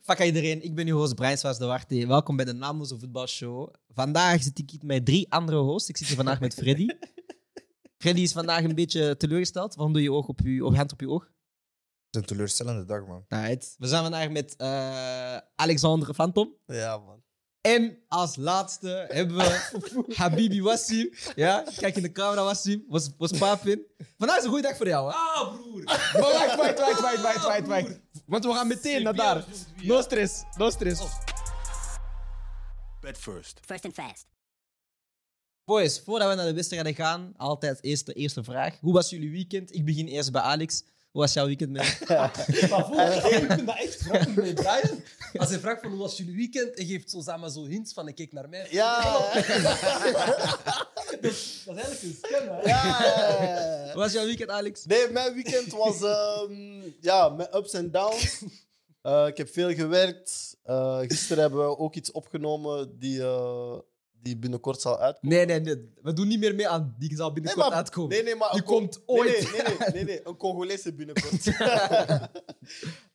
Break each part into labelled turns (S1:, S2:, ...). S1: Fakka iedereen, ik ben uw host Brian Swaas de Warte. Welkom bij de Naamloze Voetbalshow. Vandaag zit ik hier met drie andere hosts. Ik zit hier vandaag met Freddy. Freddy is vandaag een beetje teleurgesteld. Waarom doe je oog op je op, hand op je oog?
S2: Het is een teleurstellende dag, man.
S1: Right. We zijn vandaag met eh Alexander Phantom.
S2: Ja, man.
S1: En als laatste hebben we Habibi Wassim. Ja, kijk in de camera, Wassim. Was, was papin. Vandaag is een goede dag voor jou, hè?
S3: Ah, broer.
S2: Maar wacht, wacht, wacht, wacht, wacht, wacht, wacht. Want we gaan meteen naar daar. No stress, no stress.
S3: Bed first.
S4: First and fast.
S1: Boys, voordat we naar de wedstrijden gaan, altijd eerst de eerste vraag. Hoe was jullie weekend? Ik begin eerst bij Alex. Hoe was jouw weekend, man?
S5: Maar volgens mij, ik vind dat echt grappig met Brian. Als hij vraagt van hoe was jullie weekend, en geeft zo samen zo hints van ik keek naar mij.
S2: Ja,
S5: Dat is eigenlijk een scam, hè?
S1: Hoe
S6: Ja.
S1: was jouw weekend, Alex?
S6: Nee, mijn weekend was ehm, ja, met ups en downs. Eh, ik heb veel gewerkt. Eh, gisteren hebben we ook iets opgenomen die, eh, die binnenkort zal uitkomen.
S1: Nee, nee, nee. We doen niet meer mee aan die zal binnenkort
S6: maar-
S1: uitkomen.
S6: Nee, nee, maar
S1: Die
S6: een Cong-
S1: komt ooit.
S6: Nee, nee, nee, nee, nee, nee, een Congolese binnenkort.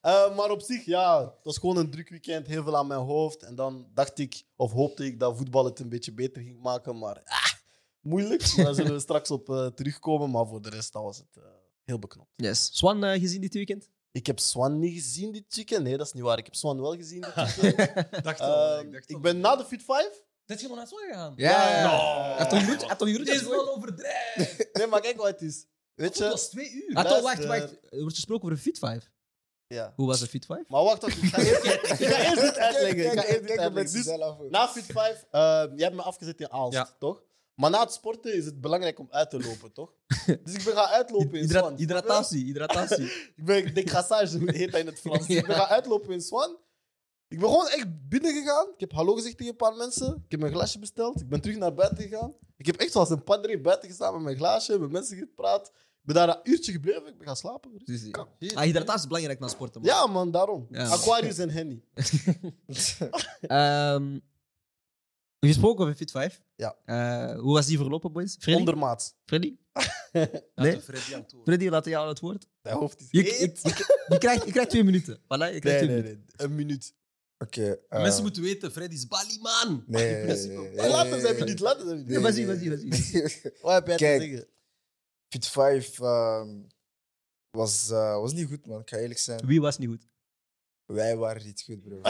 S6: Eh, maar op zich, ja, het was gewoon een druk weekend, heel veel aan mijn hoofd. En dan dacht ik, of hoopte ik, dat voetbal het een beetje beter ging maken. Maar ah, moeilijk, daar zullen we straks op eh, terugkomen. Maar voor de rest, dat was het eh, heel beknopt.
S1: Yes. Swan eh, gezien dit weekend?
S6: Ik heb Swan niet gezien dit weekend. Nee, dat is niet waar. Ik heb Swan wel gezien dit weekend.
S5: Dacht
S6: Eh,
S5: al, Ehm, ik dacht
S6: ik
S5: al.
S6: ben na de Fit 5.
S5: Dat je nog naar Zwan gegaan? Nou.
S1: Ja. Had
S6: Eh,
S1: Tom Groot- had Tom Groot
S5: Dit is
S1: gescoord?
S5: wel overdreven.
S6: Nee, maar kijk wat het is. Weet
S5: Dat
S6: je?
S5: was twee uur.
S1: Ah, Tom, wacht,
S6: Luister.
S1: wacht. Er wordt gesproken over een Fit 5.
S6: Ja.
S1: Hoe was de Fit 5?
S6: Maar wacht, wacht, ik ga eerst, ik ga eerst dit uitleggen. Ik ga eerst dit uitleggen. Dus Na Fit 5, eh, jij hebt me afgezet in Aalst,
S1: Ja.
S6: toch? Maar na het sporten is het belangrijk om uit te lopen, toch? Dus ik ben gaan uitlopen in
S1: Hydra-
S6: Swan.
S1: hydratatie, hydratatie.
S6: Ik ben decrassage, hoe heet dat in het Frans? Dus Ik ben gaan uitlopen in Swan. Ik ben gewoon echt binnen gegaan. Ik heb hallo gezegd tegen een paar mensen. Ik heb mijn glaasje besteld. Ik ben terug naar buiten gegaan. Ik heb echt zoals een padre buiten gestaan met mijn glaasje, met mensen gepraat. Ik ben daar een uurtje gebleven. Ik ben gaan slapen.
S1: Dus, ah, hydratatie is belangrijk na sporten. man.
S6: Ja, man, daarom.
S1: Ja.
S6: Aquarius en Henny.
S1: Ehm, we gesproken over Fit 5.
S6: Ja.
S1: Eh, hoe was die verlopen, boys? Freddy?
S6: Ondermaat.
S1: Freddy?
S5: Laten
S1: Nee?
S5: we Freddy aan het woord.
S1: Freddy, laat jou aan het woord.
S6: Mijn hoofd is
S1: Je,
S6: heet.
S1: je, je- je krijgt, je krijgt twee minuten. Voilà, je krijgt
S6: Nee,
S1: twee
S6: nee,
S1: minuten.
S6: nee. Een minuut.
S2: Oké. eh,
S5: Mensen moeten weten, Freddy is Baliman.
S2: Nee,
S5: In principe.
S2: nee, nee,
S6: Laat Later zijn
S2: nee,
S6: minuut, later zijn
S1: Nee,
S6: minuut.
S1: maar zie, maar zie, maar zie.
S6: Wat heb jij
S2: Kijk.
S6: te zeggen?
S2: Fit 5 ehm, was, eh, was niet goed, man. Ik ga eerlijk zijn.
S1: Wie was niet goed?
S2: Wij waren niet goed, bro.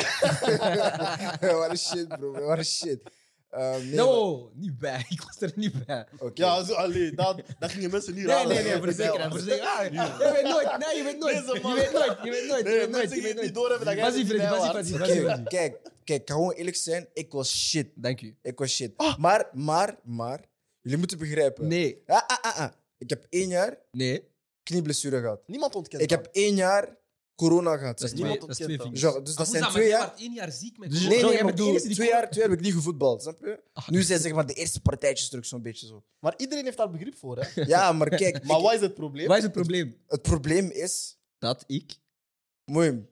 S2: Wij waren shit, bro. Wij waren shit. Ehm, nee, maar-
S1: no, niet bij. Ik was er niet bij.
S2: Oké.
S6: Ja, zo, allee, dat, dat gingen mensen niet
S1: Nee,
S6: raden.
S1: nee, nee, voor de zekerheid. Voor de zekerheid. Ah, je weet nooit. Nee, je weet nooit.
S6: Deze
S1: Je
S6: man.
S1: weet nooit. Je weet nooit. Je
S6: Nee,
S1: weet nooit.
S6: mensen
S1: Je
S6: die
S1: weet
S6: het niet
S1: nooit.
S6: doorhebben dat jij
S1: Basie,
S6: er
S1: Freddy,
S6: niet bij
S1: Basie,
S6: was.
S1: Basie, Basie,
S2: Oké,
S1: Basie.
S2: kijk, kijk, ik ga gewoon eerlijk zijn. Ik was shit.
S1: Dank u.
S2: Ik was shit. Maar, maar, maar. Jullie moeten begrijpen.
S1: Ah. Nee,
S2: Ah, ah, ah, ah. Ik heb één jaar
S1: nee.
S2: knieblessure gehad.
S6: Niemand ontkent
S2: Ik heb één jaar corona gehad.
S1: Dat is
S6: Niemand
S1: twee, dat is twee
S6: ontkent
S1: vingers.
S2: Genre, dus
S5: Ah,
S2: dat
S5: hoe
S2: zijn
S5: maar
S2: twee
S5: jij
S2: jaar.
S5: werd één jaar ziek met
S1: Dus-
S5: corona.
S2: Nee,
S1: Zo,
S2: nee,
S1: jij
S2: maar
S1: bent de
S2: twee,
S1: enige die
S2: twee, jaar, twee jaar heb ik niet gevoetbald, snap je?
S1: Ah.
S2: Nu zijn zeg maar de eerste partijtjes terug, zo'n beetje zo.
S6: Maar iedereen heeft daar begrip voor, hè?
S2: Ja, maar kijk,
S6: Maar
S2: ik-
S6: wat is het probleem?
S1: Wat is het probleem?
S2: het probleem is.
S1: Dat ik,
S2: Mooi. Nee,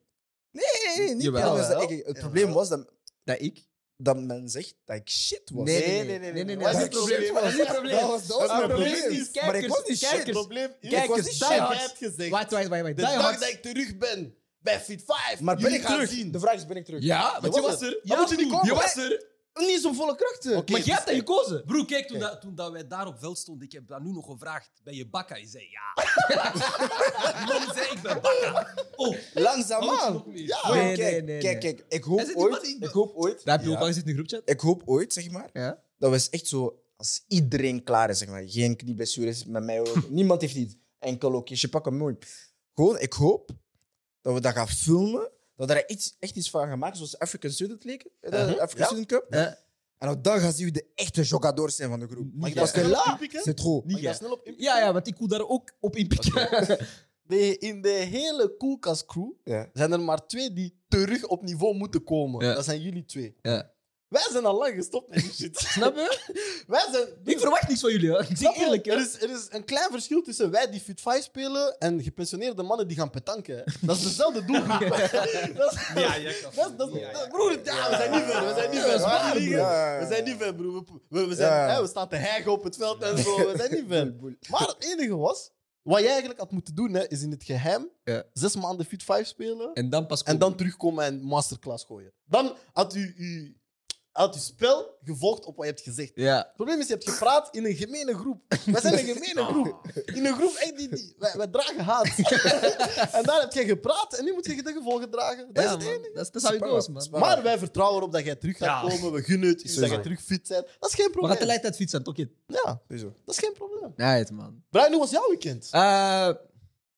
S2: nee, nee, niet
S1: Jawel.
S2: anders dan
S6: Jawel.
S2: ik- Het probleem was dat,
S1: dat ik.
S2: dat men zegt dat ik shit was.
S1: Nee,
S6: nee, nee, nee, nee. Wat is het probleem?
S1: Dat is het probleem.
S2: Dat was, dat was
S6: Het
S2: mijn
S6: probleem
S2: probleem.
S6: is,
S2: maar ik was niet
S1: kijkers-
S2: shit.
S6: Het probleem is,
S1: Kijk
S6: ik was
S1: eens,
S6: niet
S1: die
S6: shit.
S1: hard.
S6: Jij hebt gezegd,
S1: Wacht, wacht, wacht. wacht.
S6: de
S1: Die
S6: dag
S1: Hard-
S6: dat ik terug ben bij Fit 5,
S2: Maar ben
S6: jullie
S2: ik
S6: gaan
S2: terug?
S6: zien.
S2: De vraag is, ben ik terug?
S1: Ja,
S6: Want
S1: want
S6: je
S1: je
S6: was er.
S5: Ja,
S6: Dan moet je niet
S5: broer,
S6: komen.
S5: je was er.
S2: Niet zo volle krachten.
S6: Oké, dus-
S1: Maar jij hebt dat gekozen.
S5: Broer, kijk, toen, dat, toen dat wij daar op veld stonden, ik heb dat nu nog gevraagd. Ben je bakka? Je zei ja. Die man zei, ik ben bakka. Oh,
S2: Langzaamaan.
S5: Alles nog meer.
S2: Ja,
S1: Nee,
S2: maar
S1: nee,
S2: kijk,
S1: nee,
S2: kijk,
S1: nee.
S2: kijk. Ik hoop
S5: Hij zit
S2: ooit,
S5: iemand in-
S2: ik hoop ooit,
S1: Dat heb je
S2: ja,
S1: ook al gezien in de groepchat.
S2: ik hoop ooit, zeg maar,
S1: Ja.
S2: dat was echt zo, als iedereen klaar is, zeg maar, geen knieblessures, met mij ook, niemand heeft iets, enkel ook, je pak hem mooi. Gewoon, ik hoop dat we dat gaan filmen, dat we daar iets, echt iets van gaan maken, zoals African Student League, eh, de
S6: Uh-huh.
S2: African Student Cup.
S1: Ja.
S2: En dan dan gaan zien we de echte jogadors zijn van de groep.
S6: Mag ik
S2: Parce
S6: dat
S2: que
S6: snel op
S2: là,
S6: inpikken?
S2: c'est trop.
S6: Mag ik
S1: jij.
S6: dat snel op inpikken?
S1: Ja, ja, want ik wil daar ook op inpikken.
S6: De- In de hele Koelkast crew
S2: Ja.
S6: zijn er maar twee die terug op niveau moeten komen.
S1: Ja.
S6: Dat zijn jullie twee.
S1: Ja.
S6: Wij zijn al lang gestopt met die shit.
S1: Snap je?
S6: Wij zijn...
S1: Ik verwacht niks van jullie. Hè. Ik
S6: Snap
S1: zeg
S6: je?
S1: eerlijk.
S6: er
S1: Hè.
S6: is, er is een klein verschil tussen wij die Fit 5 spelen en gepensioneerde mannen die gaan petanken. hè. Dat is dezelfde doelgroep. dat is,
S5: ja, ja. kan.
S6: dat is- dat is- dat- broer, ja, we zijn niet ver. We zijn niet
S2: Ja,
S6: ver. We, gaan
S2: zwaar,
S6: niet
S2: broer.
S6: liegen. we zijn niet ver, broer. We, we, we zijn,
S2: Ja.
S6: hè, we staan te hijgen op het veld en zo. We zijn niet ver. Maar het enige was, Wat jij eigenlijk had moeten doen, hè, is in het geheim
S1: Ja.
S6: zes maanden Fit 5 spelen.
S1: En dan pas
S6: En dan terugkomen en masterclass gooien. Dan had u, u, had u spel gevolgd op wat je hebt gezegd.
S1: Ja.
S6: Het probleem is, je hebt gepraat in een gemene groep. Wij zijn een gemene groep. In een groep, echt, die, die, wij, wij dragen haat. en daar heb jij gepraat en nu moet je de gevolgen dragen. Dat
S1: ja,
S6: is het
S1: man.
S6: enige.
S1: Dat is, dat is how it goes, man.
S2: Spar-
S6: Maar wij vertrouwen erop dat jij terug gaat
S5: Ja.
S6: komen. We gunnen het u,
S2: Sowieso.
S6: dat jij terug fit bent. Dat is
S1: We
S6: geen
S1: gaan
S6: probleem.
S1: tegelijkertijd fietsen, toch?
S6: Ja,
S2: Sowieso.
S6: dat is geen probleem.
S1: Right, man.
S6: Brian, hoe was jouw weekend?
S1: Eh,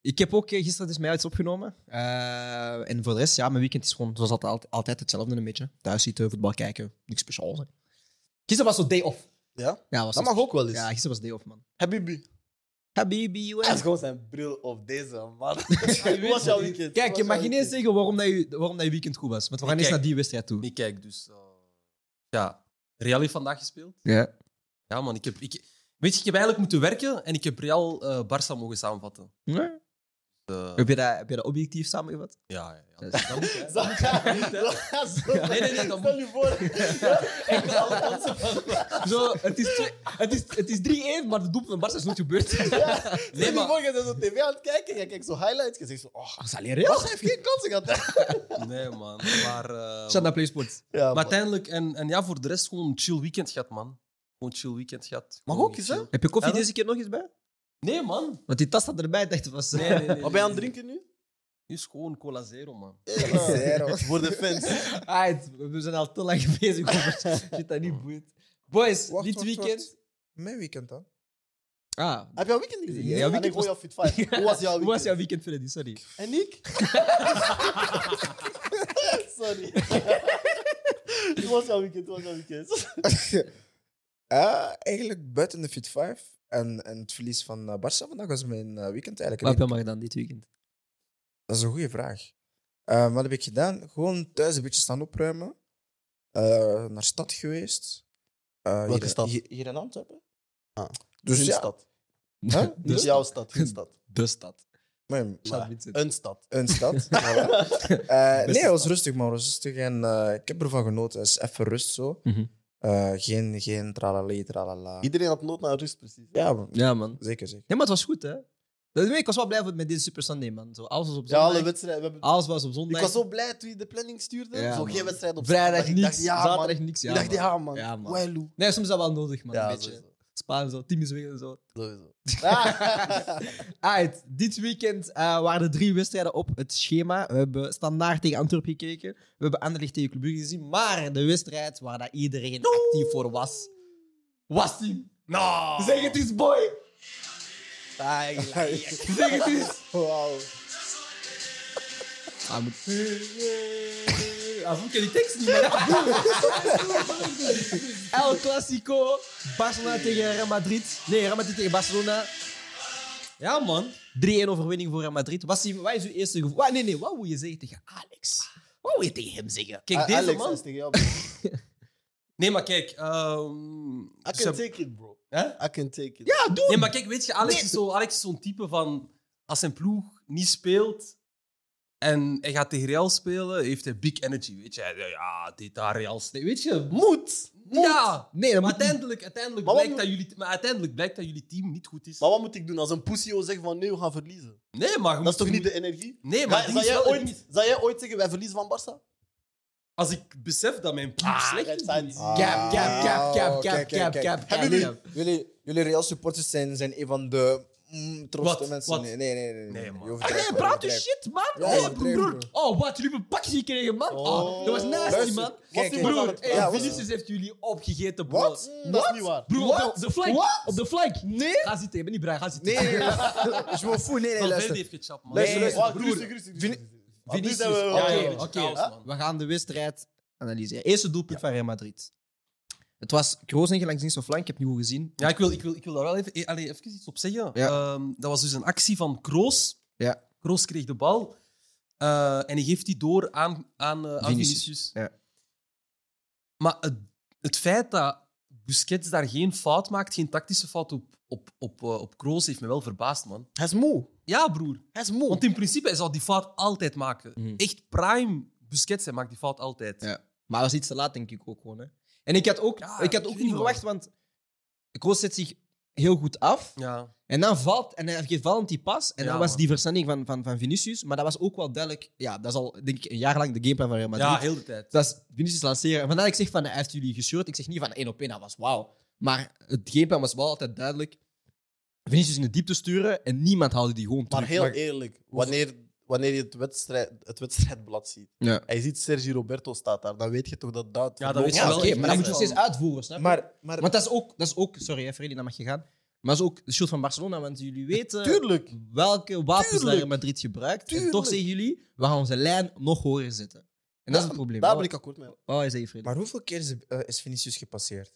S1: ik heb ook eh, gisteren dus mij iets opgenomen. Eh, en voor de rest, ja, mijn weekend is gewoon zoals altijd, altijd hetzelfde een beetje. Thuis zitten, voetbal kijken, niks speciaals. hè. Gisteren was zo day off.
S6: Ja?
S1: Ja, was
S6: Dat
S1: niks-
S6: mag ook wel eens.
S1: Ja, gisteren was day off, man.
S6: Habibi.
S1: Habibi,
S6: Hij is
S1: US.
S6: gewoon zijn bril op deze man. hoe was jouw weekend?
S1: Kijk,
S6: Hoe
S1: je
S6: was
S1: mag
S6: jouw
S1: niet eens
S6: weekend?
S1: zeggen waarom dat je, waarom dat je weekend goed was. Want we gaan eerst
S5: Kijk.
S1: naar die wedstrijd toe.
S5: Ik kijk dus. eh, ja, Real heeft vandaag gespeeld.
S1: Ja.
S5: Ja, man. Ik heb, ik, weet je, ik heb eigenlijk moeten werken en ik heb Real eh Barça mogen samenvatten.
S1: Ja.
S5: Eh,
S1: Heb, je dat, heb je dat objectief samengevat?
S5: ja, ja, ja. Dat moet, hè.
S6: Zo-
S5: Nee, nee, nee, dat
S6: Stel je voor.
S5: Echt alle kansen van.
S1: Zo, het is, twee- het is, het is 3-1, maar de doel van Barca is nooit gebeurd.
S6: Nee,
S5: Nee,
S6: maar...
S5: maar-
S6: Morgen zijn ze op tv aan het kijken. Jij kijkt zo highlights. Je zegt zo... Oh,
S1: Dat is alleen Real.
S6: hij heeft geen kansen gehad.
S5: Nee, man. Maar,
S6: Ah,
S5: eh,
S1: Shut up, PlaySports.
S6: Ja,
S5: maar
S6: maar
S5: uiteindelijk, en, en ja, voor de rest gewoon een chill weekend gehad, man. Gewoon chill weekend gehad.
S6: Mag
S5: Gewoon
S6: ook eens,
S5: chill.
S6: hè?
S1: Heb je koffie
S5: Ja, dat-
S1: deze keer nog eens bij?
S5: Nee, man.
S1: Want die tas staat erbij, dacht ik. Was,
S5: Nee, nee, nee,
S6: Wat ben je aan het
S5: nee.
S6: drinken nu?
S5: Nu is gewoon cola zero, man.
S2: Zero.
S6: Voor de fans.
S1: Aight, Ah, we zijn al te lang bezig over shit dat niet boeit. Boys,
S2: Wacht,
S1: dit
S2: wacht,
S1: weekend.
S2: wacht. Mijn weekend dan?
S1: Ah,
S6: Heb jouw weekend niet gezien?
S1: Ja,
S6: Nee,
S1: jouw
S6: en
S1: weekend
S6: ik gooi jou fit 5. Hoe was jouw weekend?
S1: hoe was jouw weekend, Freddy? Sorry.
S6: En ik? Sorry. Hoe was jouw weekend? Hoe was jouw weekend?
S2: Eh, eigenlijk buiten de Fit 5 en, en het verlies van eh, Barça vandaag was mijn eh, weekend
S1: Wat
S2: eigenlijk.
S1: heb je allemaal gedaan dit weekend?
S2: Dat is een goede vraag. Eh, wat heb ik gedaan? Gewoon thuis een beetje staan opruimen. Eh, naar stad geweest. Eh,
S6: Welke
S2: hier,
S6: stad?
S2: Hier, hier in Antwerpen.
S6: Ah.
S2: Dus
S6: Geen
S2: ja,
S6: stad.
S2: Huh?
S6: Niet jouw stad, geen stad.
S1: de stad.
S2: mijn-
S1: Shout
S6: Maar
S1: Vincent.
S6: Een stad.
S2: een stad. voilà. Eh, nee,
S1: stad.
S2: het was rustig, man. Het was rustig en eh, ik heb ervan genoten. Het is even rust zo.
S1: Mhm.
S2: Eh, geen, geen tralalé, tralala.
S6: Iedereen had nood naar rust, precies.
S2: Ja, man.
S1: Ja, man.
S2: zeker, zeker.
S1: Nee, maar het was goed, hè? Dat weet ik was wel blij met deze Super Sunday, man. Zo, alles was op
S6: Ja,
S1: zondag.
S6: alle wedstrijden. we hebben-
S1: alles was op zondag.
S6: Ik was zo blij toen je de planning stuurde.
S1: Ja,
S6: zo
S1: man.
S6: geen wedstrijd op
S1: Vrijdag
S6: zondag.
S1: niks,
S6: Ik dacht, ja, man.
S1: zaterdag niks. Ja,
S6: ik dacht,
S1: man.
S6: ja, man.
S1: Ja, man.
S6: Wailu.
S1: Nee, soms is dat wel nodig, man.
S6: Ja,
S1: een beetje.
S6: sowieso.
S1: Sparen zo, team is weg en zo.
S6: Sowieso.
S1: Uit, dit weekend eh, waren er drie wedstrijden op het schema. We hebben Standaard tegen Antwerpen gekeken. We hebben Anderlecht tegen Club Brugge gezien. Maar de wedstrijd waar dat iedereen actief voor was, was die.
S5: Nou!
S1: Zeg het eens, boy! Zeg het eens!
S6: Wauw.
S1: Ah, moet... Als ik ken die tekst niet meer. El Clasico, Barcelona tegen Real Madrid. Nee, Real Madrid tegen Barcelona.
S5: Ja, man.
S1: 3-1 overwinning voor Real Madrid. Wat is, wat is uw eerste gevoel? Wa- Nee, nee, wat wil je zeggen tegen Alex? Wat wil je tegen hem zeggen?
S5: Kijk, deze
S6: Alex, hij
S5: man.
S6: is tegen jou.
S5: Nee, maar kijk. ehm,
S6: I
S5: ze-
S6: can take it, bro.
S5: Hè?
S6: I can take it.
S1: Ja, nou, doe
S5: Nee,
S1: het!
S5: maar kijk, weet je, Alex is zo- Alex is zo'n type van. Als zijn ploeg niet speelt en hij gaat tegen Real spelen, heeft hij big energy. Weet je, Hij- ja, dit daar Real. steekt, Weet je,
S6: Moet. Moet.
S5: ja.
S1: Nee, dat moet
S5: Maar
S1: niet.
S5: uiteindelijk, uiteindelijk,
S6: Maar wat
S5: blijkt dat jullie, maar uiteindelijk blijkt dat jullie team niet goed is.
S6: Maar wat moet ik doen als een pussio zegt van nee, we gaan verliezen?
S5: Nee, maar
S6: Dat
S5: je moet-
S6: is toch
S5: je
S6: niet
S5: moet-
S6: de energie?
S5: Nee, maar
S6: Zou-
S5: het ding
S6: zou,
S5: is
S6: jij
S5: wel- het
S6: ooit, zou jij ooit zeggen wij verliezen van Barça?
S5: Als ik besef dat mijn ploeg slecht
S6: Red
S5: is.
S6: Signs.
S5: dan-
S2: Ah,
S1: Cap, cap, cap, cap,
S2: kijk,
S1: cap,
S2: kijk,
S1: cap,
S2: kijk.
S1: cap,
S2: Hebben jullie,
S1: cap.
S2: jullie, jullie Real supporters zijn, zijn een van de mm, trotsste
S5: Wat?
S2: mensen.
S5: Wat?
S2: Nee, nee, nee. nee,
S5: Nee,
S2: Je
S5: man.
S1: Ah,
S2: overdrijft,
S1: nee,
S2: je
S1: praat uw
S2: overdrijft.
S1: shit, man. Oh,
S2: Ja, overdrijf,
S1: broer.
S2: broer.
S1: Oh, wat, jullie hebben een pakje gekregen, man. Oh, dat was nasty,
S2: Luister,
S1: man.
S2: kijk,
S6: kijk.
S1: Broer,
S6: Wat?
S1: hey,
S2: Ja, wat?
S1: Vinicius heeft jullie opgegeten, bro.
S2: Wat?
S6: Mm, Dat is niet waar.
S1: Broer, op de- de flank.
S2: Wat?
S1: Op de flank.
S2: Nee?
S1: Ga zitten, je bent niet braai, ga zitten.
S2: Nee, nee, nee. Je me voel, nee, nee,
S5: Valverde
S2: luister.
S5: heeft gechapt, man.
S2: Luister,
S1: Nee.
S2: luister.
S6: Wacht,
S2: broer.
S6: rustig, rustig,
S2: Vin-
S6: rustig, rustig. Ah, nu
S1: Vinicius.
S6: zijn we-
S5: Ja, ja,
S1: Oké,
S5: ja.
S1: oké,
S5: Chaos, man.
S1: we gaan de wedstrijd analyseren. Eerste doelpunt van Real Madrid. Het was Kroosing langs links of flank, ik heb het niet goed gezien.
S5: Ja, ik wil, ik wil, ik wil daar wel even, eh, allee, even iets op zeggen.
S1: Ja.
S5: Ehm, dat was dus een actie van Kroos.
S1: Ja.
S5: Kroos kreeg de bal eh, en hij geeft die door aan, aan, eh, aan
S1: Vinicius.
S5: Vinicius.
S1: Ja.
S5: Maar het, het feit dat Busquets daar geen fout maakt, geen tactische fout op, op, op, eh, op Kroos, heeft me wel verbaasd, man.
S6: Hij is moe.
S5: Ja, broer.
S6: Hij is moe.
S5: Want in principe, hij zou die fout altijd maken.
S1: Mhm.
S5: Echt prime Busquets, hij maakt die fout altijd.
S1: Ja. Maar dat was iets te laat, denk ik ook gewoon. Hè. En ik had ook,
S5: Ja,
S1: ik had
S5: ik
S1: ook
S5: weet
S1: niet
S5: niet,
S1: verwacht, want Kroos zet zich heel goed af.
S5: Ja.
S1: En dan valt, en hij geeft vallend die pas. En
S5: Ja,
S1: dan was
S5: man.
S1: die versnelling van, van, van Vinicius. Maar dat was ook wel duidelijk. Ja, dat is al denk ik een jaar lang de gameplan van Real Madrid.
S5: ja, heel de tijd.
S1: Dat is Vinicius lanceren. En Vandaar dat ik zeg van, hij heeft jullie gescheurd. Ik zeg niet van één op één, dat was wauw. Maar het gameplan was wel altijd duidelijk. Vinicius in de diepte sturen en niemand haalde die gewoon terug.
S6: Maar heel eerlijk, wanneer, wanneer je het, wedstrijd, het wedstrijdblad ziet
S1: Ja.
S6: en je ziet Sergio Roberto staat daar, dan weet je toch dat dat...
S5: Ja, dat weet je
S1: Ja,
S5: wel
S1: oké,
S5: echt
S1: maar dat moet je
S5: wel.
S1: steeds uitvoeren, snap je?
S2: Maar, maar
S1: Want dat is ook, dat is ook sorry, hè, Freddy, dat mag je gaan. Maar dat is ook de schuld van Barcelona, want jullie weten
S6: Tuurlijk!
S1: welke wapens
S6: Tuurlijk.
S1: Real Madrid gebruikt. En toch
S6: Tuurlijk.
S1: zeggen jullie, we gaan onze lijn nog hoger zetten. En dat is het probleem.
S6: Daar ben ik akkoord mee.
S1: Oh, hij zei Freddy.
S2: Maar hoeveel keer is, eh, is Vinicius gepasseerd?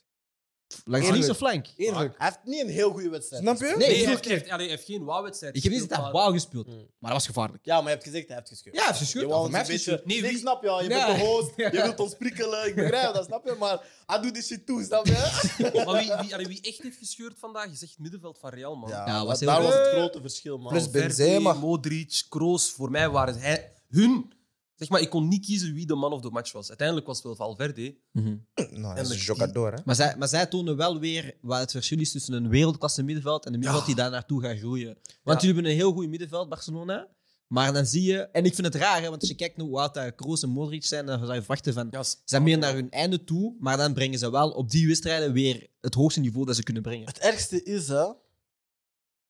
S1: Langs de
S2: Eerlijk.
S1: linkse flank.
S2: Eerlijk.
S6: Hij heeft niet een heel goede wedstrijd.
S2: Snap je?
S1: Nee,
S5: Nee,
S1: ik bedoel-
S5: hij heeft, hij heeft- allee, hij heeft geen wauw-wedstrijd.
S1: ik heb niet
S5: gespeeld,
S1: dat wauw gespeeld,
S6: Mm.
S1: maar dat was gevaarlijk.
S6: Ja, maar je hebt gezegd, hij heeft gescheurd.
S1: Ja, hij heeft gescheurd.
S6: Je
S1: Voor
S6: wou ons
S1: mij
S6: een
S1: heeft
S6: beetje...
S5: Nee,
S6: Nee,
S5: wie-
S6: ik snap je, je
S1: Ja.
S6: bent de host,
S1: Ja.
S6: je wilt ons prikkelen, ik begrijp dat, snap je? Maar hij doet die shit toe, snap je?
S5: Maar wie, wie, allee, wie echt heeft gescheurd vandaag, is echt het middenveld van Real, man.
S1: Ja,
S6: dat-
S1: was heel
S6: daar
S1: goed.
S6: was het grote verschil, man.
S2: Plus-
S5: Valverde,
S2: Benzema.
S5: Modric, Kroos, voor mij waren hij, hun... Zeg maar, ik kon niet kiezen wie de man of the match was. Uiteindelijk was het wel Valverde.
S1: Mhm.
S2: Nou, dat is een
S5: Eindelijk
S2: jogador, hè?
S1: Maar zij, maar zij tonen wel weer wat het verschil is tussen een wereldklasse middenveld en een middenveld die daar naartoe gaat groeien. Want
S5: Ja.
S1: jullie hebben een heel goed middenveld, Barcelona. Maar dan zie je, en ik vind het raar, hè, want als je kijkt naar hoe oud daar Kroos en Modric zijn, dan zou je verwachten van.
S5: Ja, s-
S1: Ze zijn meer naar hun einde toe, maar dan brengen ze wel op die wedstrijden weer het hoogste niveau dat ze kunnen brengen.
S6: Het ergste is, hè,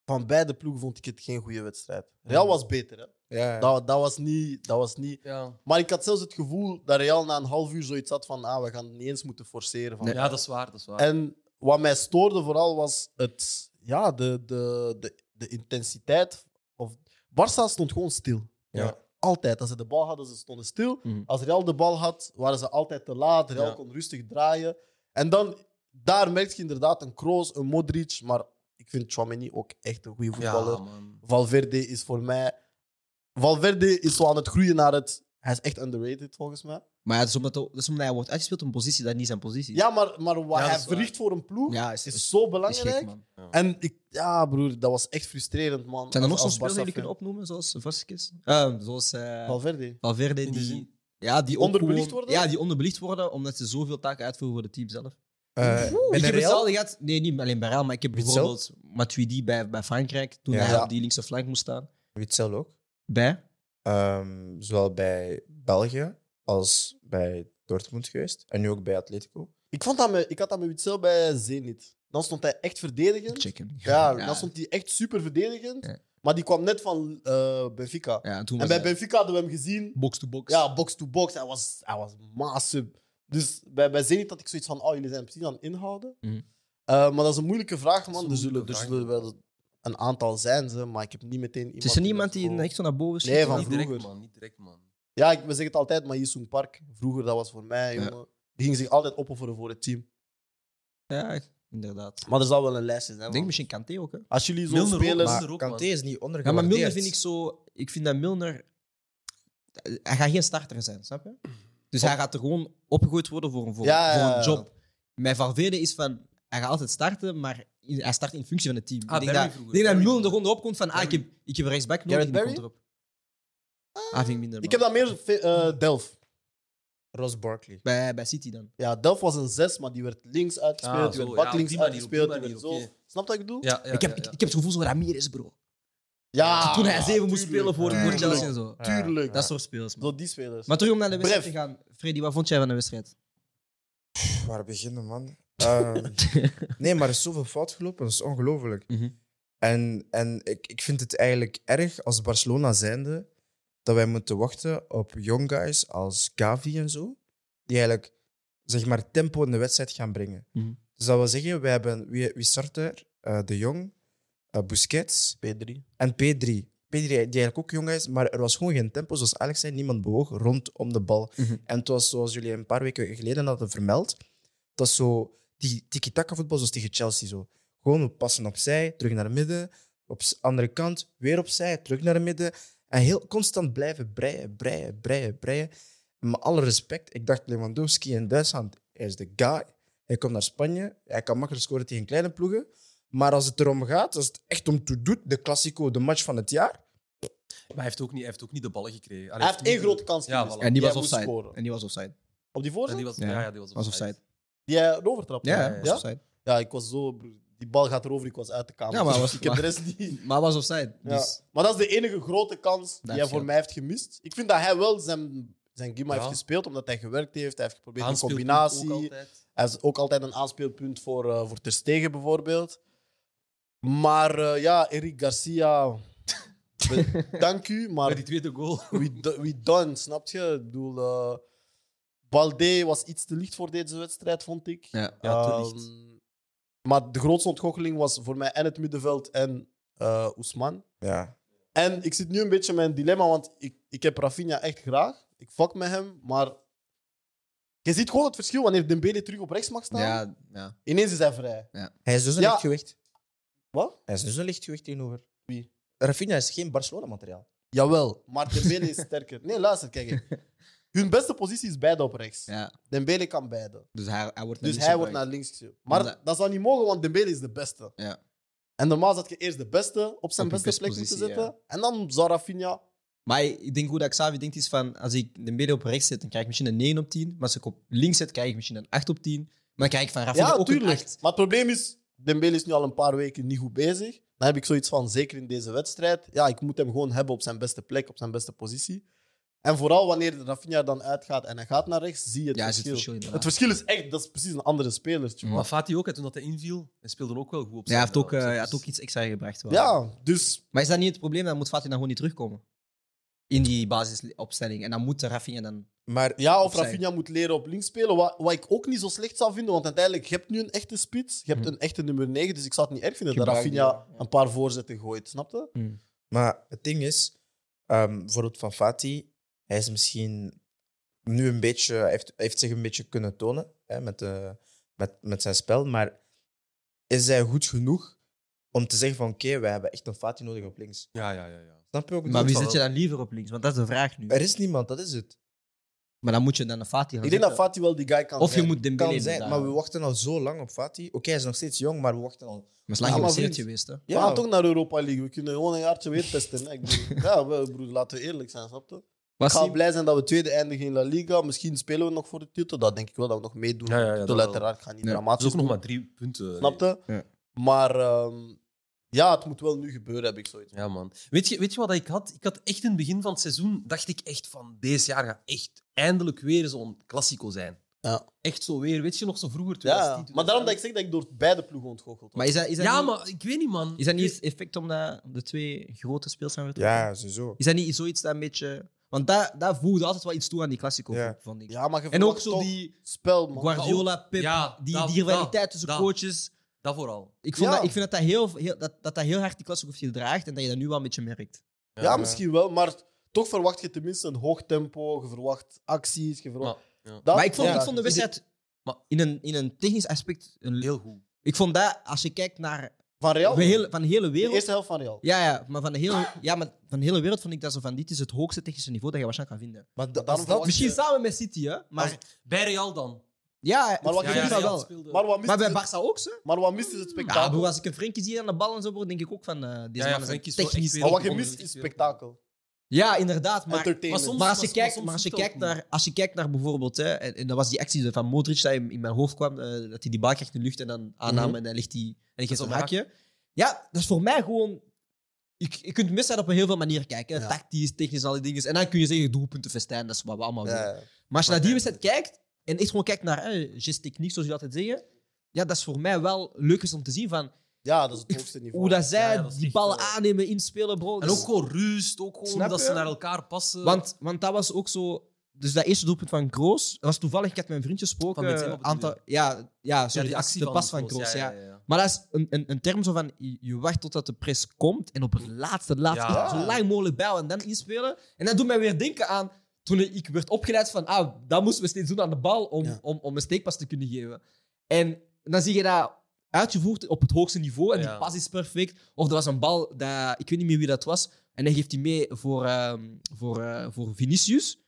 S6: van beide ploegen vond ik het geen goede wedstrijd. Real was beter, hè.
S2: Ja, ja.
S6: Dat, dat, was niet, dat was niet...
S5: ja.
S6: Maar ik had zelfs het gevoel dat Real na een half uur zoiets had van ah, we gaan het niet eens moeten forceren. Van.
S5: ja, dat is waar. Dat is waar.
S6: En wat mij stoorde vooral was het, ja, de, de, de, de intensiteit. Of, Barça stond gewoon stil.
S2: Ja.
S6: Altijd. Als ze de bal hadden, ze stonden stil.
S1: Mhm.
S6: Als Real de bal had, waren ze altijd te laat. Real
S5: Ja.
S6: kon rustig draaien. En dan, daar merk je inderdaad een Kroos, een Modric. Maar ik vind Chouameni ook echt een goede voetballer.
S5: ja, man.
S6: Valverde is voor mij. Valverde is zo aan het groeien naar het. Hij is echt underrated volgens mij.
S1: Maar ja, dat, is omdat, dat is omdat hij wordt uitgespeeld op een positie dat niet zijn positie is.
S6: Ja, maar, maar wat
S5: Ja, dat
S6: hij
S5: is waar.
S6: verricht voor een ploeg
S1: Ja, is,
S6: is zo
S1: is gek,
S6: belangrijk.
S1: man.
S6: en ik, ja, broer, dat was echt frustrerend, man.
S1: Zijn er nog
S6: Als-
S1: zo'n
S6: als
S1: spelers die
S6: Barca
S1: jullie kunnen
S6: fan.
S1: opnoemen, zoals Vasquez? Eh, zoals eh,
S6: Valverde.
S1: Valverde,
S5: In de
S1: die,
S5: zin-
S1: ja, die ook
S6: Onderbelicht
S1: gewoon-
S6: worden? Oh,
S1: Ja, die onderbelicht worden, omdat ze zoveel taken uitvoeren voor het team zelf.
S2: Eh, bij
S1: ik
S2: de
S1: heb
S2: Real-
S1: hetzelfde gehad. Nee, niet alleen bij Real, maar ik heb
S2: Witzel?
S1: bijvoorbeeld Matuidi bij, bij Frankrijk, toen
S2: Ja.
S1: hij
S6: Ja.
S1: op die linkse flank moest staan.
S2: Witzel ook.
S1: Bij?
S2: Ehm, zowel bij België als bij Dortmund geweest. En nu ook bij Atletico.
S6: Ik, vond dat met, ik had dat met Witzel bij Zenit. Dan stond hij echt verdedigend.
S1: Check hem.
S6: Ja,
S1: ja.
S6: dan stond hij echt super verdedigend.
S1: Ja.
S6: Maar die kwam net van eh, Benfica.
S1: Ja, en toen
S6: en
S1: was
S6: bij
S1: hij
S6: Benfica hadden we hem gezien.
S1: box-to-box.
S6: Ja, box-to-box. Hij was, hij was massive. Dus bij, bij Zenit had ik zoiets van, oh, jullie zijn precies aan het inhouden.
S1: Mhm.
S6: Eh, maar dat is een moeilijke vraag,
S5: Dat is
S6: man.
S5: een
S6: Er zullen,
S5: moeilijke
S6: er
S5: vraag.
S6: zullen wel een aantal zijn, ze, maar ik heb niet meteen iemand...
S1: Het is er niemand die echt zo naar boven schiet.
S6: Nee, van
S5: niet direct,
S6: vroeger.
S5: man. Niet direct, man.
S6: Ja, ik we zeggen het altijd, maar Jisung Park, vroeger, dat was voor mij,
S1: Ja.
S6: jongen. Die ging zich altijd opofferen voor het team.
S1: Ja, inderdaad.
S6: Maar er zal wel een lijstje zijn,
S1: Ik
S6: man.
S1: denk misschien Kanté ook, hè?
S6: Als jullie zo'n
S5: Milner ook,
S6: spelers...
S5: maar-
S6: Maar...
S5: er
S2: Maar
S5: ook,
S2: Kanté
S5: man.
S2: is niet
S1: Ja, maar
S2: ondergewaardeerd.
S1: Milner vind ik zo... Ik vind dat Milner... Hij gaat geen starter zijn, snap je? Dus hij gaat er gewoon opgegooid worden voor een, voor,
S6: Ja, ja,
S1: voor
S6: ja.
S1: een job. Mijn Valverde is van... Hij gaat altijd starten, maar in- hij start in functie van het team.
S5: Ah,
S1: ik denk
S5: Barry
S1: dat,
S5: vroeger.
S1: ik denk dat
S5: Barry
S1: Milner er
S5: vroeger.
S1: gewoon op komt van... Ah, ik heb, ik heb rechtsback nodig
S6: Gareth
S1: en die
S6: Barry?
S1: komt erop. Ah, vind ik minder. man.
S6: Ik heb dat meer ve- eh Delft.
S2: Ross Barkley.
S1: bij, bij City dan.
S6: Ja, Delft was een zes, maar die werd links uitgespeeld,
S5: Ah,
S6: die
S5: zo,
S6: werd
S5: ja,
S6: bak
S5: op
S6: links
S5: die manier,
S6: uitgespeeld,
S5: op die
S6: die werd zo...
S5: manier,
S6: Snap wat ik bedoel?
S5: Ja, ja,
S1: ik, heb,
S5: ja,
S1: ik,
S5: ja.
S1: ik heb het gevoel zo Ramirez, bro.
S6: Ja,
S1: Toen hij zeven moest
S6: Ah,
S1: spelen
S6: tuurlijk.
S1: voor, voor
S2: tuurlijk.
S1: Chelsea en zo.
S6: Tuurlijk.
S1: Dat soort speels, man.
S6: Door die spelers.
S1: Maar terug om naar de wedstrijd
S6: Bref.
S1: te gaan. Freddy, wat vond jij van de wedstrijd?
S2: Pff, Waar beginnen, man? Ehm, nee, maar er is zoveel fout gelopen. Dat is ongelooflijk.
S1: Mhm.
S2: En, en ik, ik vind het eigenlijk erg als Barcelona zijnde dat wij moeten wachten op young guys als Gavi en zo, die eigenlijk zeg maar tempo in de wedstrijd gaan brengen.
S1: Mhm.
S2: Dus dat wil zeggen, wij hebben, wie, wie start er? Eh, de Jong, eh, Busquets
S6: P3.
S2: en P3. P3, die eigenlijk ook jong is, maar er was gewoon geen tempo. Zoals Alex zei, niemand bewoog rondom de bal.
S1: Mhm.
S2: En het was, zoals jullie een paar weken geleden hadden vermeld, het was zo die tiki-taka-voetbal zoals tegen Chelsea. Zo. Gewoon we passen opzij, terug naar het midden, op de andere kant, weer opzij, terug naar het midden. En heel constant blijven breien, breien, breien, breien. En met alle respect, ik dacht Lewandowski in Duitsland, hij is de guy. Hij komt naar Spanje, hij kan makkelijk scoren tegen kleine ploegen. Maar als het erom gaat, als het echt om toe doet, de Classico, de match van het jaar.
S5: Maar hij heeft ook niet, hij heeft ook niet de ballen gekregen. Allee,
S6: Hij heeft één
S5: niet-
S6: grote kans
S5: Ja,
S6: gemist.
S5: voilà.
S1: En die
S6: Jij
S1: was
S6: moet
S1: offside.
S6: scoren.
S1: En die was offside.
S6: Op die
S5: En
S6: voorzet?
S5: die was,
S1: Ja.
S5: ja. ja, die was
S1: Was offside.
S6: Die hij overtrapt.
S1: Ja,
S5: Ja,
S1: was
S6: Eh, ja.
S1: offside.
S6: Ja, ik was zo... broer, Die bal gaat erover, ik was uit de kamer.
S1: Ja, maar was-
S6: ik heb de rest niet.
S1: Maar was offside. Dus
S6: Ja. Maar dat is de enige grote kans die
S1: Dat
S6: hij voor
S1: scheelt.
S6: mij heeft gemist. Ik vind dat hij wel zijn, zijn game
S5: Ja.
S6: heeft gespeeld, omdat hij gewerkt heeft. Hij heeft geprobeerd een
S5: Aanspeelpunt ook
S6: combinatie.
S5: altijd.
S6: Hij is ook altijd een aanspeelpunt voor, eh voor Ter Stegen bijvoorbeeld. Maar eh, ja, Eric Garcia, we- dank u,
S5: Bij
S6: maar
S5: die tweede goal.
S6: we, do- we done, snap je? Ik bedoel, eh Balde was iets te licht voor deze wedstrijd, vond ik.
S1: ja.
S5: Ja, te licht.
S6: Ehm, maar de grootste ontgoocheling was voor mij en het middenveld en eh Oesman.
S2: Ja.
S6: En ik zit nu een beetje met een dilemma, want ik, ik heb Rafinha echt graag. Ik fuck met hem, maar... Je ziet gewoon het verschil wanneer Dembele terug op rechts mag staan.
S1: Ja, ja.
S6: Ineens is hij vrij.
S2: Hij is dus een
S6: Ja.
S2: lichtgewicht.
S6: Wat?
S2: Hij is dus een lichtgewicht tegenover.
S6: Wie?
S2: Rafinha is geen Barcelona-materiaal.
S6: Jawel, maar Dembele is sterker. Nee, luister, kijk. hè. Hun beste positie is beide op rechts.
S1: ja.
S6: Dembele kan beide.
S1: Dus hij, hij wordt
S6: Dus
S1: niet
S6: hij wordt naar
S1: gebruikt.
S6: links gestuurd. Maar
S1: Omdat-
S6: dat zou niet mogen, want Dembele is de beste.
S1: Ja.
S6: En normaal zat je eerst de beste op zijn
S1: Op je
S6: beste plek
S1: beste
S6: moeten
S1: positie,
S6: zetten. En dan zou Rafinha...
S1: Maar ik denk hoe dat Xavi denkt is van, als ik de midden op rechts zet, dan krijg ik misschien een 9 op 10. Maar als ik op links zet, krijg ik misschien een 8 op 10. Maar dan krijg ik van Rafinha
S6: ja,
S1: ook
S6: tuurlijk.
S1: een 8.
S6: Maar het probleem is, Dembele is nu al een paar weken niet goed bezig. Dan heb ik zoiets van, zeker in deze wedstrijd, ja, ik moet hem gewoon hebben op zijn beste plek, op zijn beste positie. En vooral wanneer Rafinha dan uitgaat en hij gaat naar rechts, zie je het
S1: Ja, is het
S6: verschil.
S1: verschil inderdaad.
S6: Het verschil is echt, dat is precies een andere speler. tjoe.
S1: Mm.
S5: Maar Fati ook, hè, toen dat hij inviel, hij speelde ook wel goed op
S1: Ja, hij heeft ook, eh,
S5: op
S1: hij
S5: zijn
S1: had ook
S5: positie.
S1: iets extra gebracht. wel.
S6: Ja, dus
S1: Maar is dat niet het probleem? Dan moet Fatih dan gewoon niet terugkomen. In die basisopstelling. En dan moet Rafinha dan...
S2: Maar
S6: ja, of
S1: Opzij.
S6: Rafinha moet leren op links spelen, wat, wat ik ook niet zo slecht zou vinden, want uiteindelijk, je hebt nu een echte spits, je hebt
S5: Hm.
S6: een echte nummer 9, dus ik zou het niet erg vinden dat
S2: Gebruik die,
S6: Rafinha
S2: ja.
S6: een paar voorzetten gooit, snap je?
S2: Maar het ding is, ehm, bijvoorbeeld van Fati, hij is misschien nu een beetje, hij heeft, hij heeft zich een beetje kunnen tonen hè, met, de, met, met zijn spel. Maar is hij goed genoeg om te zeggen van oké, wij hebben echt een Fati nodig op links?
S5: Ja, ja, ja. ja.
S2: Snap je ook?
S1: Maar wie zet je dan liever op links? Want dat is de vraag nu.
S2: Er is niemand, dat is het.
S1: Maar dan moet je dan een Fatih gaan
S6: Ik denk dat
S1: zetten.
S6: Fati wel die guy kan
S1: Of je
S6: zijn.
S1: moet Dembele
S2: Kan zijn,
S1: inderdaad.
S2: maar we wachten al zo lang op Fati. Oké, hij is nog steeds jong, maar we wachten al.
S1: Maar is lang
S6: Ja, maar
S1: geblesseerd
S6: vriend.
S1: geweest, hè?
S6: We gaan toch naar Europa League. We kunnen gewoon een jaartje weer testen. hè. Ik bedoel, ja, we, broer, laten we eerlijk zijn, snap je? Ik
S1: Was
S6: ga
S1: hij...
S6: blij zijn dat we tweede eindigen in La Liga. Misschien spelen we nog voor de titel. Dat denk ik wel dat we nog meedoen.
S5: Ja, ja, ja,
S6: de
S5: dat
S6: titel
S5: wel.
S6: uiteraard gaat niet
S1: Nee,
S5: Dat is
S6: dramatisch
S5: ook nog
S6: doen,
S5: maar drie punten. eh,
S6: Snap je?
S1: Ja.
S6: Maar ehm, ja, het moet wel nu gebeuren, heb ik zoiets.
S5: Ja, man. Weet je, weet je wat ik had? Ik had echt in het begin van het seizoen, dacht ik echt van, deze jaar gaat echt eindelijk weer zo'n klassico zijn.
S6: Ja.
S5: Echt zo weer. Weet je nog zo vroeger?
S6: Ja,
S5: 2010,
S6: maar daarom dat ik zeg dat ik door beide ploegen ontgoocheld
S1: Maar
S6: word.
S1: is dat, is dat
S5: Ja,
S1: niet,
S5: maar Dus- ik weet niet, man.
S1: Is dat niet het effect omdat de twee grote speels zijn vertrokken?
S2: Ja, sowieso.
S1: Is dat niet zoiets dat een beetje... Want daar daar voegde altijd wel iets toe aan die Classico,
S2: Ja.
S1: vond ik.
S6: Ja, maar je
S1: En ook
S6: verwacht
S1: zo
S6: toch
S1: die
S6: spel, man.
S1: Guardiola, Pep,
S5: Ja,
S1: die,
S5: dat-
S1: die rivaliteit tussen
S5: dat.
S1: coaches.
S5: Dat vooral.
S1: Ik, vond
S6: Ja.
S1: dat, ik vind dat dat heel, heel, dat, dat dat heel hard die Classico heeft gedraagd en dat je dat nu wel een beetje merkt.
S6: Ja, misschien wel, maar toch verwacht je tenminste een hoog tempo. Je verwacht acties. Je verwacht...
S5: Ja, ja.
S6: Dat-
S1: maar ik vond,
S6: ja. Dus
S1: ik vond de
S6: Is het-
S1: wedstrijd in een, in een technisch aspect... Een,
S5: Heel goed.
S1: ik vond dat, als je kijkt naar
S6: Van Real?
S1: van heel- van de hele
S6: De
S1: wereld...
S6: eerste helft van Real.
S1: Ja, ja, maar van de, hele, ja, maar van de hele wereld vond ik dat zo van... Dit is het hoogste technische niveau dat je waarschijnlijk kan vinden.
S2: Maar
S6: Maar
S2: dat,
S6: daarom
S2: als dat,
S6: verwacht-
S1: Misschien samen met City, hè. Maar
S6: Als-
S5: Bij Real dan.
S1: ja,
S6: Maar wat
S1: ik
S6: je
S1: vind
S6: zegt,
S1: dat
S5: Real
S1: wel.
S5: speelde-
S6: Maar wat mist
S1: Maar bij
S6: het-
S1: Barça ook, ze.
S6: Maar wat mist is het
S1: Ja,
S6: spektakel.
S1: broer, als ik een Frenkie zie aan de bal en zo, broer, denk ik ook van eh deze
S5: ja,
S1: man is een
S5: Frenkie is wel echt
S1: technisch...
S5: weer-
S6: maar wat je
S5: Onder-
S6: mist is spektakel.
S1: Ja, inderdaad, maar...
S5: maar
S6: Entertainment.
S5: soms-
S1: Maar als je
S5: maar
S1: kijkt,
S5: soms
S1: maar als je
S5: doet het
S1: kijkt,
S5: ook
S1: naar, als je kijkt naar bijvoorbeeld, hè, en, en dat was die actie van Modric die in mijn hoofd kwam, eh, dat hij die bal krijgt in de lucht en dan aanname
S2: Mhm.
S1: en dan ligt hij en hij geeft
S5: op
S1: een
S5: mijn
S1: hakje. Ja, dat is voor mij gewoon... Ik, je kunt misdaad op een heel veel manieren kijken. hè.
S6: Ja.
S1: Tactisch, technisch, al die dingen. En dan kun je zeggen, doelpunten festijn, dat is wat we allemaal willen.
S2: ja,
S1: Maar als je naar die wedstrijd kijkt en echt gewoon kijkt naar eh, gesttechniek, zoals je altijd zeggen, ja, dat is voor mij wel leuk is om te zien van
S6: Ja, dat is het hoogste niveau.
S1: hoe dat zij
S5: Ja, ja, dat is
S1: die
S5: echt,
S1: ballen
S5: eh,
S1: aannemen, inspelen, bro.
S5: En
S1: Dus-
S5: ook gewoon rust, ook gewoon
S1: Snap
S5: dat
S1: je?
S5: ze naar elkaar passen.
S1: Want, want dat was ook zo. Dus dat eerste doelpunt van Kroos. Dat was toevallig, ik had mijn vriendje gesproken.
S5: Van Benzema bedoel
S1: aantal, ja, ja,
S5: ja,
S1: sorry,
S5: die actie
S1: de
S5: van
S1: pas van
S5: Kroos,
S1: Kroos. Ja,
S5: ja, ja.
S1: Maar dat is een, een, een term zo van: je- je wacht totdat de press komt en op het laatste, laatste,
S5: Ja.
S1: zo lang mogelijk bij en dan inspelen. En dat doet mij weer denken aan toen ik werd opgeleid van: ah, dat moesten we steeds doen aan de bal om,
S6: Ja.
S1: om, om een steekpas te kunnen geven. En dan zie je dat uitgevoerd op het hoogste niveau en die
S5: Ja.
S1: pas is perfect. Of er was een bal, dat, ik weet niet meer wie dat was, en dan geeft hij mee voor, ehm, voor, eh, voor Vinicius.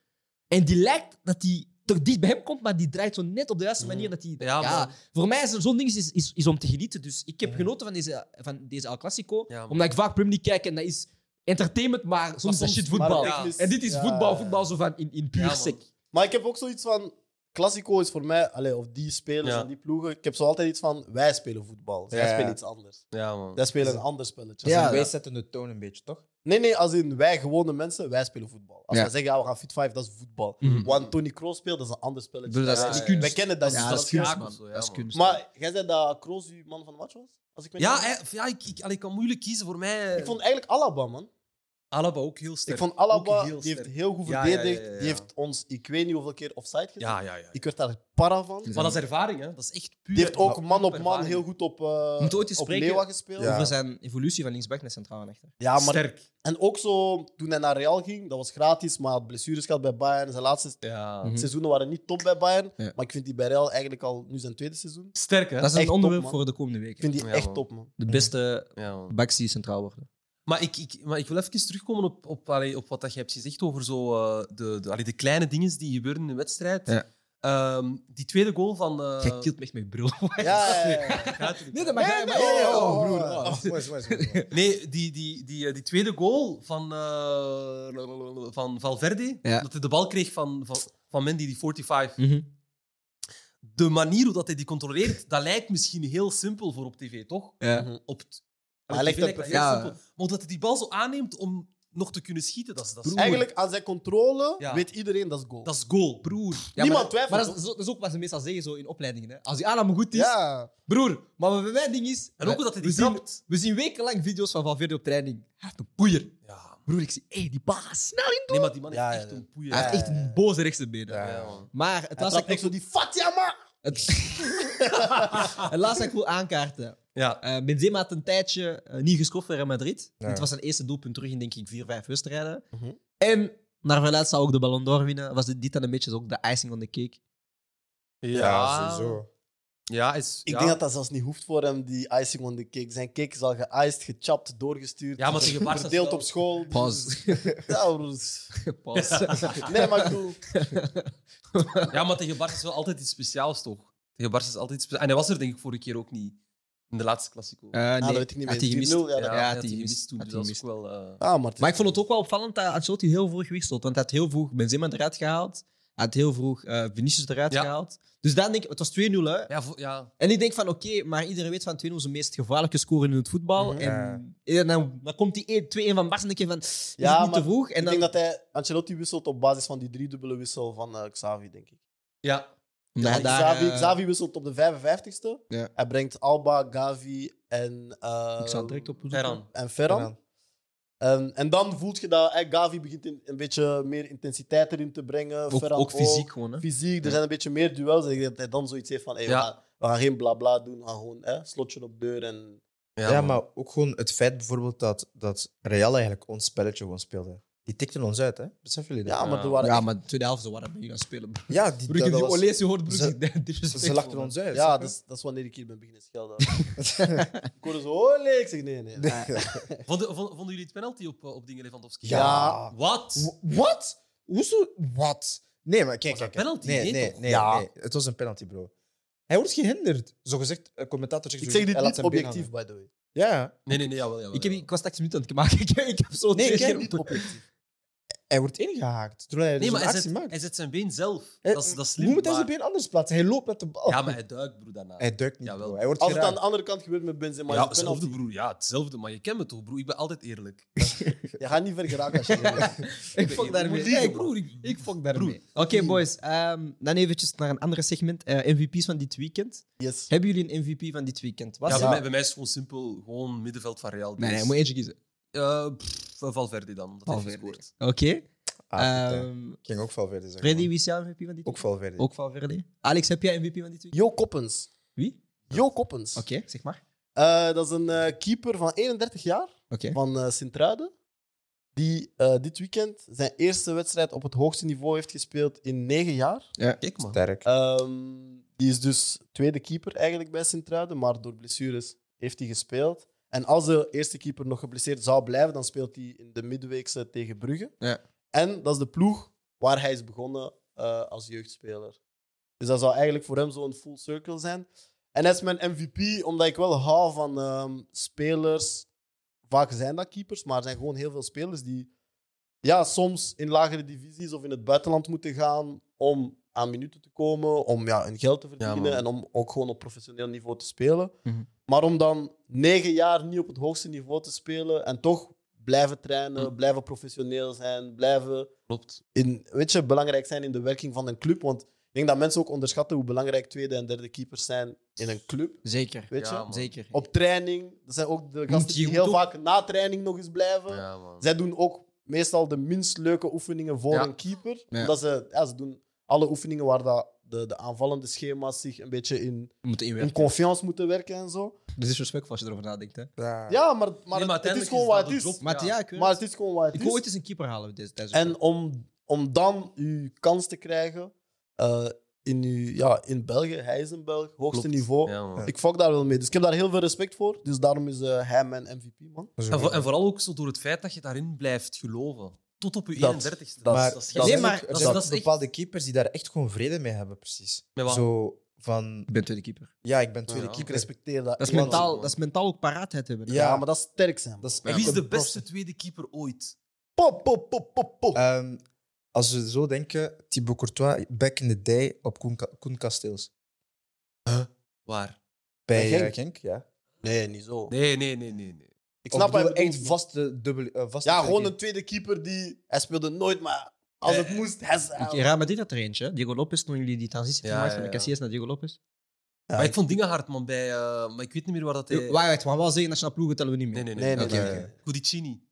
S1: En die lijkt dat hij toch dicht bij hem komt, maar die draait zo net op de juiste manier dat hij...
S5: Mm. Ja, man.
S1: voor mij is er zo'n ding is, is, is om te genieten. Dus ik heb genoten van deze, van deze El Clasico,
S5: Ja, man.
S1: omdat ik vaak Premier League kijk en dat is entertainment, maar soms, is dat shit voetbal.
S5: maar-
S1: En dit is
S6: Ja.
S1: voetbal, voetbal zo van in, in puur
S5: Ja, man.
S1: sec.
S6: Maar ik heb ook zoiets van... Classico is voor mij, allee, of die spelers
S5: Ja.
S6: en die ploegen, ik heb zo altijd iets van, wij spelen voetbal. Zij
S2: Ja, ja.
S6: spelen iets anders.
S5: Ja, man.
S6: Zij spelen een ander spelletje.
S2: Ja,
S1: Ja,
S2: wij
S1: ja.
S2: zetten de toon een beetje, toch?
S6: Nee, nee, als in wij gewone mensen, wij spelen voetbal. Als
S1: Ja.
S6: wij zeggen, ja, we gaan Fit 5, dat is voetbal.
S1: Mhm.
S6: Want Tony Kroos speelt, dat is een ander spelletje.
S1: Bedoel, dat is-
S5: Ja,
S1: dat is
S5: ja,
S1: kunst.
S6: Wij kennen dat
S1: Ja,
S6: niet.
S1: dat is kunst,
S5: man.
S1: man.
S5: Zo, ja,
S1: Dat is
S5: man.
S1: kunst.
S6: Maar jij zei dat Kroos uw man van de match was? Als ik me niet
S5: Ja, eh,
S6: vergis.
S5: hè, ja ik, ik, allee, ik kan moeilijk kiezen voor mij. eh,
S6: Ik vond eigenlijk Alaba, man.
S5: Alaba ook heel sterk.
S6: Ik vond Alaba,
S5: Ook heel
S6: die heeft
S5: sterk.
S6: heel goed
S5: Ja, ja, ja,
S6: verdedigd.
S5: ja, ja.
S6: Die heeft ons, ik weet niet hoeveel keer offside gezet.
S5: Ja, ja, ja.
S6: Ik werd daar para van.
S1: Ja.
S5: Maar dat is ervaring, hè? Dat is echt puur.
S6: Die heeft ook man op man
S5: ervaring.
S6: heel goed op, eh
S1: Moet ooit eens
S6: op
S1: spreken.
S6: Leeuwen gespeeld.
S2: Ja.
S1: Over zijn evolutie van linksback naar centraal en achter.
S6: Ja, maar,
S5: sterk.
S6: en ook zo toen hij naar Real ging, dat was gratis, maar hij had blessures gehad bij Bayern. Zijn laatste
S5: Ja.
S1: Mhm.
S6: seizoenen waren niet top bij Bayern.
S1: Ja.
S6: Maar ik vind die bij Real eigenlijk al nu zijn tweede seizoen.
S5: Sterk, hè?
S1: Dat is
S6: echt
S1: een
S6: top,
S1: onderwerp
S6: man.
S1: voor de komende
S6: Ik
S1: weken.
S6: vind die
S5: Ja,
S6: echt
S5: man.
S6: top, man.
S1: De beste
S5: Ja, man.
S1: backs die centraal worden.
S5: Maar ik, ik, maar ik wil even terugkomen op, op, allee, op wat dat je hebt gezegd over zo, eh, de, de, allee, de kleine dingen die gebeuren in de wedstrijd.
S1: Ja.
S5: Ehm, die tweede goal van. eh,
S1: Jij kilt me echt met brul.
S6: Ja, ja, ja.
S1: Nee, dat
S2: Nee, nee, nee, oh, oh, mooi, mooi, mooi, mooi.
S5: Nee, die, die, die, eh, die tweede goal van, eh, van Valverde,
S1: Ja.
S5: dat hij de bal kreeg van, van, van Mendy, die 45.
S1: Mhm.
S5: De manier hoe dat hij die controleert, dat lijkt misschien heel simpel voor op tv, toch?
S1: Ja.
S5: Op t-
S6: Maar hij
S5: op
S6: legt
S5: tv
S6: dat
S5: lijkt dat heel
S1: perfect.
S5: simpel. Maar omdat hij die bal zo aanneemt om nog te kunnen schieten, dat is, dat is,
S6: Eigenlijk, aan zijn controle
S5: Ja.
S6: weet iedereen dat is goal.
S5: dat is goal, broer.
S6: Niemand twijfelt,
S1: Maar dat is, dat is ook wat ze meestal zeggen zo in opleidingen. Hè. Als die aanname goed is,
S6: ja.
S1: broer. Maar wat bij mij ding is...
S5: En ook hoe dat hij
S1: we,
S5: die
S1: zien,
S5: trapt.
S1: we zien wekenlang video's van Valverde op training. Hij heeft een poeier.
S5: Ja.
S1: Broer, ik zie, hé, die baas, snel in.
S5: Nee, maar die man
S6: Ja,
S5: heeft
S6: ja,
S5: echt
S6: ja.
S5: een poeier.
S1: Hij heeft echt een boze rechtse benen.
S2: Ja.
S5: Ja, man.
S1: Maar het
S6: Hij
S1: laatste,
S6: trapt
S1: dat ik,
S6: echt zo die Fatima.
S1: het, het laatste dat ik wil aankaarten.
S5: Ja.
S1: Eh, Benzema had een tijdje eh, niet gescoord voor Real Madrid.
S2: Ja.
S1: Het was zijn eerste doelpunt terug in, denk ik, vier, vijf wedstrijden.
S6: Mhm.
S1: En naar verluid zou ook de Ballon d'Or winnen. Was dit, dit dan een beetje zo ook de icing on the cake?
S2: Ja, sowieso.
S5: Ja, is,
S6: Ik
S5: ja.
S6: denk dat dat zelfs niet hoeft voor hem, die icing on the cake. Zijn cake is al geïced, gechapt, doorgestuurd.
S5: Ja, maar tegen Barca
S6: Verdeeld
S5: stel-
S6: op school.
S1: Pause.
S6: Ja, broers.
S1: Pause.
S6: Nee, maar ik bedoel... Ah,
S5: Ja, maar tegen Barca is wel altijd iets speciaals, toch? Tegen Barca is altijd iets speciaals. En hij was er denk ik vorige keer ook niet. In de laatste Classico.
S1: Eh, nee,
S6: Ah, dat weet ik niet
S1: had
S6: meer.
S1: hij gemist.
S6: 4-0, ja,
S5: ja,
S6: dat-
S5: ja,
S1: ja,
S5: hij
S1: had
S5: had
S1: hij
S5: die
S1: gemist.
S5: gemist toen.
S1: Had
S5: Dus
S1: hij
S5: dat is ook wel... eh,
S6: Ah, maar, het is-
S1: Maar ik vond het ook wel opvallend dat Ancelotti heel vroeg wisselde. Want hij had heel vroeg Benzema eruit gehaald. Hij had heel vroeg eh, Vinicius eruit
S5: Ja.
S1: gehaald. Dus dan denk ik, het was 2-0 hè.
S5: Ja, vo- ja.
S1: En ik denk van oké, maar iedereen weet van 2-0 is de meest gevaarlijke score in het voetbal.
S6: Mhm.
S1: En, en dan, dan komt die 1 2-1 van Barca en denk je van, is
S6: Ja,
S1: het niet
S6: maar
S1: te vroeg? En
S6: ik
S1: dan,
S6: denk dat hij Ancelotti wisselt op basis van die driedubbele wissel van eh, Xavi, denk ik.
S5: ja.
S1: omdat hij
S6: Want
S1: daar,
S6: Xavi,
S1: eh,
S6: Xavi wisselt op de 55ste.
S1: Ja.
S6: Hij brengt Alba, Gavi en, eh,
S1: ik zou het direct op
S5: Ferran.
S6: en Ferran.
S2: Ferran.
S6: En, en dan voelt je dat eh, Gavi begint in- een beetje meer intensiteit erin te brengen.
S1: Ook,
S6: Ferran
S1: ook fysiek gewoon. Hè?
S6: fysiek, er zijn een beetje meer duels. En ik denk dat hij dan zoiets heeft van: hey,
S5: Ja.
S6: we, gaan, we gaan geen blabla doen, we gaan gewoon hè, slotje op deur. En...
S2: Ja, maar ook gewoon het feit bijvoorbeeld dat, dat Real eigenlijk ons spelletje gewoon speelde. Die tikten ons uit, hè? Beseffen jullie dat?
S6: Ja, maar
S5: Ja.
S6: er waren.
S1: Ja, maar de tweede helft zo warm ben je gaan spelen. Broer,
S2: Ja, die,
S1: ik heb
S2: dat
S1: die
S2: was-
S1: Olesi hoort, broer.
S2: ze-
S1: ik denk, disrespectful,
S2: ze lachten
S1: man.
S2: ons uit.
S6: ja
S2: snap
S6: dat,
S2: je?
S6: is, dat is wanneer ik hier ben beginnen schelden. ik hoorde zo: olé, ik zeg: nee, nee. nee.
S5: Vonden, vonden vonden jullie het penalty op, eh, op dingen Lewandowski?
S2: Ja.
S5: Wat?
S2: W- Wat? Hoezo? Wat? Nee, maar kijk,
S5: Was dat
S2: kijk. kijk.
S5: penalty?
S2: Nee,
S5: Nee,
S2: nee, nee,
S5: toch?
S2: nee,
S6: Ja.
S2: Het was een penalty, bro. Hij wordt gehinderd. Zo gezegd, een commentator zegt
S6: Ik
S2: zo
S6: zeg dit
S2: hij laat
S6: niet
S2: zijn been
S6: objectief, by the way.
S2: hangen. Ja.
S5: Nee, nee, nee, jawel, jawel.
S1: Ik, heb,
S5: jawel.
S1: ik was straks een minuut aan het maken. Ik, ik heb zo
S2: Nee,
S1: twee
S2: ik heb
S1: keer
S2: niet
S1: op-
S2: Hij wordt ingehaakt. Toen hij
S5: Nee,
S2: dus
S5: maar
S2: een
S5: hij
S2: actie
S5: zet,
S2: maakt.
S5: hij zet zijn been zelf.
S2: Hij-
S5: Dat is, dat is slim.
S2: Hoe moet hij zijn
S5: maar-
S2: been anders plaatsen? Hij loopt met de bal.
S5: Ja, maar hij duikt, broer, daarna.
S2: Hij duikt niet,
S5: Jawel.
S2: bro. Hij wordt
S6: Als het aan
S2: geraakt.
S6: de andere kant gebeurt met Benzema,
S5: ja,
S6: is het penalty.
S5: hetzelfde, broer. Ja, hetzelfde. Maar je kent me toch, broer? Ik ben altijd eerlijk.
S6: Je gaat niet ver geraken als je
S1: Ik
S5: ben
S1: fok
S5: hier-
S1: daarmee.
S5: moet liegen,
S1: Hey,
S5: man.
S1: broer, ik, ik fok
S5: Broer.
S1: daarmee. Oké, boys. ehm, dan eventjes naar een ander segment. Eh, MVP's van dit weekend.
S6: Yes.
S1: Hebben jullie een MVP van dit weekend? Was
S5: Ja, bij,
S1: het?
S5: mij, bij mij is het gewoon simpel. Gewoon middenveld van Real.
S1: Nee, nee, je
S5: Dus,
S1: moet eentje kiezen.
S5: eh, pff, Valverde dan, omdat hij heeft
S1: Valverde.
S5: gescoord.
S1: Oké.
S2: Ah, goed, hè.
S1: Ehm,
S2: Ging ook Valverde zeggen.
S1: Freddy,
S2: man.
S1: wie is jouw MVP van dit
S2: Ook
S1: weekend?
S2: Valverde.
S1: Ook Valverde. Alex, heb jij MVP van dit weekend?
S6: Jo Koppens.
S1: Wie?
S6: Jo Koppens.
S1: Oké, zeg maar.
S6: Eh, dat is een eh, keeper van 31 jaar.
S1: Oké.
S6: van eh Sint-Truiden. Die eh, dit weekend zijn eerste wedstrijd op het hoogste niveau heeft gespeeld in negen jaar.
S5: Kijk, man.
S2: Sterk.
S6: Ehm, die is dus tweede keeper eigenlijk bij Sint-Truiden, maar door blessures heeft hij gespeeld. En als de eerste keeper nog geblesseerd zou blijven, dan speelt hij in de midweekse tegen Brugge.
S1: Ja.
S6: En dat is de ploeg waar hij is begonnen eh, als jeugdspeler. Dus dat zou eigenlijk voor hem zo'n full circle zijn. En dat is mijn MVP, omdat ik wel hou van ehm, spelers. Vaak zijn dat keepers, maar er zijn gewoon heel veel spelers die ja, soms in lagere divisies of in het buitenland moeten gaan om aan minuten te komen, om ja, hun geld te verdienen
S5: man.
S6: en om ook gewoon op professioneel niveau te spelen.
S1: Mhm.
S6: Maar om dan negen jaar niet op het hoogste niveau te spelen en toch blijven trainen,
S5: Mm.
S6: blijven professioneel zijn, blijven
S5: Klopt.
S6: in, weet je, belangrijk zijn in de werking van een club. Want ik denk dat mensen ook onderschatten hoe belangrijk tweede en derde keepers zijn in een club.
S1: Zeker.
S6: Weet je?
S5: Ja, man.
S1: Zeker.
S6: Op training, dat zijn ook de gasten
S1: je
S6: die
S1: moet
S6: heel
S1: ook-
S6: vaak na training nog eens blijven.
S5: Ja, man.
S6: Zij doen ook meestal de minst leuke oefeningen voor
S5: Ja.
S6: een keeper.
S1: Ja.
S6: Omdat ze, ja, ze doen alle oefeningen waar dat de, de aanvallende schema's zich een beetje in,
S1: Je moet
S6: in
S1: inwerken.
S6: confiance moeten werken en zo.
S1: Dus is respect als je erover nadenkt. Hè.
S2: Ja.
S6: Ja, maar, maar,
S5: Nee,
S6: het,
S5: maar
S6: het is
S5: uiteindelijk
S6: gewoon
S5: is
S6: wat
S5: dat
S6: het is.
S5: de job.
S1: Maar ja,
S5: Ja.
S1: ik, weet
S6: Maar
S1: het.
S6: het is gewoon wat het
S1: ik
S6: is.
S1: wil ooit eens een keeper halen. Dit, tijdens het
S6: En om, om dan uw kans te krijgen eh, in, uw, ja, in België, hij is een Belg, hoogste
S5: Klopt.
S6: niveau.
S5: Ja,
S2: Eh,
S5: man.
S6: Ik fuck daar wel mee. Dus ik heb daar heel veel respect voor. Dus daarom is eh, hij mijn MVP, man.
S2: Dat
S5: En,
S2: is
S5: voor-
S2: wel-
S5: en vooral ook zo door het feit dat je daarin blijft geloven. Tot op je
S6: Dat-
S5: 31ste.
S6: dat-
S5: is-
S2: maar
S5: is
S1: dat-
S5: geen-
S1: Nee, maar-
S2: er
S5: dat-
S2: zijn
S5: dat is echt-
S2: bepaalde keepers die daar echt gewoon vrede mee hebben, precies.
S5: Met wat?
S2: Zo van,
S1: Ik ben tweede keeper.
S2: ja, ik ben tweede
S5: Ja, ja.
S6: Ik
S2: keeper.
S6: respecteer dat.
S1: Dat is,
S6: iemand.
S1: mentaal, dat is mentaal ook paraatheid hebben. hè.
S6: Ja,
S2: Ja.
S6: maar dat is sterk zijn.
S2: Dat is
S5: En
S2: echt
S5: wie is
S2: een
S5: de
S2: prof.
S5: beste tweede keeper ooit?
S6: Pop, pop, pop, pop, pop.
S2: Ehm, als we zo denken, Thibaut Courtois, back in the day op Koen, Ka- Koen Kasteels.
S5: Waar?
S2: Bij
S6: Bij
S2: eh,
S6: Genk?
S2: Genk, ja.
S6: nee, niet zo.
S5: Nee, nee, nee, nee. nee.
S6: Ik
S2: Of
S6: snap
S2: bedoel,
S6: hem echt
S2: echt vaste dubbel. eh, vaste
S6: Ja,
S2: tweede
S6: gewoon
S2: keeper.
S6: een tweede keeper die... Hij speelde nooit, maar als het
S5: Eh,
S6: moest, hij
S1: Ik
S6: zou-
S1: raad me dit dat er eentje. hè. Diego Lopez, toen jullie die transitie
S5: Ja,
S1: gemaakt
S5: ja,
S1: van de
S5: ja.
S1: Casillas naar Diego Lopez.
S5: maar ik vond dingen hard, man. Bij, eh, maar ik weet niet meer waar dat... hij-
S1: Waar Waarheid, maar wel zeggen nationale ploegen tellen we niet meer.
S5: Nee, nee, nee.
S6: Nee, nee,
S5: Oké,
S2: nee.
S5: oké. Cudicini.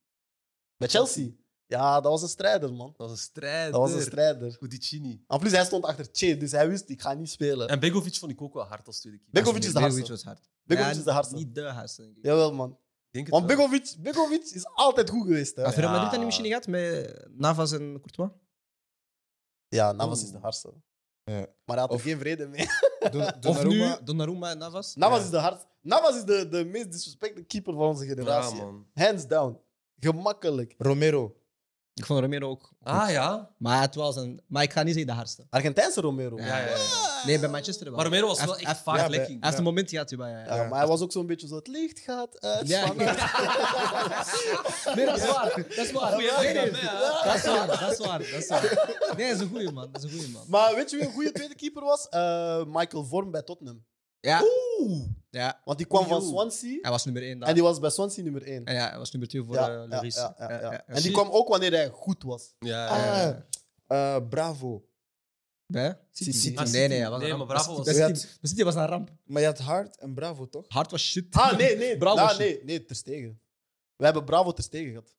S6: Bij Chelsea. Ja, dat was een strijder, man.
S5: Dat was een strijd.
S6: Dat was een strijder.
S5: Cudicini.
S6: En plus, hij stond achter Che, dus hij wist, ik ga niet spelen.
S5: En Begovic vond ik ook wel hard als tweede keeper.
S6: Begovic is de hardste.
S1: Begovic was hard.
S6: Begovic
S1: Ja,
S6: is de hardste.
S1: Niet de hardste, denk ik.
S6: Jawel, man.
S5: Ik denk het
S6: Want
S5: wel.
S6: Begovic, Begovic is altijd goed geweest, hè.
S1: Maar Real Madrid
S5: Ja.
S1: dat niet misschien niet gehad met eh, Navas en Courtois?
S6: Ja, Navas
S2: Oeh.
S6: is de hardste.
S2: Ja.
S6: Maar hij had
S2: Of-
S6: er geen vrede mee.
S2: Don-
S1: Of
S2: Donnarumma-
S1: nu Donnarumma en Navas?
S6: Navas
S2: Ja.
S6: is de hardste. Navas is de, de meest disrespecte keeper van onze
S5: Ja,
S6: generatie.
S5: man.
S6: Hands down. Gemakkelijk.
S2: Romero.
S1: Ik vond Romero ook. goed.
S5: Ah, ja.
S1: Maar, het was een, maar ik ga niet zeggen de hardste.
S6: Argentijnse Romero. Ah.
S5: Ja, ja, ja.
S1: Nee, bij Manchester wel.
S5: Maar Romero was
S1: Hij
S5: wel
S1: heeft- hij
S5: echt
S1: heeft-
S5: vaak
S2: ja,
S5: lekking.
S1: Hij heeft een moment gehad. hierbij, Ja.
S6: Ja, maar hij was ook zo'n beetje zo, het licht gaat uit.
S1: Ja,
S6: van-
S1: Nee, dat is waar. Dat is waar.
S5: Goeie
S1: Nee, nee,
S5: uitgang, hè, hè?
S1: Dat is waar. Dat is waar. Dat is waar. Nee, dat is een goeie man. Dat is een goeie man.
S6: Maar weet je wie een goede tweede keeper was? Eh, Michael Vorm bij Tottenham.
S1: Ja,
S6: Oeh.
S1: ja,
S6: Want die kwam van
S5: Oeh.
S6: Swansea.
S1: hij was nummer 1 daar.
S6: En die was bij Swansea nummer 1.
S1: En ja, hij was nummer 2 voor
S6: Ja,
S1: eh,
S6: ja,
S1: Lloris.
S6: ja, ja,
S1: Ja,
S6: ja.
S1: ja. eh,
S6: En die kwam ook wanneer hij goed was.
S5: Ja, ja.
S2: Ah, eh, Bravo.
S1: Bij?
S2: City.
S5: Ah,
S1: eh, Nee, nee,
S5: City.
S1: hij was een
S5: Nee,
S1: ramp.
S5: maar Bravo
S1: Bij
S5: was-
S1: City- bij City was een ramp.
S2: Maar je had Hart en Bravo, toch?
S1: Hart was shit.
S6: Ah, nee, nee.
S1: Bravo
S6: Ah,
S1: shit.
S6: nee, nee, Ter Stegen. We hebben Bravo Ter Stegen gehad.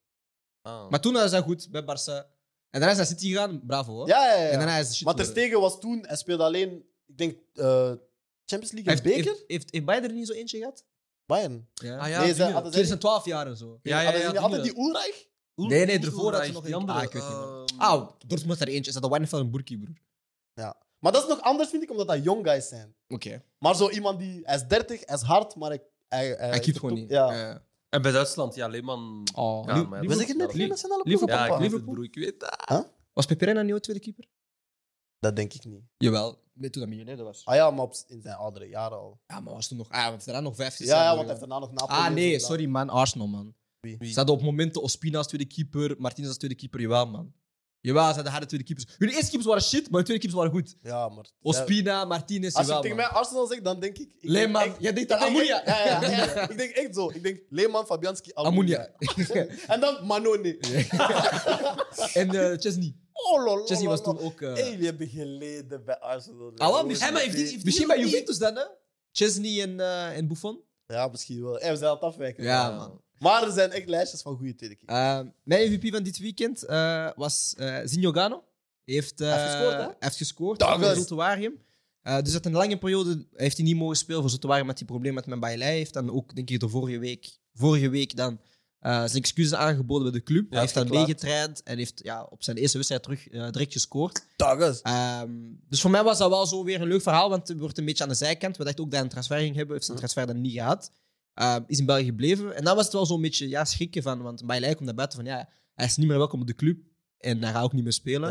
S5: Ah.
S1: Maar toen was hij goed bij Barça. En daarna is hij naar City gegaan. Bravo. hoor.
S6: Ja, ja, ja.
S1: Oh. En daarna is hij shit
S6: maar Ter
S1: geworden.
S6: Stegen was toen, hij speelde alleen, ik denk, eh, Champions League en
S1: Heeft,
S6: Beker?
S1: heeft, heeft, heeft Bayern er niet zo eentje gehad?
S6: Bayern.
S1: Ja.
S5: Ah, ja,
S6: nee,
S5: dingen.
S6: ze hadden ze niet-
S1: 2012 jaar en zo.
S5: Ja, eh, ja,
S6: hadden
S5: ja,
S6: ze niet
S5: dingen.
S6: altijd die Ulreich?
S1: Nee, nee,
S5: Niet
S1: ervoor had ze
S5: Ulreich,
S1: nog
S5: die
S1: een-
S5: andere,
S1: Ah, ik weet niet meer.
S5: ehm,
S1: Auw, Dortmund was er eentje. Is dat de Wijnveld en Burki, broer?
S6: Maar dat is nog anders, vind ik, omdat dat young guys zijn.
S1: Oké.
S6: Maar zo iemand die, hij is 30, hij is hard, maar hij... Hij, hij,
S1: Hij keept gewoon
S6: toch-
S1: niet.
S6: Ja.
S1: Eh,
S5: En bij Duitsland, ja, Leeman.
S1: oh. Liv-
S5: Ja, maar-
S1: Liverpool-
S6: We zeggen net geen
S5: Liverpool-
S6: nationale ploeg,
S1: Liverpool-
S5: Ja,
S6: papa.
S5: ik weet het,
S1: Liverpool?
S5: broer. Ik weet dat.
S1: Was Peperena niet jouw tweede keeper?
S6: Dat denk ik niet.
S1: Jawel. Nee, toen dat miljonair was.
S6: Ah ja, maar op, in zijn oudere jaren al.
S1: Ja, maar was toen nog... Ah, want hij heeft daarna nog vijf, zes
S6: Ja,
S1: jaar
S6: ja, want hij
S1: doorgegaan.
S6: heeft daarna nog Napoli.
S1: Ah,
S6: en
S1: nee,
S6: zo
S1: sorry, man. Arsenal, man.
S6: Wie?
S1: Ze hadden op momenten Ospina als tweede keeper, Martinez als tweede keeper. Jawel, man. Jawel, ze hadden harde tweede keepers. Hun eerste keepers waren shit, maar hun tweede keepers waren goed.
S6: gedaan. Ja, maar...
S1: Ospina, Martinez,
S6: Als je
S1: jawel,
S6: tegen mij
S1: man.
S6: Arsenal zegt, dan denk ik... ik
S1: Leeman.
S6: denk echt-
S1: Jij denkt aan
S6: ik denk
S1: Amunia.
S6: echt- Ja, ja, ja, ja. Ik denk echt zo. Ik denk Leeman, Fabianski, Amunia.
S1: Amunia.
S6: En dan Manone.
S1: en eh Chesney.
S6: Oh, lol.
S1: Chesney was toen ook... eh,
S6: Hey, jullie hebben geleden bij Arsenal.
S1: Ah, wat?
S5: Hij maar heeft die- heeft die
S1: Misschien bij
S5: nog
S1: Juventus dan, hè? Chesney en, eh, en Buffon?
S6: Ja, misschien wel. Hey, we zijn aan het afwijken.
S1: Ja, man.
S6: Maar er zijn echt lijstjes van goede tweede keeper.
S1: Eh, mijn MVP van dit weekend eh, was eh Zinogano. Hij heeft, eh,
S6: Hij heeft gescoord, hè?
S1: hij heeft gescoord
S6: Dag,
S1: voor
S6: hè?
S1: Zotowarium. Eh, dus dat een lange periode heeft hij niet mogen spelen voor Zotowarium met die probleem met mijn Bailey. heeft dan ook, denk ik, de vorige week, vorige week dan eh, zijn excuses aangeboden bij de club. hij heeft dan
S6: verklaard.
S1: meegetraind en heeft ja, op zijn eerste wedstrijd terug eh, direct gescoord.
S6: Daggers.
S1: Ehm, dus voor mij was dat wel zo weer een leuk verhaal, want het wordt een beetje aan de zijkant. We dachten ook dat hij een transfer ging hebben, heeft zijn transfer dan niet gehad. Ehm, is in België gebleven. En dan was het wel zo'n beetje ja, schrikken van, want Bailey komt naar buiten van ja, hij is niet meer welkom op de club en hij gaat ook niet meer spelen.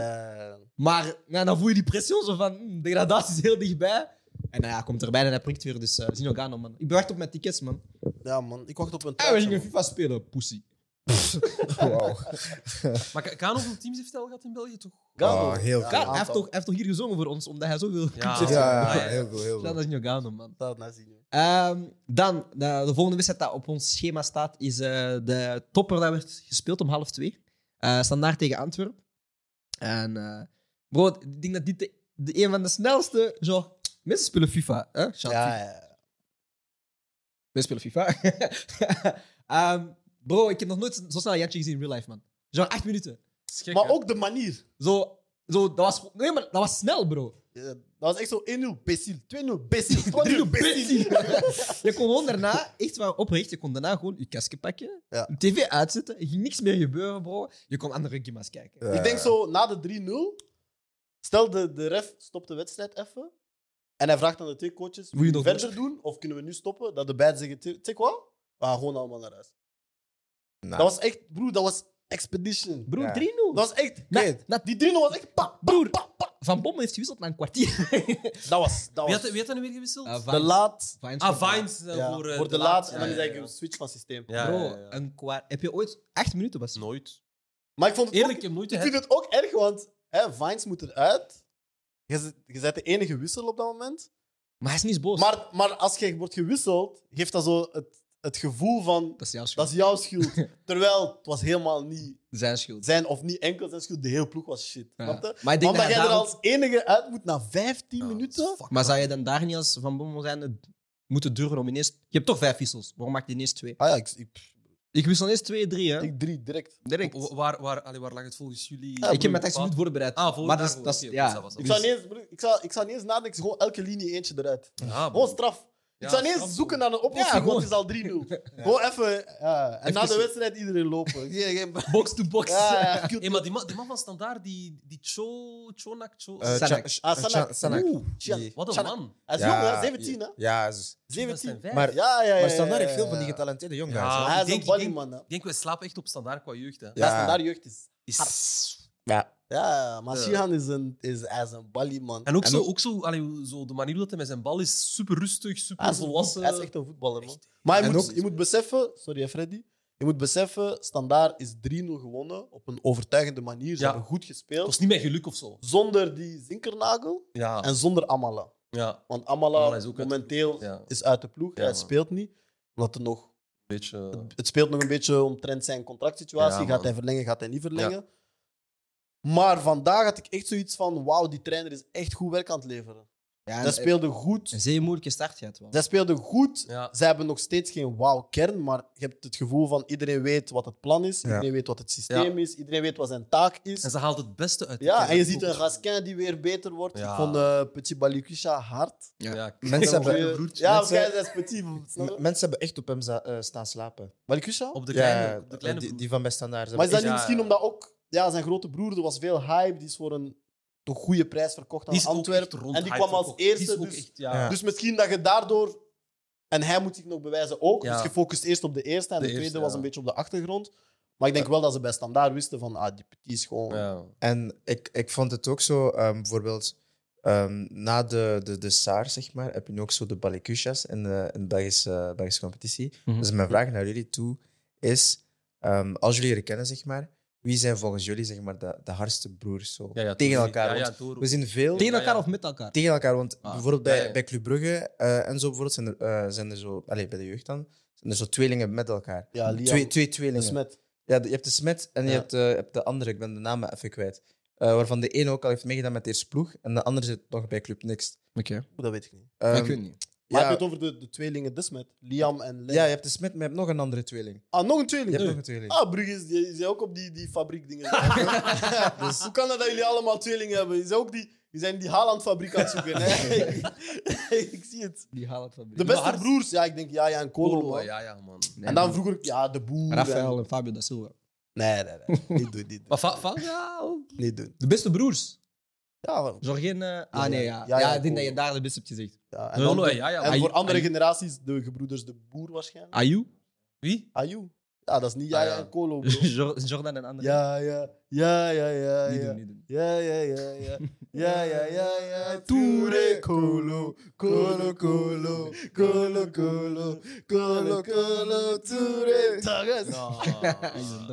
S1: Maar ja, dan voel je die pressie zo van, hm, degradatie is heel dichtbij. En nou ja, hij komt erbij en hij prikt weer, dus eh, Zinogano man. Ik wacht op mijn tickets man.
S6: Ja, man, ik wacht op een
S1: En Ah, we gingen
S6: truitje.
S1: FIFA spelen, pussy.
S2: Wauw.
S5: Maar Ka- Kaan, hoeveel teams heeft hij al gehad in België, toch?
S6: Gano.
S2: Ah, heel
S6: Ja,
S2: veel.
S1: Kaan, Oh, hij, heeft
S6: aantal.
S1: toch, hij heeft toch hier gezongen voor ons, omdat hij zo wil.
S5: Ah, Ja.
S2: Ja, ja, ja, heel veel, heel
S1: Dat
S2: veel.
S1: is Nogano, man.
S6: Dat laat zien, joh.
S1: Ehm, dan, de, de volgende wedstrijd dat op ons schema staat, is eh, de topper dat werd gespeeld om half twee. Eh standaard tegen Antwerpen. En eh, bro, ik denk dat dit de, de- een van de snelste... Zo, mensen spelen FIFA, hè? Shout FIFA.
S6: Ja, ja.
S1: Mensen spelen FIFA. Ehm, bro, ik heb nog nooit zo snel een Jantje gezien in real life, man. Zo acht minuten.
S5: Dat is gek,
S6: Maar
S5: hè?
S6: ook de manier.
S1: Zo, zo, dat was... Nee, maar dat was snel, bro.
S6: Eh, Dat was echt zo 1-0 Bessiel, 2-0 Bessiel, 3-0
S1: Bezien.
S6: Bessiel.
S1: je kon gewoon daarna, echt waar oprecht, je kon daarna gewoon je kastje pakken,
S6: Ja.
S1: de tv uitzetten, er ging niks meer gebeuren, bro. Je kon andere gimmas kijken.
S2: Ja.
S6: Ik denk zo, na de 3-0, stel de, de ref stopt de wedstrijd even. En hij vraagt aan de twee coaches,
S1: Moet je nog
S6: verder doen of kunnen we nu stoppen? Dat de beiden zeggen, "Tje- tje wat? We gaan gewoon allemaal naar huis.
S2: Nou.
S6: Dat was echt, broer, dat was expedition.
S1: Broer, 3-0.
S2: Ja.
S6: Dat was echt,
S1: Na-
S2: Kid.
S1: na-
S6: die 3-0 was echt, pa, broer.
S1: broer, Van Bommel heeft gewisseld na een kwartier.
S6: Dat was, dat
S5: Wie
S6: was
S5: had, wie had dat nu weer gewisseld?
S1: Ah,
S6: de laat,
S1: Vines
S5: ah,
S1: voor-
S5: Vines. eh,
S6: ja,
S5: voor,
S6: voor,
S5: eh,
S6: de, laat.
S5: Ja,
S6: En dan is
S5: ja,
S6: eigenlijk
S5: ja.
S6: een switch van systeem.
S5: Ja,
S1: Bro, eh,
S5: ja, ja.
S1: Een kwart. Heb je ooit acht minuten was?
S5: Nooit.
S6: Maar ik vond het
S5: Eerlijk,
S6: ook-
S5: ik heb nooit...
S6: Ik vind het ook erg, want hè, Vines moet eruit. Je zet- je bent de enige wissel op dat moment.
S1: Maar hij is niet boos.
S6: Maar, maar als je wordt gewisseld, geeft dat zo het, het gevoel van
S1: dat is jouw schuld.
S6: dat is jouw schuld. Terwijl het was helemaal niet
S1: Zijn schuld.
S6: zijn of niet enkel zijn schuld. De hele ploeg was shit.
S1: Ja.
S6: Snap je?
S1: Maar ik denk dat
S6: Want dat
S1: hij
S6: jij er
S1: daarom-
S6: als enige uit moet na 15 minuten.
S1: Maar zou je dan daar niet als Van Bommel zijn het moeten durven om ineens... Je hebt toch vijf wissels. Waarom maak je ineens twee?
S6: Ah ja, ik, ik,
S1: Ik wissel ineens twee, drie, hè.
S6: ik drie direct.
S1: Direct.
S5: Wa- Waar, waar, allee, waar lag het volgens jullie?
S1: ik heb mijn tekst niet voorbereid.
S5: Ah, voor
S1: Maar dat is-
S5: daarvoor.
S1: dat is-
S5: Oké,
S1: ja.
S5: oké, dat was
S6: Ik
S5: het.
S6: zou, niet eens, broer, ik, zou, ik zou niet eens nadenken, gewoon elke linie eentje eruit.
S5: Ja,
S6: Gewoon
S5: bro.
S6: straf. Ik
S5: Ah, Ja,
S6: zou niet
S5: straf,
S6: eens zoeken naar een oplossing,
S1: Ja,
S6: want het is al 3-0. Gewoon even. ja. En
S1: Even
S6: na de
S1: zien.
S6: wedstrijd iedereen lopen. Ja, ja,
S1: Box to box.
S6: ja.
S5: Hey, maar die man, die man van standaard, die, die Cho, Chonak, Cho.
S2: Eh,
S1: Sanak.
S2: Tja-
S6: Ah,
S2: eh,
S6: Sanak.
S2: Tja- Sanak.
S6: Oeh, Tja-
S2: Die-
S5: wat een
S6: Tjanak.
S5: man.
S6: Hij is
S2: Ja,
S6: jong, hè? 17, hè?
S2: Ja, dus-
S5: Dat zijn
S6: 17.
S5: vijf.
S2: maar,
S6: Ja, ja, ja.
S2: maar
S6: ja,
S2: standaard
S6: ja,
S2: heeft veel van die
S6: ja.
S2: getalenteerde jongens.
S5: Ja.
S2: Ja.
S6: Hij
S5: Ik
S6: is
S5: denk-
S6: een
S5: ik
S6: body
S5: denk-
S6: man, hè?
S5: Ik denk, wij slapen echt op standaard qua jeugd. Hè.
S6: Ja, standaard jeugd is.
S5: Is...
S6: Ja, maar
S5: Ja.
S6: Shihan is een, is, hij is een bally man.
S5: En ook,
S2: En
S5: zo,
S2: ook-
S5: ook zo, allee, zo, de manier hoe dat hij met zijn bal is, super rustig,
S6: Hij
S5: super
S6: is, een voet-
S5: volwassen.
S6: hij is echt een voetballer, man. Maar je
S2: En
S6: moet,
S2: ook-
S6: je moet beseffen, sorry hè, Freddy, je moet beseffen, Standaard is 3-0 gewonnen op een overtuigende manier. Ze
S5: Ja.
S6: hebben goed
S5: Het
S6: gespeeld.
S5: was niet met geluk of zo.
S6: Zonder die zinkernagel
S5: Ja,
S6: en zonder Amala.
S5: ja.
S6: Want Amala,
S5: Amala is ook uit de
S6: momenteel
S5: ploeg. Ja.
S6: is uit de ploeg.
S5: Ja,
S6: hij
S5: man.
S6: speelt niet. Omdat er nog,
S5: Beetje, eh,
S6: het speelt nog een beetje omtrent zijn contractsituatie.
S5: Ja, man.
S6: gaat hij verlengen, gaat hij niet verlengen. Maar vandaag had ik echt zoiets van... Wauw, die trainer is echt goed werk aan het leveren.
S1: Ja,
S6: Zij speelde goed.
S1: Een zeer moeilijke start, ja, het wel.
S6: Zij speelden goed.
S5: ja.
S6: Zij hebben nog steeds geen wauw kern, maar je hebt het gevoel van iedereen weet wat het plan is,
S2: Ja.
S6: iedereen weet wat het systeem is, iedereen weet wat zijn taak is.
S5: En ze haalt het beste uit. de
S6: Ja,
S5: kern.
S6: en je ziet een Gasquin die weer beter wordt.
S5: Ja.
S6: Ik vond eh Petit Balikwisha hard.
S5: Ja, ja.
S2: Mensen
S6: Ja,
S2: hebben,
S5: broertje.
S6: Ja,
S2: Mensen-
S6: Gasquin is petit. snap je?
S2: m- mensen hebben echt op hem za- eh, staan slapen.
S6: Balikwisha?
S5: Op de
S2: Ja,
S5: kleine, op de
S2: eh,
S5: kleine
S2: die,
S5: broer.
S2: die van bij standaard. Ze
S6: Maar is dat
S2: hebben
S5: Ja,
S6: niet
S5: ja.
S6: misschien omdat ook ja, zijn grote broer, er was veel hype, die is voor een toch goede prijs verkocht aan
S5: Die is ook echt
S6: Antwerpen.
S5: rond
S6: en die
S5: hype
S6: kwam als
S5: verkocht.
S6: eerste,
S5: Die is ook
S6: dus-
S5: echt, ja.
S2: Ja.
S6: Dus misschien dat je daardoor. En hij moet zich nog bewijzen ook.
S5: Ja.
S6: Dus je focust eerst op de eerste en
S5: De
S6: de, tweede
S5: eerste,
S6: was
S5: ja.
S6: een beetje op de achtergrond. Maar ik denk wel dat ze bij standaard wisten van ah, die petit is gewoon.
S5: Ja.
S2: echt- En ik, ik vond het ook zo, ehm, bijvoorbeeld, ehm, na de, de, de SAAR, zeg maar, heb je nu ook zo de Balikushas in de, in de Belgische, Belgische competitie.
S1: Mhm.
S2: Dus mijn vraag naar jullie toe is, ehm, als jullie herkennen, zeg maar, wie zijn volgens jullie zeg maar, de, de hardste broers zo,
S5: Ja, ja,
S2: tegen
S5: Toro.
S2: elkaar?
S5: Ja, ja,
S2: Want
S5: Toro.
S2: we zien veel...
S1: Tegen
S5: Ja,
S1: elkaar
S5: ja.
S1: of met elkaar?
S2: tegen elkaar. Want
S1: Ah,
S2: bijvoorbeeld bij,
S5: ja, ja.
S2: bij Club Brugge eh, en zo bijvoorbeeld zijn er, eh, zijn er zo, allez, bij de jeugd dan, zijn er zo tweelingen met elkaar.
S6: Ja, Liam.
S2: twee, twee
S6: de
S2: tweelingen.
S6: smet.
S2: Ja, de- je hebt de Smet en je
S6: Ja.
S2: hebt, eh, je hebt de andere, ik ben de namen even kwijt. Eh, waarvan de ene ook al heeft meegedaan met de eerste ploeg en de andere zit nog bij Club Next.
S1: Oké.
S6: Oeh, Dat weet ik niet.
S2: Ehm,
S1: ik weet niet.
S6: Maar
S2: ja,
S6: heb je het over de, de tweelingen de smet? Liam en Len.
S2: ja, je hebt de Smet, maar je hebt nog een andere tweeling.
S6: Ah, nog een
S2: Je
S6: tweeling.
S2: hebt
S5: Nee.
S2: nog een tweeling.
S6: Ah, Brugge is, die, is ook op die, die fabriek dingen. Dus Hoe kan dat dat jullie allemaal tweelingen hebben? Is ook die, die zijn die Haaland-fabriek aan het zoeken. Hè? ik, ik zie het.
S1: Die haal ik van
S6: De
S5: Maar
S6: beste
S5: hard-
S6: broers, ja, ik denk ja, ja en Colo.
S5: Toro,
S6: man.
S5: ja, ja, man.
S6: en dan vroeger, ja, de boer. en-
S1: Rafael en Fabio da Silva.
S6: Nee, nee, nee. Niet doen, niet doen.
S5: Maar va- va- ja,
S6: Niet doen.
S1: De beste broers.
S6: Ja,
S1: Zorg geen... eh, Ah,
S6: ja.
S1: nee, ja. Ja,
S6: Ja, ja,
S1: ik denk
S6: cool.
S1: dat je daar de beste hebt gezegd.
S6: ja. En, dan
S5: Toro,
S6: de-
S5: ja, ja.
S6: en
S5: man.
S6: voor andere
S5: Ayu-
S6: generaties de gebroeders de boer waarschijnlijk.
S1: Ayu,
S5: Wie?
S6: Ayu. Ja, dat is niet ja,
S5: Ah,
S6: ja
S5: ja.
S6: en Colo, bro.
S1: Jor- Jordan en anderen.
S6: Ja, ja. Ja, ja, ja.
S1: Nu
S6: ja.
S1: doen, nu doen.
S6: Ja, ja, ja, ja. Ja, ja, ja, ja. Toure, colo, colo, colo, colo, colo, colo, colo, toure. Tages.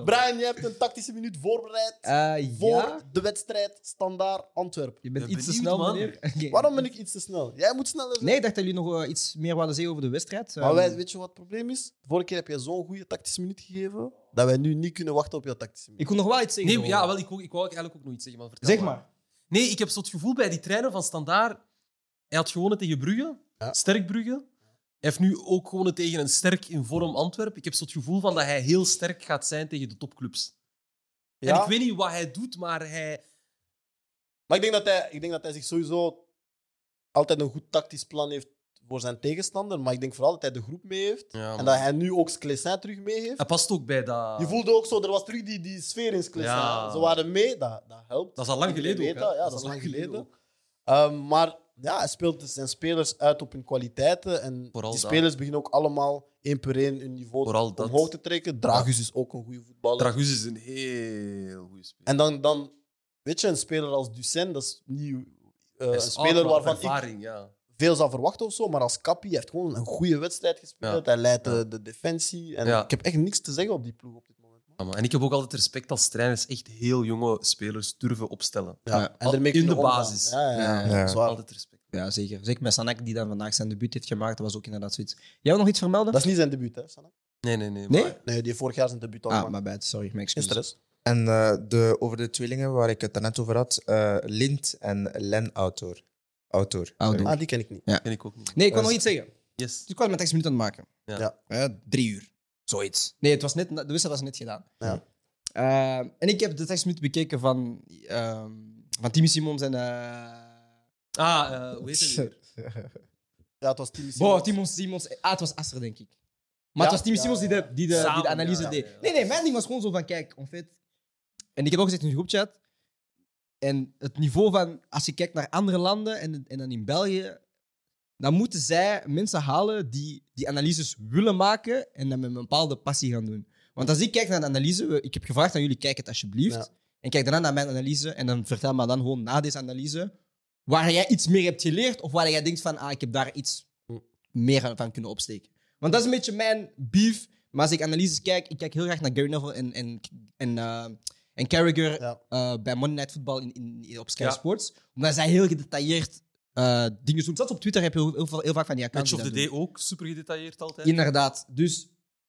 S6: Brian, je hebt een tactische minuut voorbereid
S1: Eh,
S6: voor
S1: ja,
S6: de wedstrijd Standaard Antwerpen.
S1: je bent
S5: Ben
S1: iets te
S5: benieuwd,
S1: snel,
S5: man.
S1: meneer. Oké.
S6: Waarom ben ik iets te snel? Jij moet sneller zijn.
S1: Nee, ik dacht dat jullie nog eh, iets meer wilden zeggen over de wedstrijd.
S6: Maar
S1: Ehm,
S6: wij, weet je wat het probleem is? De vorige keer heb je zo'n goede tactische minuut gegeven dat wij nu niet kunnen wachten op jouw tactische minuut.
S1: Ik kon nog wel iets zeggen.
S5: Nee, ja,
S1: erover.
S5: wel, ik, wou- ik wou eigenlijk ook nog iets zeggen. Maar vertel
S1: Zeg maar.
S5: Nee, ik heb zo het gevoel bij die trainer van Standaard. Hij had gewonnen tegen Brugge,
S6: Ja.
S5: sterk Brugge. Hij heeft nu ook gewonnen tegen een sterk in vorm Antwerp. Ik heb zo het gevoel van dat hij heel sterk gaat zijn tegen de topclubs. En
S6: Ja?
S5: ik weet niet wat hij doet, maar hij.
S6: Maar ik denk, dat hij, ik denk dat hij zich sowieso altijd een goed tactisch plan heeft voor zijn tegenstander. Maar ik denk vooral dat hij de groep mee heeft. En dat hij nu ook Sclessin terug mee heeft.
S5: Hij past ook bij dat.
S6: Je voelde ook zo, er was terug die, die sfeer in Sclessin.
S5: Ah. Ja.
S6: Ze waren mee, dat, dat helpt.
S5: Dat is al lang
S6: Iedereen
S5: geleden ook.
S6: weet
S5: hè.
S6: dat, Ja, dat is lang geleden. Ehm, maar ja, hij speelt dus zijn spelers uit op hun kwaliteiten. En
S5: Vooral
S6: die
S5: dat.
S6: spelers beginnen ook allemaal één per één hun niveau
S5: Vooral dat.
S6: omhoog te trekken. Dragus is ook een goede voetballer.
S5: Dragus is een heel goede speler.
S6: En dan, dan, weet je, een speler als Ducen, dat is niet eh,
S5: Hij
S6: een
S5: is
S6: speler
S5: oud, maar
S6: waarvan ik
S5: ervaring, ja.
S6: veel zou verwachten of zo. Maar als Kapi hij heeft gewoon een goede wedstrijd gespeeld. Hij leidt de, de defensie. En
S5: Ja.
S6: ik heb echt niks te zeggen op die ploeg op dit moment. man.
S5: Ja, man. En ik heb ook altijd respect als trainers echt heel jonge spelers durven opstellen.
S1: Ja.
S6: En ermee
S5: in de
S6: kunnen omgaan.
S5: basis.
S6: Ja, ja, ja.
S1: Ja,
S2: ja.
S6: Zwaar.
S5: Altijd respect.
S1: Ja, zeker. Zeker met Sanak, die dan vandaag zijn debuut heeft gemaakt. Dat was ook inderdaad zoiets. Jij wil nog iets vermelden?
S6: Dat is niet zijn debuut, hè, Sanne?
S5: Nee, nee, nee.
S1: Nee?
S5: maar-
S6: Nee, die heeft vorig jaar zijn debuut al
S1: Ah,
S6: gemaakt.
S1: maar bij het, sorry, mijn
S6: Geen
S1: excuses.
S6: stress.
S2: En eh, de, over de tweelingen waar ik het daarnet over had, eh Lind en Len Autor. Autor.
S1: Outdoor.
S6: Ah, die ken ik niet.
S5: ken ik ook niet.
S1: Nee, ik wil
S2: Was-
S1: nog iets zeggen.
S5: Yes.
S1: Dus ik was mijn tekstminuut aan het maken.
S5: Ja.
S6: Eh, Ja.
S1: Hè, drie uur. Zoiets. Nee, het was net, de wissel was net gedaan.
S6: Ja.
S1: Eh, en ik heb de tekstminuut bekeken van, ehm van Timmy Simons en... eh
S5: Ah, eh, hoe heet hij weer?
S6: Ja, het was Timmy
S1: wow,
S6: Simons.
S1: Timon Simons... Ah, het was Aster, denk ik. Maar het was Timmy
S6: ja,
S1: Simons die de, die de, die
S5: Samen,
S1: de analyse
S5: ja,
S1: deed.
S5: ja, ja.
S1: Nee, nee, mijn ding was gewoon zo van, kijk, en fait... En ik heb ook gezegd in de groepchat... En het niveau van, als je kijkt naar andere landen en, en dan in België, dan moeten zij mensen halen die die analyses willen maken en dat met een bepaalde passie gaan doen. Want als ik kijk naar de analyse, we- ik heb gevraagd aan jullie, kijk het alsjeblieft.
S6: Ja.
S1: En kijk daarna naar mijn analyse en dan vertel me dan gewoon na deze analyse waar jij iets meer hebt geleerd of waar jij denkt van, ah, ik heb daar iets meer aan- van kunnen opsteken. Want dat is een beetje mijn beef. Maar als ik analyses kijk, ik kijk heel graag naar Gary Neville en, en, en, eh, en Carragher
S6: Ja.
S1: eh, bij Monday Night Football in, in, in- op Sky
S5: Ja.
S1: Sports. Omdat zij heel gedetailleerd eh, dingen doen. Zelfs op Twitter heb je heel, heel, veel- heel vaak van die accounts.
S5: Match of the
S1: die
S5: Day
S1: dat
S5: ook, super gedetailleerd altijd.
S1: doen. Inderdaad. Dus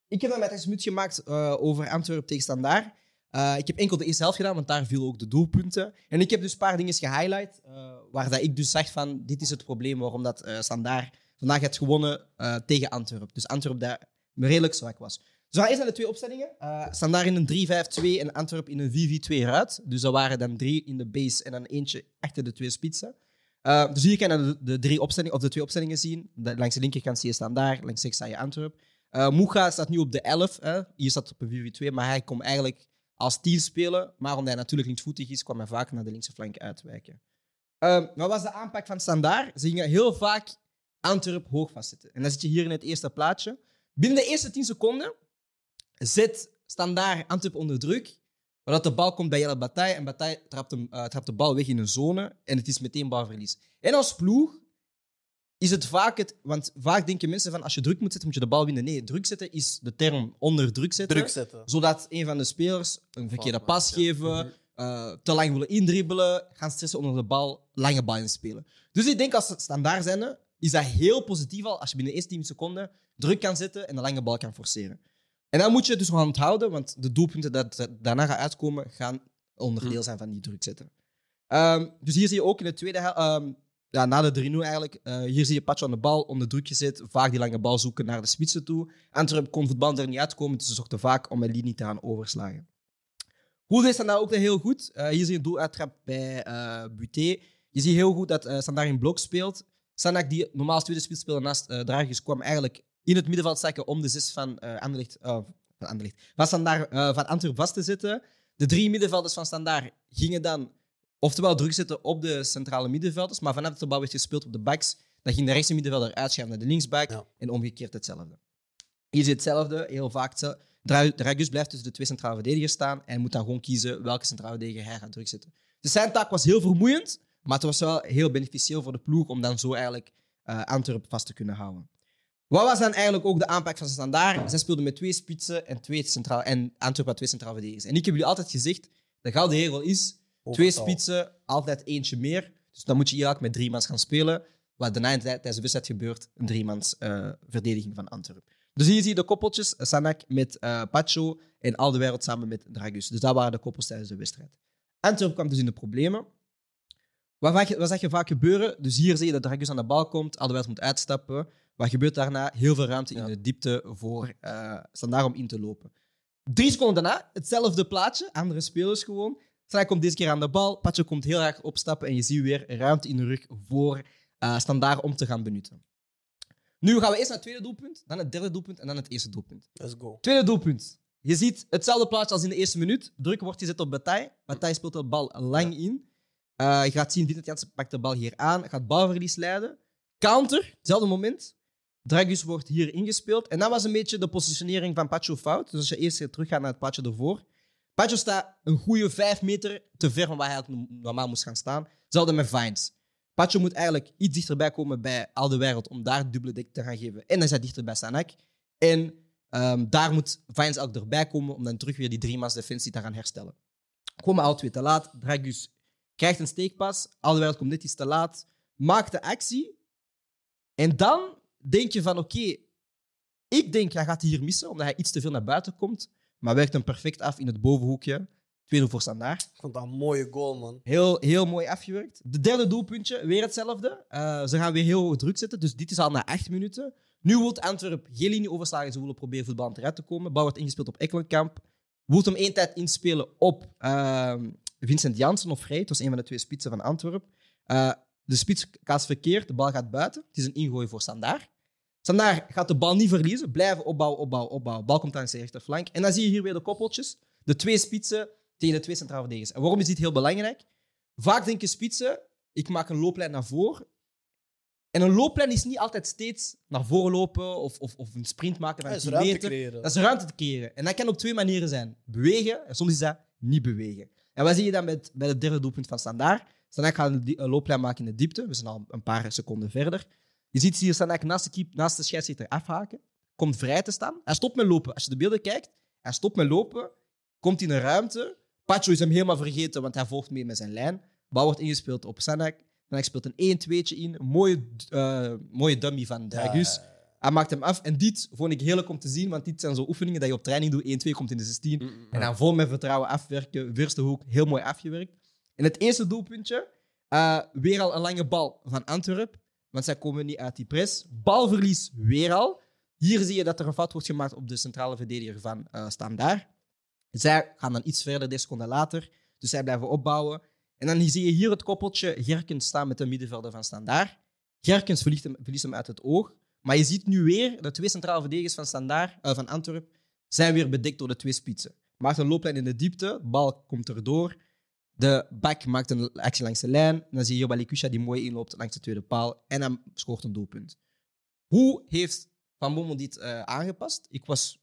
S1: ik heb dan mijn minuut gemaakt eh, over Antwerpen tegen Standaard. Eh, ik heb enkel de eerste helft gedaan, want daar viel ook de doelpunten. En ik heb dus een paar dingen gehighlight, eh, waar dat ik dus zag van, dit is het probleem waarom dat eh Standaard vandaag heeft gewonnen eh, tegen Antwerpen. Dus Antwerpen daar redelijk zwak was. Dus we gaan eerst naar de twee opstellingen. Eh Standaard in een 3-5-2 en Antwerpen in een 4-4-2 eruit. Dus dat waren dan drie in de base en dan eentje achter de twee spitsen. Eh, dus hier kan je de, de, drie opstellingen, of de twee opstellingen zien. De- langs de linkerkant zie je Standaard, langs rechts sta je Antwerpen. Eh Moega staat nu op de 11. Hè. Hier staat op een 4-4-2, maar hij komt eigenlijk als 10 spelen. Maar omdat hij natuurlijk linksvoetig is, kwam hij vaak naar de linkse flank uitwijken. Ehm, wat was de aanpak van Standaard? Ze gingen heel vaak Antwerp hoog vastzetten. En dan zit je hier in het eerste plaatje. Binnen de eerste 10 seconden zet Standaard Antwerp onder druk. Doordat de bal komt bij Jelle Bataille en Bataille trapt, hem, eh, trapt de bal weg in een zone en het is meteen balverlies. En als ploeg is het vaak het... Want vaak denken mensen van als je druk moet zetten, moet je de bal winnen. Nee, druk zetten is de term onder druk zetten
S6: Druk zetten.
S1: zodat een van de spelers een verkeerde
S5: maakt,
S1: pas
S5: ja.
S1: geven, eh, te lang willen indribbelen, gaan stressen onder de bal, lange bal inspelen. Dus ik denk als ze standaard zijn, is dat heel positief al als je binnen de eerste 10 seconden druk kan zetten en de lange bal kan forceren. En dan moet je het dus gewoon onthouden, want de doelpunten dat dat daarna gaan uitkomen, gaan onderdeel zijn van die druk zetten. Ehm, dus hier zie je ook in de tweede hel- ehm, ja, na de 3-0 eigenlijk, eh, hier zie je Pacho aan de bal, onder druk gezet, vaak die lange bal zoeken naar de spitsen toe. Antwerp kon voetbal er niet uitkomen, dus ze zochten vaak om een linie te gaan overslagen. Hoede is daar ook heel goed. Eh, hier zie je een doeluittrap bij eh Buté. Je ziet heel goed dat eh Standaard in blok speelt. Sanak, die normaal als tweede spits speelde naast eh Dragis, kwam eigenlijk in het middenveld zakken om de zes van eh Anderlecht, eh, van Anderlecht, van, Standaard, eh, van Antwerp vast te zetten. De drie middenvelders van Standaard gingen dan oftewel druk zetten op de centrale middenvelders, maar vanaf dat de bal werd gespeeld op de backs, dan ging de rechtse middenvelder uitschuiven naar de linksback
S6: Ja.
S1: en omgekeerd hetzelfde. Hier is hetzelfde, heel vaak hetzelfde. Dra- Dragus blijft tussen de twee centrale verdedigers staan en moet dan gewoon kiezen welke centrale verdediger hij gaat drukzetten. Dus zijn taak was heel vermoeiend, maar het was wel heel beneficieel voor de ploeg om dan zo eigenlijk eh Antwerpen vast te kunnen houden. Wat was dan eigenlijk ook de aanpak van Standaard? Zij speelden met twee spitsen en, twee centraal, en Antwerpen had twee centrale verdedigers. En ik heb jullie altijd gezegd, de gouden regel is, twee
S2: Overtal.
S1: spitsen, altijd eentje meer. Dus dan moet je hier eigenlijk met drie mans gaan spelen. Wat daarna in de- tijdens de wedstrijd gebeurt, een driemans eh verdediging van Antwerpen. Dus hier zie je de koppeltjes, Sanak met eh Pacho en al de wereld samen met Dragus. Dus dat waren de koppels tijdens de wedstrijd. Antwerpen kwam dus in de problemen. Wat, vaak- wat zag je vaak gebeuren? Dus hier zie je dat Dragus aan de bal komt, Alderwijs moet uitstappen. Wat gebeurt daarna? Heel veel ruimte in de diepte voor eh Standaard om in te lopen. Drie seconden daarna, hetzelfde plaatje, andere spelers gewoon. Standaard komt deze keer aan de bal, Pacho komt heel erg opstappen en je ziet weer ruimte in de rug voor eh Standaard om te gaan benutten. Nu gaan we eerst naar het tweede doelpunt, dan het derde doelpunt en dan het eerste doelpunt.
S2: Let's go.
S1: Tweede doelpunt. Je ziet hetzelfde plaatje als in de eerste minuut. Druk wordt gezet op Bataille. Bataille speelt de bal lang in. Eh, je gaat zien, Vincent Janssen pakt de bal hier aan. Gaat balverlies leiden. Counter, hetzelfde moment. Dragus wordt hier ingespeeld. En dat was een beetje de positionering van Pacho fout. Dus als je eerst teruggaat naar het plaatje ervoor. Pacho staat een goede vijf meter te ver van waar hij eigenlijk normaal moest gaan staan. Hetzelfde met Vines. Pacho moet eigenlijk iets dichterbij komen bij al de wereld om daar dubbele dek te gaan geven. En dan is hij dichter bij Sanak. En Ehm, daar moet Vines ook erbij komen om dan terug weer die driema's defensie te gaan herstellen. Komen al twee te laat. Dragus krijgt een steekpas. Alderweireld komt net iets te laat. Maakt de actie. En dan denk je van oké, ik denk hij gaat hier missen omdat hij iets te veel naar buiten komt. Maar werkt hem perfect af in het bovenhoekje. 2-0 voor Standaard.
S6: Ik vond dat een mooie goal, man.
S1: Heel, heel mooi afgewerkt. De derde doelpuntje, weer hetzelfde. Eh, ze gaan weer heel hoog druk zetten, dus dit is al na acht minuten. Nu wil Antwerpen geen linie overslagen. Ze willen proberen voetbal eruit te komen. Bal wordt ingespeeld op Ekkelenkamp. Wilt hem één tijd inspelen op ehm, Vincent Janssen of Vrij. Het was een van de twee spitsen van Antwerpen. Eh, de spits kaast verkeerd, de bal gaat buiten. Het is een ingooi voor Sandaar. Sandaar gaat de bal niet verliezen. Blijven opbouwen, opbouwen, opbouwen. Bal komt aan zijn rechterflank. En dan zie je hier weer de koppeltjes. De twee spitsen tegen de twee centrale verdedigers. En waarom is dit heel belangrijk? Vaak denken spitsen, ik maak een looplijn naar voren. En een looplijn is niet altijd steeds naar voren lopen of, of, of een sprint maken van
S6: Hij is
S1: 10
S6: ruimte
S1: meter.
S6: creëren.
S1: Dat is ruimte te creëren. En dat kan op twee manieren zijn. Bewegen, en soms is dat niet bewegen. En wat zie je dan met, bij het derde doelpunt van Standaard? Standaard gaat een, die- een looplijn maken in de diepte. We zijn al een paar seconden verder. Je ziet hier Standaard naast de, keep, naast de scheidsrechter afhaken. Komt vrij te staan. Hij stopt met lopen. Als je de beelden kijkt, hij stopt met lopen. Komt in een ruimte. Pacho is hem helemaal vergeten, want hij volgt mee met zijn lijn. Bal wordt ingespeeld op Sanak. Sanak speelt een 1-2'tje in. Mooie, eh, mooie dummy van Dragus. Hij maakt hem af. En dit vond ik heerlijk om te zien, want dit zijn zo oefeningen dat je op training doet. 1-2 komt in de 16. En dan vol met vertrouwen afwerken. Weerste hoek, heel mooi afgewerkt. En het eerste doelpuntje, eh, weer al een lange bal van Antwerp. Want zij komen niet uit die press. Balverlies weer al. Hier zie je dat er een fout wordt gemaakt op de centrale verdediger van eh Standaard. Zij gaan dan iets verder, 10 seconden later. Dus zij blijven opbouwen. En dan zie je hier het koppeltje Gerkens staan met de middenvelder van Standaard. Gerkens verliest hem, verliest hem uit het oog. Maar je ziet nu weer de twee centrale verdedigers van, Standaard, eh, van Antwerp zijn weer bedekt door de twee spitsen. Maakt een looplijn in de diepte, bal komt erdoor. De back maakt een actie langs de lijn. Dan zie je Jobali Kusha die mooi inloopt langs de tweede paal. En dan scoort een doelpunt. Hoe heeft Van Bommel dit eh, aangepast? Ik was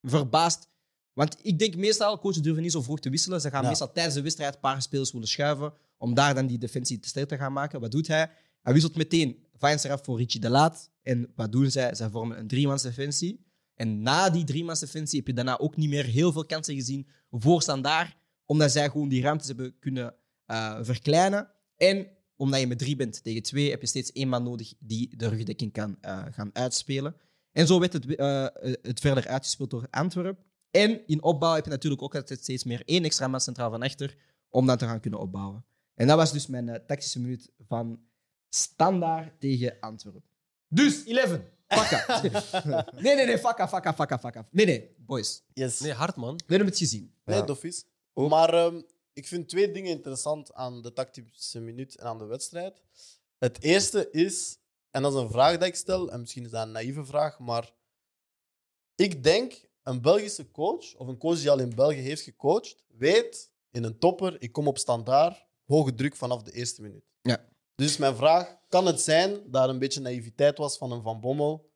S1: verbaasd. Want ik denk meestal, coaches durven niet zo vroeg te wisselen. Ze gaan
S6: Ja.
S1: meestal tijdens de wedstrijd een paar spelers willen schuiven. Om daar dan die defensie te sterk te gaan maken. Wat doet hij? Hij wisselt meteen Vines eraf voor Richie de Laat. En wat doen zij? Zij vormen een driemans defensie. En na die driemans defensie heb je daarna ook niet meer heel veel kansen gezien voor Standaard. Omdat zij gewoon die ruimtes hebben kunnen eh, verkleinen. En omdat je met drie bent tegen twee, heb je steeds één man nodig die de rugdekking kan eh, gaan uitspelen. En zo werd het, eh, het verder uitgespeeld door Antwerpen. En in opbouw heb je natuurlijk ook altijd steeds meer één extra man centraal van achter om dan te gaan kunnen opbouwen. En dat was dus mijn eh, tactische minuut van Standaard tegen Antwerpen. Dus, 11. Fakka. nee, nee, nee. Fakka, fakka, fakka, fakka. Nee, nee. Boys.
S6: Yes.
S5: Nee, hard man.
S1: We hebben het gezien.
S6: Nee,
S2: Ja.
S6: dof is. Maar ehm, ik vind twee dingen interessant aan de tactische minuut en aan de wedstrijd. Het eerste is, en dat is een vraag die ik stel, en misschien is dat een naïeve vraag, maar ik denk een Belgische coach, of een coach die al in België heeft gecoacht, weet in een topper, ik kom op standaard, hoge druk vanaf de eerste minuut.
S1: Ja.
S6: Dus mijn vraag, kan het zijn dat er een beetje naïviteit was van een Van Bommel,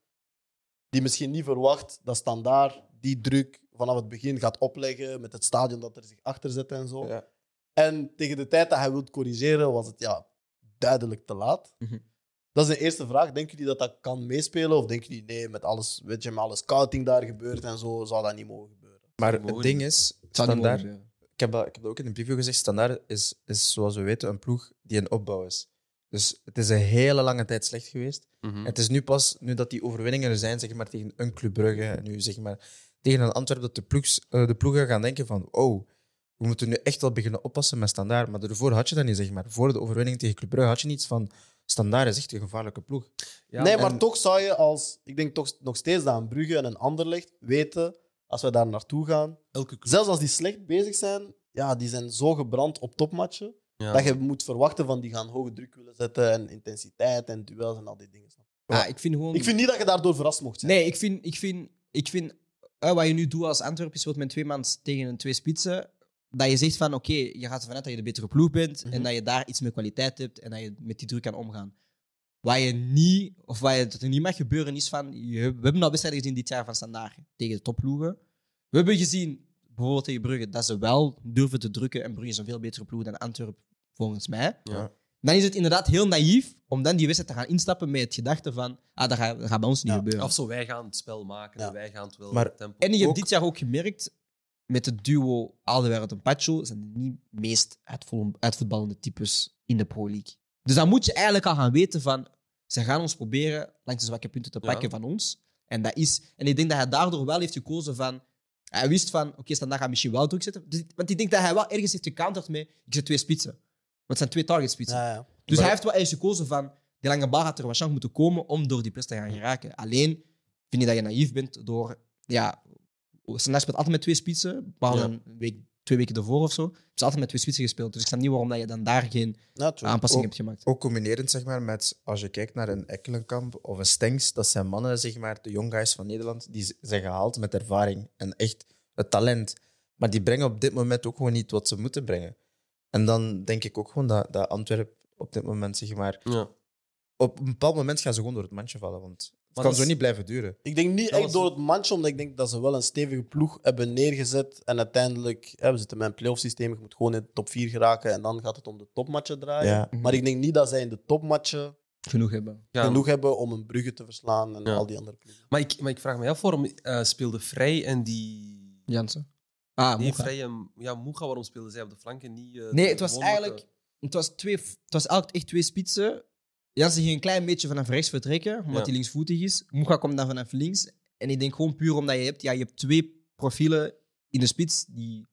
S6: die misschien niet verwacht dat standaard die druk vanaf het begin gaat opleggen met het stadion dat er zich achter zet en zo.
S2: Ja.
S6: En tegen de tijd dat hij wil corrigeren, was het ja, duidelijk te laat.
S1: Mhm.
S6: Dat is de eerste vraag. Denken jullie dat dat kan meespelen? Of denken jullie, nee, met alles, weet je, met alle scouting daar gebeurt en zo, zou dat niet mogen gebeuren?
S2: Maar
S5: Mogen
S2: het ding is,
S5: zou niet
S2: standaard,
S5: mogen, ja.
S2: ik, heb dat, ik heb dat ook in een preview gezegd, standaard is, is zoals we weten een ploeg die in opbouw is. Dus het is een hele lange tijd slecht geweest.
S5: Mm.
S2: En Het is nu pas, nu dat die overwinningen er zijn, zeg maar, tegen een Club Brugge, en nu zeg maar, tegen een Antwerp, dat de, ploegs, eh, de ploegen gaan denken van, oh, we moeten nu echt wel beginnen oppassen met Standaard. Maar daarvoor had je dat niet, zeg maar. Voor de overwinning tegen Club Brugge had je niets van, Standaard is echt een gevaarlijke ploeg.
S5: Ja,
S6: nee,
S5: en-
S6: maar toch zou je als, ik denk toch nog steeds dat een Brugge en een Anderlecht weten, als we daar naartoe gaan,
S5: Elke club.
S6: zelfs als die slecht bezig zijn, ja, die zijn zo gebrand op topmatchen,
S5: Ja.
S6: dat je moet verwachten van die gaan hoge druk willen zetten en intensiteit en duels en al die dingen. snap je?
S1: Ah, ik vind gewoon...
S6: Ik vind niet dat je daardoor verrast mocht zijn.
S1: Nee, ik vind, ik vind, ik vind eh, wat je nu doet als Antwerp is speelt met twee man tegen een twee spitsen. Dat je zegt van oké, je gaat ervan uit dat je de betere ploeg bent
S6: Mhm.
S1: en dat je daar iets meer kwaliteit hebt en dat je met die druk kan omgaan. Wat je niet, of wat je, dat er niet mag gebeuren, is van je, we hebben al wedstrijden gezien dit jaar van standaard tegen de topploegen. We hebben gezien, bijvoorbeeld tegen Brugge, dat ze wel durven te drukken en Brugge is een veel betere ploeg dan Antwerp, volgens mij.
S5: Ja.
S1: Dan is het inderdaad heel naïef om dan die wedstrijd te gaan instappen met het gedachte van ah, dat gaat, dat gaat bij ons niet
S6: Ja,
S1: gebeuren.
S5: Of zo, wij gaan het spel maken en
S6: Ja.
S5: wij gaan het wel
S2: Maar-
S5: tempo.
S1: En je hebt
S2: Ook-
S1: dit jaar ook gemerkt, met het duo Alderweireld en Pacho, zijn de niet meest uitvo- uitvoetballende types in de Pro League. Dus dan moet je eigenlijk al gaan weten van, ze gaan ons proberen langs de zwakke punten te
S5: Ja.
S1: pakken van ons. En dat is, en ik denk dat hij daardoor wel heeft gekozen van, hij wist van, oké, Standaard gaat misschien wel druk zetten. Dus- want ik denk dat hij wel ergens heeft gecounterd met, ik zet twee spitsen. Want het zijn twee target spitsen.
S6: Ja, ja.
S1: Dus
S2: Maar-
S1: hij heeft wel eens gekozen van die lange bal had er waarschijnlijk moeten komen om door die press te gaan geraken. Alleen vind ik dat je naïef bent door. Ja, Sanders speelt altijd met twee spitsen, maar
S5: Ja.
S1: een week, twee weken ervoor of zo. Ze hebben altijd met twee spitsen gespeeld. Dus ik snap niet waarom dat je dan daar geen
S6: Ja, true.
S5: Ah,
S1: aanpassing
S2: Ook-
S1: hebt gemaakt.
S2: Ook combinerend, zeg maar, met als je kijkt naar een Ekkelenkamp of een Stengs, dat zijn mannen, zeg maar, de young guys van Nederland, die z- zijn gehaald met ervaring en echt het talent. Maar die brengen op dit moment ook gewoon niet wat ze moeten brengen. En dan denk ik ook gewoon dat, dat Antwerp op dit moment, zeg maar,
S5: Ja.
S2: op een bepaald moment gaan ze gewoon door het mandje vallen, want het
S5: Maar
S2: kan
S5: dat
S2: zo
S5: is-
S2: niet blijven duren.
S6: Ik denk niet
S5: Dat
S6: echt
S5: was-
S6: door het mandje, omdat ik denk dat ze wel een stevige ploeg hebben neergezet. En uiteindelijk, hè, we zitten met een playoff systeem, je moet gewoon in de top 4 geraken en dan gaat het om de topmatchen draaien.
S2: Ja.
S6: Maar ik denk niet dat zij in de topmatchen
S1: Genoeg hebben.
S5: Ja.
S6: genoeg hebben om een Brugge te verslaan en
S5: Ja.
S6: al die andere ploegen.
S5: Maar, ik, maar ik vraag me af waarom eh, speelde Vrij en die.
S1: Jansen. Ah,
S5: nee,
S1: Moega.
S5: Vrij en ja, Moega, waarom speelden zij op de flanken niet? eh,
S1: Nee, het was
S5: gewoon met de-
S1: eigenlijk. Het was, twee, het was eigenlijk echt twee spitsen. Jansen ging een klein beetje vanaf rechts vertrekken, omdat
S5: Ja.
S1: hij linksvoetig is. Moega komt dan vanaf links. En ik denk gewoon puur omdat je hebt, ja, je hebt twee profielen in de spits die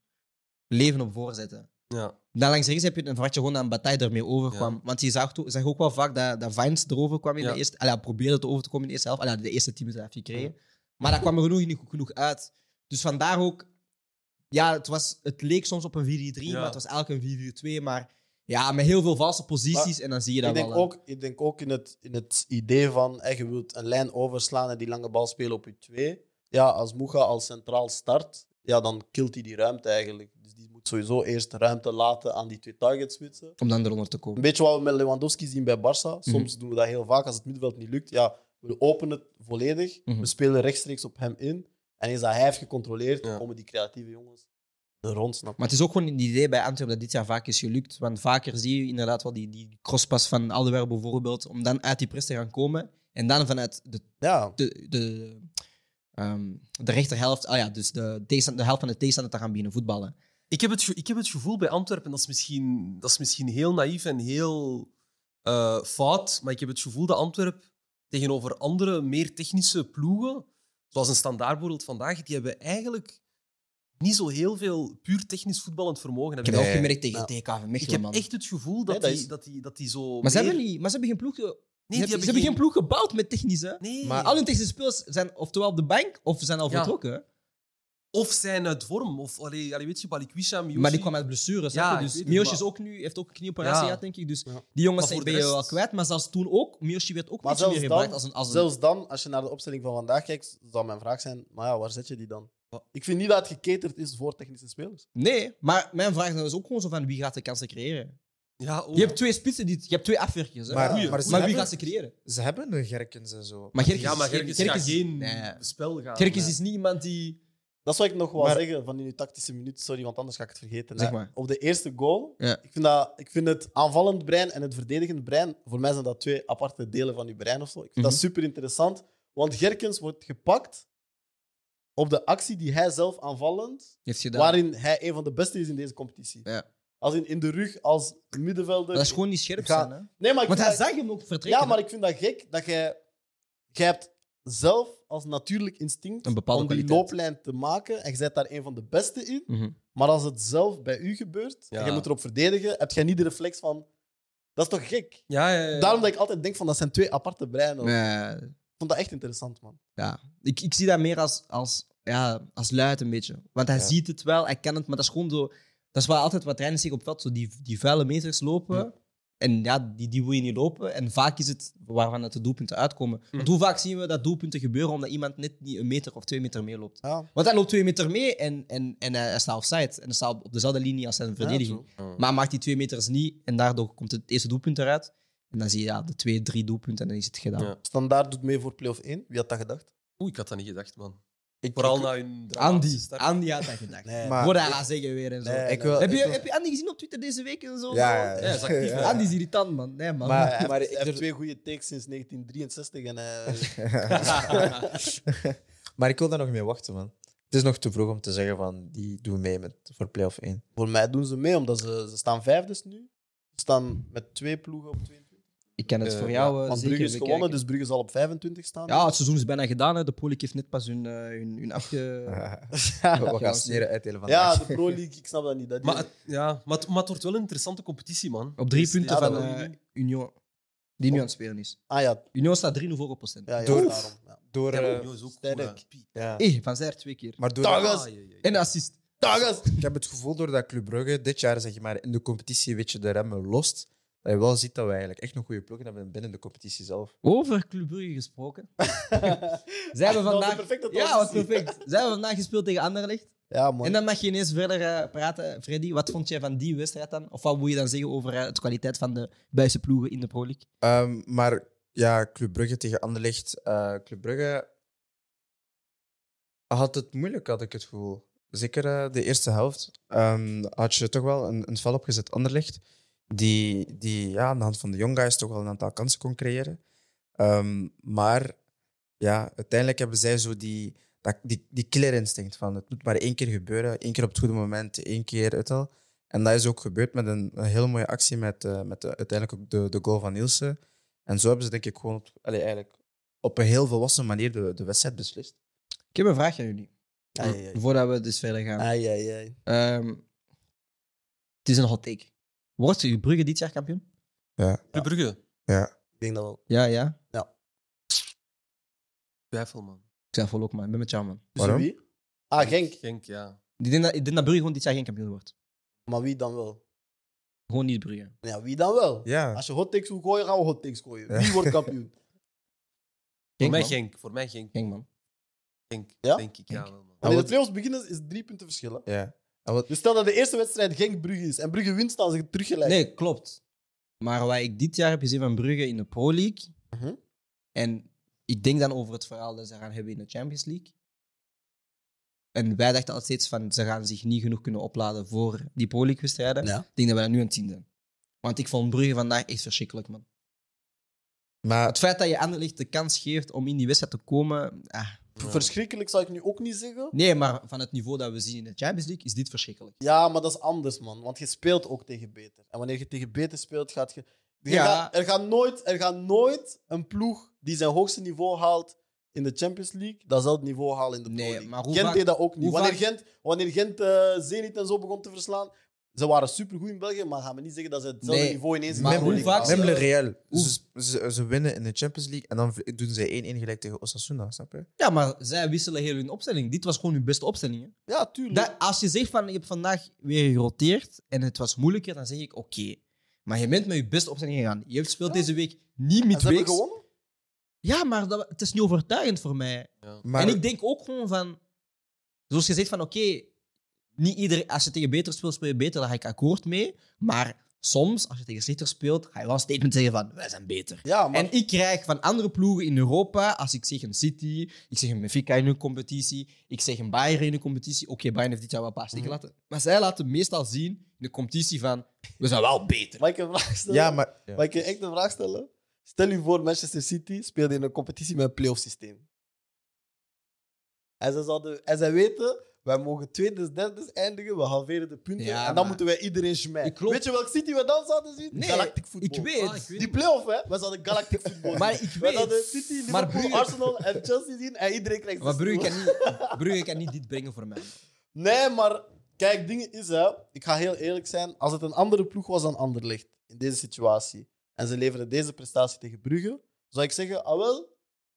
S1: leven op voorzetten.
S5: Ja.
S1: Dan langs rechts heb je een verwacht je gewoon dat Bataille ermee overkwam. Want je zag, to- zag ook wel vaak dat, dat Vines erover kwam in
S5: Ja.
S1: de eerste... Allee, hij probeerde het over te komen in de eerste helft. Allee, de eerste tien minuten heeft hij gekregen. Maar dat kwam er genoeg, niet goed genoeg uit. Dus vandaar ook... Ja, het, was, het leek soms op een 4-3,
S5: Ja.
S1: maar het was eigenlijk een 4-2. Maar ja, met heel veel valse posities. en dan zie je dat
S6: Ik denk,
S1: wel. hè.
S6: ook, ik denk ook in het, in het idee van hè, je wilt een lijn overslaan en die lange bal spelen op je 2. Ja, als Moega al centraal start, ja, dan kilt hij die ruimte eigenlijk. Dus die moet sowieso eerst ruimte laten aan die twee targetspitsen.
S1: Om dan eronder te
S6: Een
S1: komen.
S6: beetje wat we met Lewandowski zien bij
S1: Mhm.
S6: Barça. Soms doen we dat heel vaak als het middenveld niet lukt. Ja, we openen het volledig.
S1: Mhm.
S6: We spelen rechtstreeks op hem in. En eens dat hij heeft gecontroleerd,
S5: Ja.
S6: komen die creatieve jongens er rond. Snap. je?
S1: Maar het is ook gewoon een idee bij Antwerpen dat dit jaar vaak is gelukt. Want vaker zie je inderdaad wel die, die crosspas van Alderweireld bijvoorbeeld. Om dan uit die press te gaan komen. En dan vanuit de
S6: Ja,
S1: de, de, ehm, de rechterhelft, ah ja, dus de, tegenstand- de helft van de tegenstander te gaan beginnen voetballen.
S5: Ik, heb het, ge- ik heb het gevoel bij Antwerpen, dat is misschien, dat is misschien heel naïef en heel eh, fout, maar ik heb het gevoel dat Antwerpen tegenover andere, meer technische ploegen, zoals een standaard bijvoorbeeld vandaag, die hebben eigenlijk niet zo heel veel puur technisch voetballend vermogen.
S1: Ik heb
S5: Hebben.
S1: dat
S2: Nee.
S1: ook gemerkt tegen
S6: Ja.
S1: TKV
S5: Nou, Ik
S1: Mechelen,
S5: heb
S1: man.
S5: echt het gevoel dat,
S6: Nee, dat
S5: die,
S6: is-
S5: dat, die, dat die zo.
S1: Maar ze
S5: meer-
S1: hebben, niet, maar ze hebben geen ploeg... ge-
S5: Nee,
S1: ze, hebben, ze hebben geen ploeg gebouwd met technisch, hè.
S5: Nee.
S2: Maar-
S1: Al hun technische spelers zijn oftewel op de bank, of ze zijn al
S5: Ja.
S1: vertrokken. hè.
S5: Of zijn uit vorm. Of, allee, allee, weet je, Balikwisha, Miosi.
S1: Maar die kwam uit blessures.
S5: Ja,
S1: Ja,
S5: ik
S1: dus
S5: weet het,
S1: Miyoshi
S5: maar-
S1: is ook nu, heeft ook een knieoperatie
S5: Ja.
S1: gehad, denk ik. Dus
S6: Ja.
S1: die
S5: Maar
S1: jongens zijn
S5: voor de
S1: ben je wel
S5: rest-
S1: kwijt. Maar zelfs toen ook, Miyoshi werd ook
S6: Maar
S1: niet meer
S6: zelfs
S1: gebruikt
S6: dan-
S1: als een... Als een
S6: zelfs dan, als je naar de opstelling van vandaag kijkt, zou mijn vraag zijn: maar ja, waar zet je die dan? Ik vind niet dat het geketerd is voor technische spelers.
S1: Nee, maar mijn vraag is dan dus ook gewoon zo van, wie gaat de kansen creëren?
S5: Ja, oh. ook.
S1: Je hebt twee spitsen, die, je hebt twee afwerkers, hè.
S2: Maar-
S1: Maar,
S2: maar ze
S1: wie
S2: hebben-
S1: gaat ze creëren?
S2: Ze hebben de Gerkens en zo.
S1: Maar Gerkens,
S5: ja, maar
S1: is-
S5: Gerkens
S1: Gerkens
S5: gaat
S1: is-
S5: geen
S1: nee.
S5: spel gaan.
S1: Gerkens
S5: Nee.
S1: is niet iemand die
S6: Dat zou ik nog wel
S2: Maar-
S6: zeggen van in uw tactische minuut. Sorry, want anders ga ik het vergeten.
S1: Zeg
S6: hè.
S1: maar.
S6: Op de eerste goal.
S1: Ja.
S6: Ik, vind dat, ik vind het aanvallend brein en het verdedigend brein. Voor mij zijn dat twee aparte delen van uw brein of zo. Ik vind dat
S1: Mhm.
S6: super interessant. Want Gerkens wordt gepakt op de actie die hij zelf aanvallend.
S1: Heeft gedaan.
S6: waarin hij een van de beste is in deze competitie.
S1: Ja.
S6: Als in, in de rug, als middenvelder.
S1: Maar dat is gewoon niet scherp
S6: Ga-
S1: zijn. Hè?
S6: Nee, maar ik
S1: Want
S6: vind
S1: hij
S6: dat-
S1: zag hem ook vertrekken.
S6: ja, maar ik vind dat gek dat jij, jij hebt zelf als natuurlijk instinct
S1: Een bepaalde
S6: om die
S1: kwaliteit.
S6: looplijn te maken en je bent daar een van de beste in.
S1: Mhm.
S6: Maar als het zelf bij u gebeurt
S5: Ja.
S6: en je moet erop verdedigen, heb jij niet de reflex van dat is toch gek?
S5: Ja, ja, ja.
S6: Daarom dat ik altijd denk van dat zijn twee aparte breinen. Ik
S1: Nee,
S6: vond dat echt interessant, man.
S1: ja. ik, ik zie dat meer als, als, ja, als luid een beetje. Want hij
S2: Ja.
S1: ziet het wel, hij kent het, maar dat is gewoon zo... Dat is wel altijd wat trainers zeggen op het veld. Zo die, die vuile meters lopen. En ja, die, die wil je niet lopen. En vaak is het waarvan het de doelpunten uitkomen.
S6: Mhm.
S1: Want hoe vaak zien we dat doelpunten gebeuren omdat iemand net niet een meter of twee meter meeloopt?
S6: Ja.
S1: Want hij loopt twee meter mee en, en, en hij hij staat offside. En hij staat op dezelfde linie als zijn verdediging. Maar maakt die twee meters niet en daardoor komt het eerste doelpunt eruit. En dan zie je ja, de twee, drie doelpunten en dan is het gedaan.
S5: Ja.
S6: Standaard doet mee voor play-off 1. Wie had dat gedacht?
S5: Oeh, ik had dat niet gedacht, man.
S2: Ik,
S5: Vooral
S2: ik-
S5: na hun dramatische
S1: Andy,
S5: start.
S1: Andy had dat gedacht.
S6: Nee,
S2: Maar-
S1: Voor hij gaat zeggen weer en zo.
S6: Nee,
S2: ik wil,
S1: heb, je,
S2: ik wil-
S1: heb je Andy gezien op Twitter deze week en zo?
S2: Ja, ja,
S5: Ja, dat is actief, hè.
S1: Andy is irritant, man. Nee, man.
S2: Maar-
S6: hij heeft,
S2: ik
S6: hij heeft
S2: durf-
S6: twee goede takes sinds 1963 en eh, hij-
S2: maar ik wil daar nog mee wachten, man. Het is nog te vroeg om te zeggen van die doen mee met, voor play-off 1.
S6: voor mij doen ze mee, omdat ze, ze staan vijfdes nu. Ze staan met twee ploegen op 22.
S1: ik ken het
S5: Eh,
S1: voor
S5: ja,
S1: jou eh,
S6: Want
S1: zeker
S6: Brugge is
S1: bekijken.
S6: gewonnen, dus Brugge zal op 25 staan.
S1: Ja, het seizoen is bijna gedaan. Hè. De Polik heeft net pas hun, eh, hun, hun afge...
S2: We gaan sneren uit hele
S6: Ja,
S2: vandaag.
S6: de Pro League, ik snap dat niet. Dat
S5: Maar, het, ja, maar, het, maar het wordt wel een interessante competitie, man.
S1: Op drie
S5: Dus,
S1: punten
S5: ja,
S1: van
S5: dat wil je
S1: eh,
S5: niet.
S1: Union. Die nu aan het spelen is.
S6: Ah ja,
S1: Union staat 3-0 voor op procent.
S6: ja, ja
S2: Door-
S6: daarom. Ja.
S2: Door,
S5: Ja, maar
S2: eh,
S5: Union is ook
S6: sterk.
S5: goed, hè.
S2: ja.
S1: Hey, Eh, van Zijr twee keer.
S2: Maar door,
S6: Dag,
S5: Ah, ja, ja, ja.
S1: En assist.
S2: ik heb het gevoel door dat Club Brugge dit jaar zeg je maar, in de competitie weet je de remmen lost. Dat je wel ziet dat we eigenlijk echt een goede ploegen hebben binnen de competitie zelf.
S1: Over Club Brugge gesproken. Zij hebben
S6: Dat was
S1: vandaag...
S6: een perfecte
S1: Ja, wat
S6: transitie.
S1: perfect. Zij hebben vandaag gespeeld tegen Anderlecht.
S6: Ja, man.
S1: En dan mag je ineens verder eh, praten, Freddy. Wat vond jij van die wedstrijd dan? Of wat moet je dan zeggen over eh, het kwaliteit van de Buisse ploegen in de Pro League?
S2: Ehm, maar ja, Club Brugge tegen Anderlecht. eh Club Brugge had het moeilijk, had ik het gevoel. Zeker eh, de eerste helft ehm, had je toch wel een, een val opgezet Anderlecht. Die, die ja, aan de hand van de young guys toch wel een aantal kansen kon creëren. Ehm, maar ja, uiteindelijk hebben zij zo die, dat, die, die killer instinct van het moet maar één keer gebeuren. één keer op het goede moment, één keer het al. En dat is ook gebeurd met een, een heel mooie actie met, eh, met de- uiteindelijk ook de, de goal van Nielsen. En zo hebben ze denk ik gewoon op, allee, eigenlijk op een heel volwassen manier de, de wedstrijd beslist.
S1: Ik heb een vraag aan jullie.
S6: Ai, ai, ai.
S1: Voordat we dus verder gaan.
S6: Ai, ai, ai.
S1: Ehm, het is een hot take. Wordt Brugge dit jaar kampioen?
S5: Club Brugge,
S6: Ik denk dat wel.
S1: Ja, ja.
S5: twijfel, man.
S1: Ik zeg volop, man. Ik ben met jou, man.
S6: Dus
S2: Waarom?
S6: wie? Ah, Genk.
S5: Genk, ja.
S1: Ik denk dat, ik denk dat Brugge gewoon dit jaar geen kampioen wordt.
S6: Maar wie dan wel?
S1: Gewoon niet Brugge.
S6: Ja, wie dan wel?
S2: Ja,
S6: Als je hot takes wil gooien, gaan we hot takes gooien.
S2: Ja.
S6: Wie wordt kampioen?
S5: Voor mij
S1: man.
S5: Genk. Voor mij Genk.
S1: Genk, man.
S5: Genk,
S6: Ja?
S5: denk ik. Ja,
S2: Genk.
S5: wel, man.
S6: Wanneer de
S2: wat-
S6: playoffs beginnen, is drie punten verschil. hè.
S2: ja. En wat,
S6: Dus stel dat de eerste wedstrijd Genk-Brugge is en Brugge wint, staan ze teruggelijk.
S1: Nee, klopt. Maar wat ik dit jaar heb gezien van Brugge in de Pro League.
S6: Mhm.
S1: En ik denk dan over het verhaal dat ze gaan hebben in de Champions League. En wij dachten altijd steeds van ze gaan zich niet genoeg kunnen opladen voor die Pro League wedstrijden.
S6: Ja.
S1: Ik denk dat we dat nu aan het zien zijn. Want ik vond Brugge vandaag echt verschrikkelijk, man.
S2: maar
S1: Het feit dat je Anderlecht de kans geeft om in die wedstrijd te komen. ah.
S5: Ja.
S6: Verschrikkelijk zou ik nu ook niet zeggen.
S1: Nee, maar van het niveau dat we zien in de Champions League is dit verschrikkelijk.
S6: Ja, maar dat is anders, man. Want je speelt ook tegen beter. En wanneer je tegen beter speelt, gaat je. je
S1: Ja.
S6: gaat- er, gaat nooit, er gaat nooit een ploeg die zijn hoogste niveau haalt in de Champions League, datzelfde niveau halen in de Pro
S1: Nee,
S6: League.
S1: maar hoe
S6: Gent
S1: vaak-
S6: deed dat ook niet.
S1: hoe
S6: Wanneer
S1: vaak-
S6: Gent, wanneer Gent eh, Zenit en zo begon te verslaan, ze waren supergoed in België, maar gaan we niet zeggen dat ze hetzelfde
S1: Nee,
S6: niveau ineens in
S1: maar
S6: de Pro
S1: hoe
S6: League
S1: vaak
S6: halen.
S1: ze-
S2: Memle Real,
S1: Oef.
S2: ze, ze, ze winnen in de Champions League en dan v- doen ze 1-1 gelijk tegen Osasuna, snap je?
S1: Ja, maar zij wisselen heel hun opstelling. Dit was gewoon hun beste opstelling. Hè?
S6: Ja, tuurlijk.
S1: Dat- als je zegt van je hebt vandaag weer geroteerd en het was moeilijker, dan zeg ik oké. Maar je bent met je beste opstelling gegaan. Je hebt speelt
S6: Ja.
S1: deze week niet
S6: en ze hebben
S1: midweeks.
S6: gewonnen.
S1: Ja, maar dat, het is niet overtuigend voor mij.
S2: Maar,
S1: En ik denk ook gewoon van, zoals je zegt van oké, niet ieder, als je tegen beter speelt, speel je beter, daar ga ik akkoord mee. Maar soms, als je tegen Slichter speelt, ga je wel een statement zeggen van wij zijn beter.
S6: Ja, maar
S1: En ik krijg van andere ploegen in Europa, als ik zeg een City, ik zeg een Benfica in hun competitie, ik zeg een Bayern in hun competitie. Oké, Bayern heeft dit jaar wel een paar steken
S6: Mhm.
S1: laten. Maar zij laten meestal zien in de competitie van, we zijn wel beter.
S6: mag ik een vraag stellen?
S2: Ja, maar
S6: Mag ik je echt een vraag stellen? Stel u voor, Manchester City speelde in een competitie met een playoff systeem. En zij, zouden, en zij weten, wij mogen tweede, derde eindigen, we halveren de punten.
S1: Ja,
S6: en dan
S1: maar-
S6: moeten wij iedereen smijten.
S1: Ik geloof-
S6: Weet je welk City we dan zouden zien?
S1: Nee,
S6: Galactic voetbal.
S1: Ik weet,
S5: Ah, ik weet
S6: Die play-off, hè? We zouden Galactic voetbal
S1: maar ik
S6: We
S1: weet.
S6: zouden City,
S1: Maar
S6: Liverpool,
S1: Brugge-
S6: Arsenal en Chelsea zien en iedereen krijgt
S1: Maar
S6: zes
S1: Brugge
S6: nul.
S1: kan, niet, Brugge kan niet dit brengen voor mij.
S6: Nee, maar kijk, dingen is hè. Ik ga heel eerlijk zijn. Als het een andere ploeg was dan Anderlecht in deze situatie en ze leveren deze prestatie tegen Brugge, zou ik zeggen, ah wel,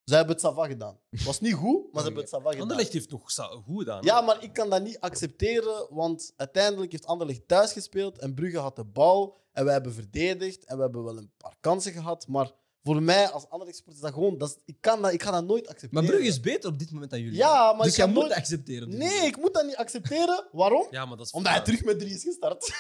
S6: zij hebben het sava gedaan. Het was niet goed, maar ze hebben het sava gedaan.
S5: Anderlecht heeft nog sta- goed gedaan.
S6: Ja, maar ik kan dat niet accepteren, want uiteindelijk heeft Anderlecht thuis gespeeld en Brugge had de bal en wij hebben verdedigd en we hebben wel een paar kansen gehad, maar voor mij als Anderlecht sport is dat gewoon, dat is- ik, kan dat, ik ga dat nooit accepteren.
S1: Maar Brugge is beter op dit moment dan jullie.
S6: Ja, maar
S1: dus
S6: ik
S1: jij
S6: kan
S1: moet
S6: nooit-
S1: dat accepteren. op dit
S6: Nee,
S1: moment.
S6: ik moet dat niet accepteren. Waarom?
S5: Ja, maar dat is...
S6: Omdat hij terug met drie is gestart.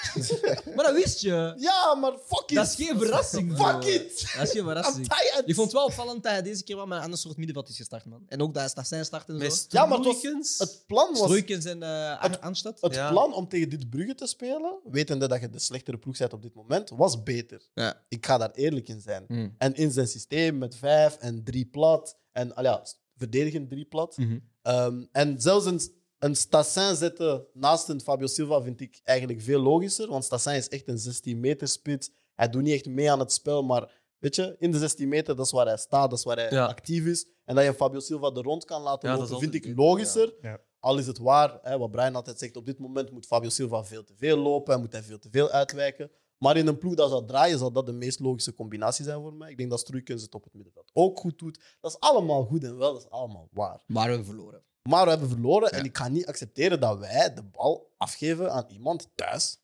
S1: Maar dat wist je.
S6: Ja, maar fuck it.
S1: Dat is geen verrassing.
S6: Fuck
S1: bro.
S6: it.
S1: Dat is geen
S6: I'm
S1: verrassing.
S6: tired.
S1: Ik vond het wel opvallend dat hij deze keer wel met een ander soort middenveld is gestart, man. En ook dat, dat zijn start en zo.
S5: Met
S6: Ja, maar het was-
S5: Stoelikens.
S6: Het plan was...
S1: Struikens en eh Ar- Arnstad.
S6: Het
S5: Ja.
S6: plan om tegen dit Brugge te spelen, wetende dat je de slechtere ploeg bent op dit moment, was beter.
S1: Ja.
S6: Ik ga daar eerlijk in zijn.
S1: Mm.
S6: En in zijn systeem met vijf en drie plat. En al ja, verdedigend drie plat.
S1: Mhm.
S6: Ehm, en zelfs een, een Stassin zetten naast een Fabio Silva vind ik eigenlijk veel logischer. Want Stassin is echt een 16 meter spits. Hij doet niet echt mee aan het spel, maar weet je, in de 16 meter, dat is waar hij staat, dat is waar hij
S5: Ja.
S6: actief is. En dat je Fabio Silva er rond kan laten
S5: Ja, dat
S6: lopen,
S5: is
S6: vind
S5: altijd
S6: ik
S5: beter,
S6: logischer.
S2: ja. Ja.
S6: Al is het waar, hè, wat Brian altijd zegt, op dit moment moet Fabio Silva veel te veel lopen en moet hij veel te veel uitwijken. Maar in een ploeg dat zou draaien, zal dat de meest logische combinatie zijn voor mij. Ik denk dat Struikens het op het middenveld ook goed doet. Dat is allemaal goed en wel, dat is allemaal waar.
S1: Maar we hebben verloren.
S6: Maar we hebben verloren en ik ga niet accepteren dat wij de bal afgeven aan iemand thuis.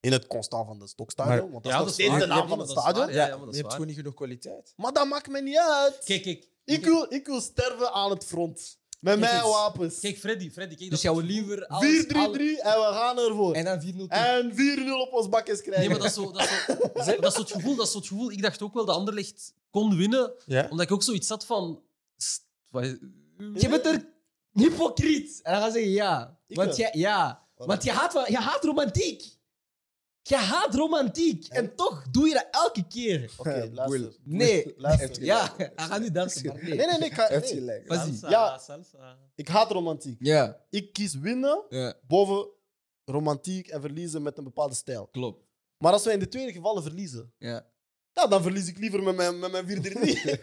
S6: In het constant van de stokstadion.
S2: Maar-
S6: want dat
S5: Ja,
S6: is nog steeds
S5: waar.
S6: de naam van
S5: Ja, maar
S6: het
S5: dat is waar.
S6: stadion.
S5: Ja, ja, maar dat
S2: je
S5: is
S2: hebt
S5: waar.
S2: gewoon niet genoeg kwaliteit.
S6: Maar dat maakt me niet uit.
S5: Kijk, kijk.
S6: ik, wil, ik wil sterven aan het front. Met
S5: Kijk
S6: mijn
S5: eens.
S6: wapens. 4-3-3
S5: Kijk, Freddy, Freddy. Kijk,
S1: Dus
S5: dat-
S1: jouw liever
S6: en
S1: alles... alle-
S6: we gaan ervoor.
S1: En
S6: En,
S1: dan 4 0
S6: 4-0 op ons bakjes krijgen.
S5: Nee, maar dat is zo... Dat is zo, dat is zo het gevoel, dat is zo het gevoel. Ik dacht ook wel dat Anderlecht kon winnen.
S2: Ja?
S5: Omdat ik ook zoiets had van... st- wat is-
S1: Je bent er hypocriet. En dan gaan ze zeggen ja.
S6: Ik
S1: Want,
S6: wel.
S1: jij, ja. Want je, haat, wel- je haat romantiek. Je haat romantiek. En toch doe je dat elke keer.
S6: Oké,
S2: Eh,
S6: luister.
S1: Nee.
S6: luister.
S1: Ja, hij gaat nu dansen. maar
S6: Nee,
S1: nee.
S6: nee, nee. Ik, ga-
S2: Heeft
S6: nee.
S2: gelijk.
S1: Pas-
S5: Salsa,
S6: Ja.
S5: salsa.
S6: ik haat romantiek.
S1: Ja,
S6: Ik kies winnen
S1: ja,
S6: boven romantiek en verliezen met een bepaalde stijl.
S1: klopt.
S6: Maar als wij in de tweede gevallen verliezen,
S1: Ja.
S6: ja, dan verlies ik liever met mijn, met mijn 4-3.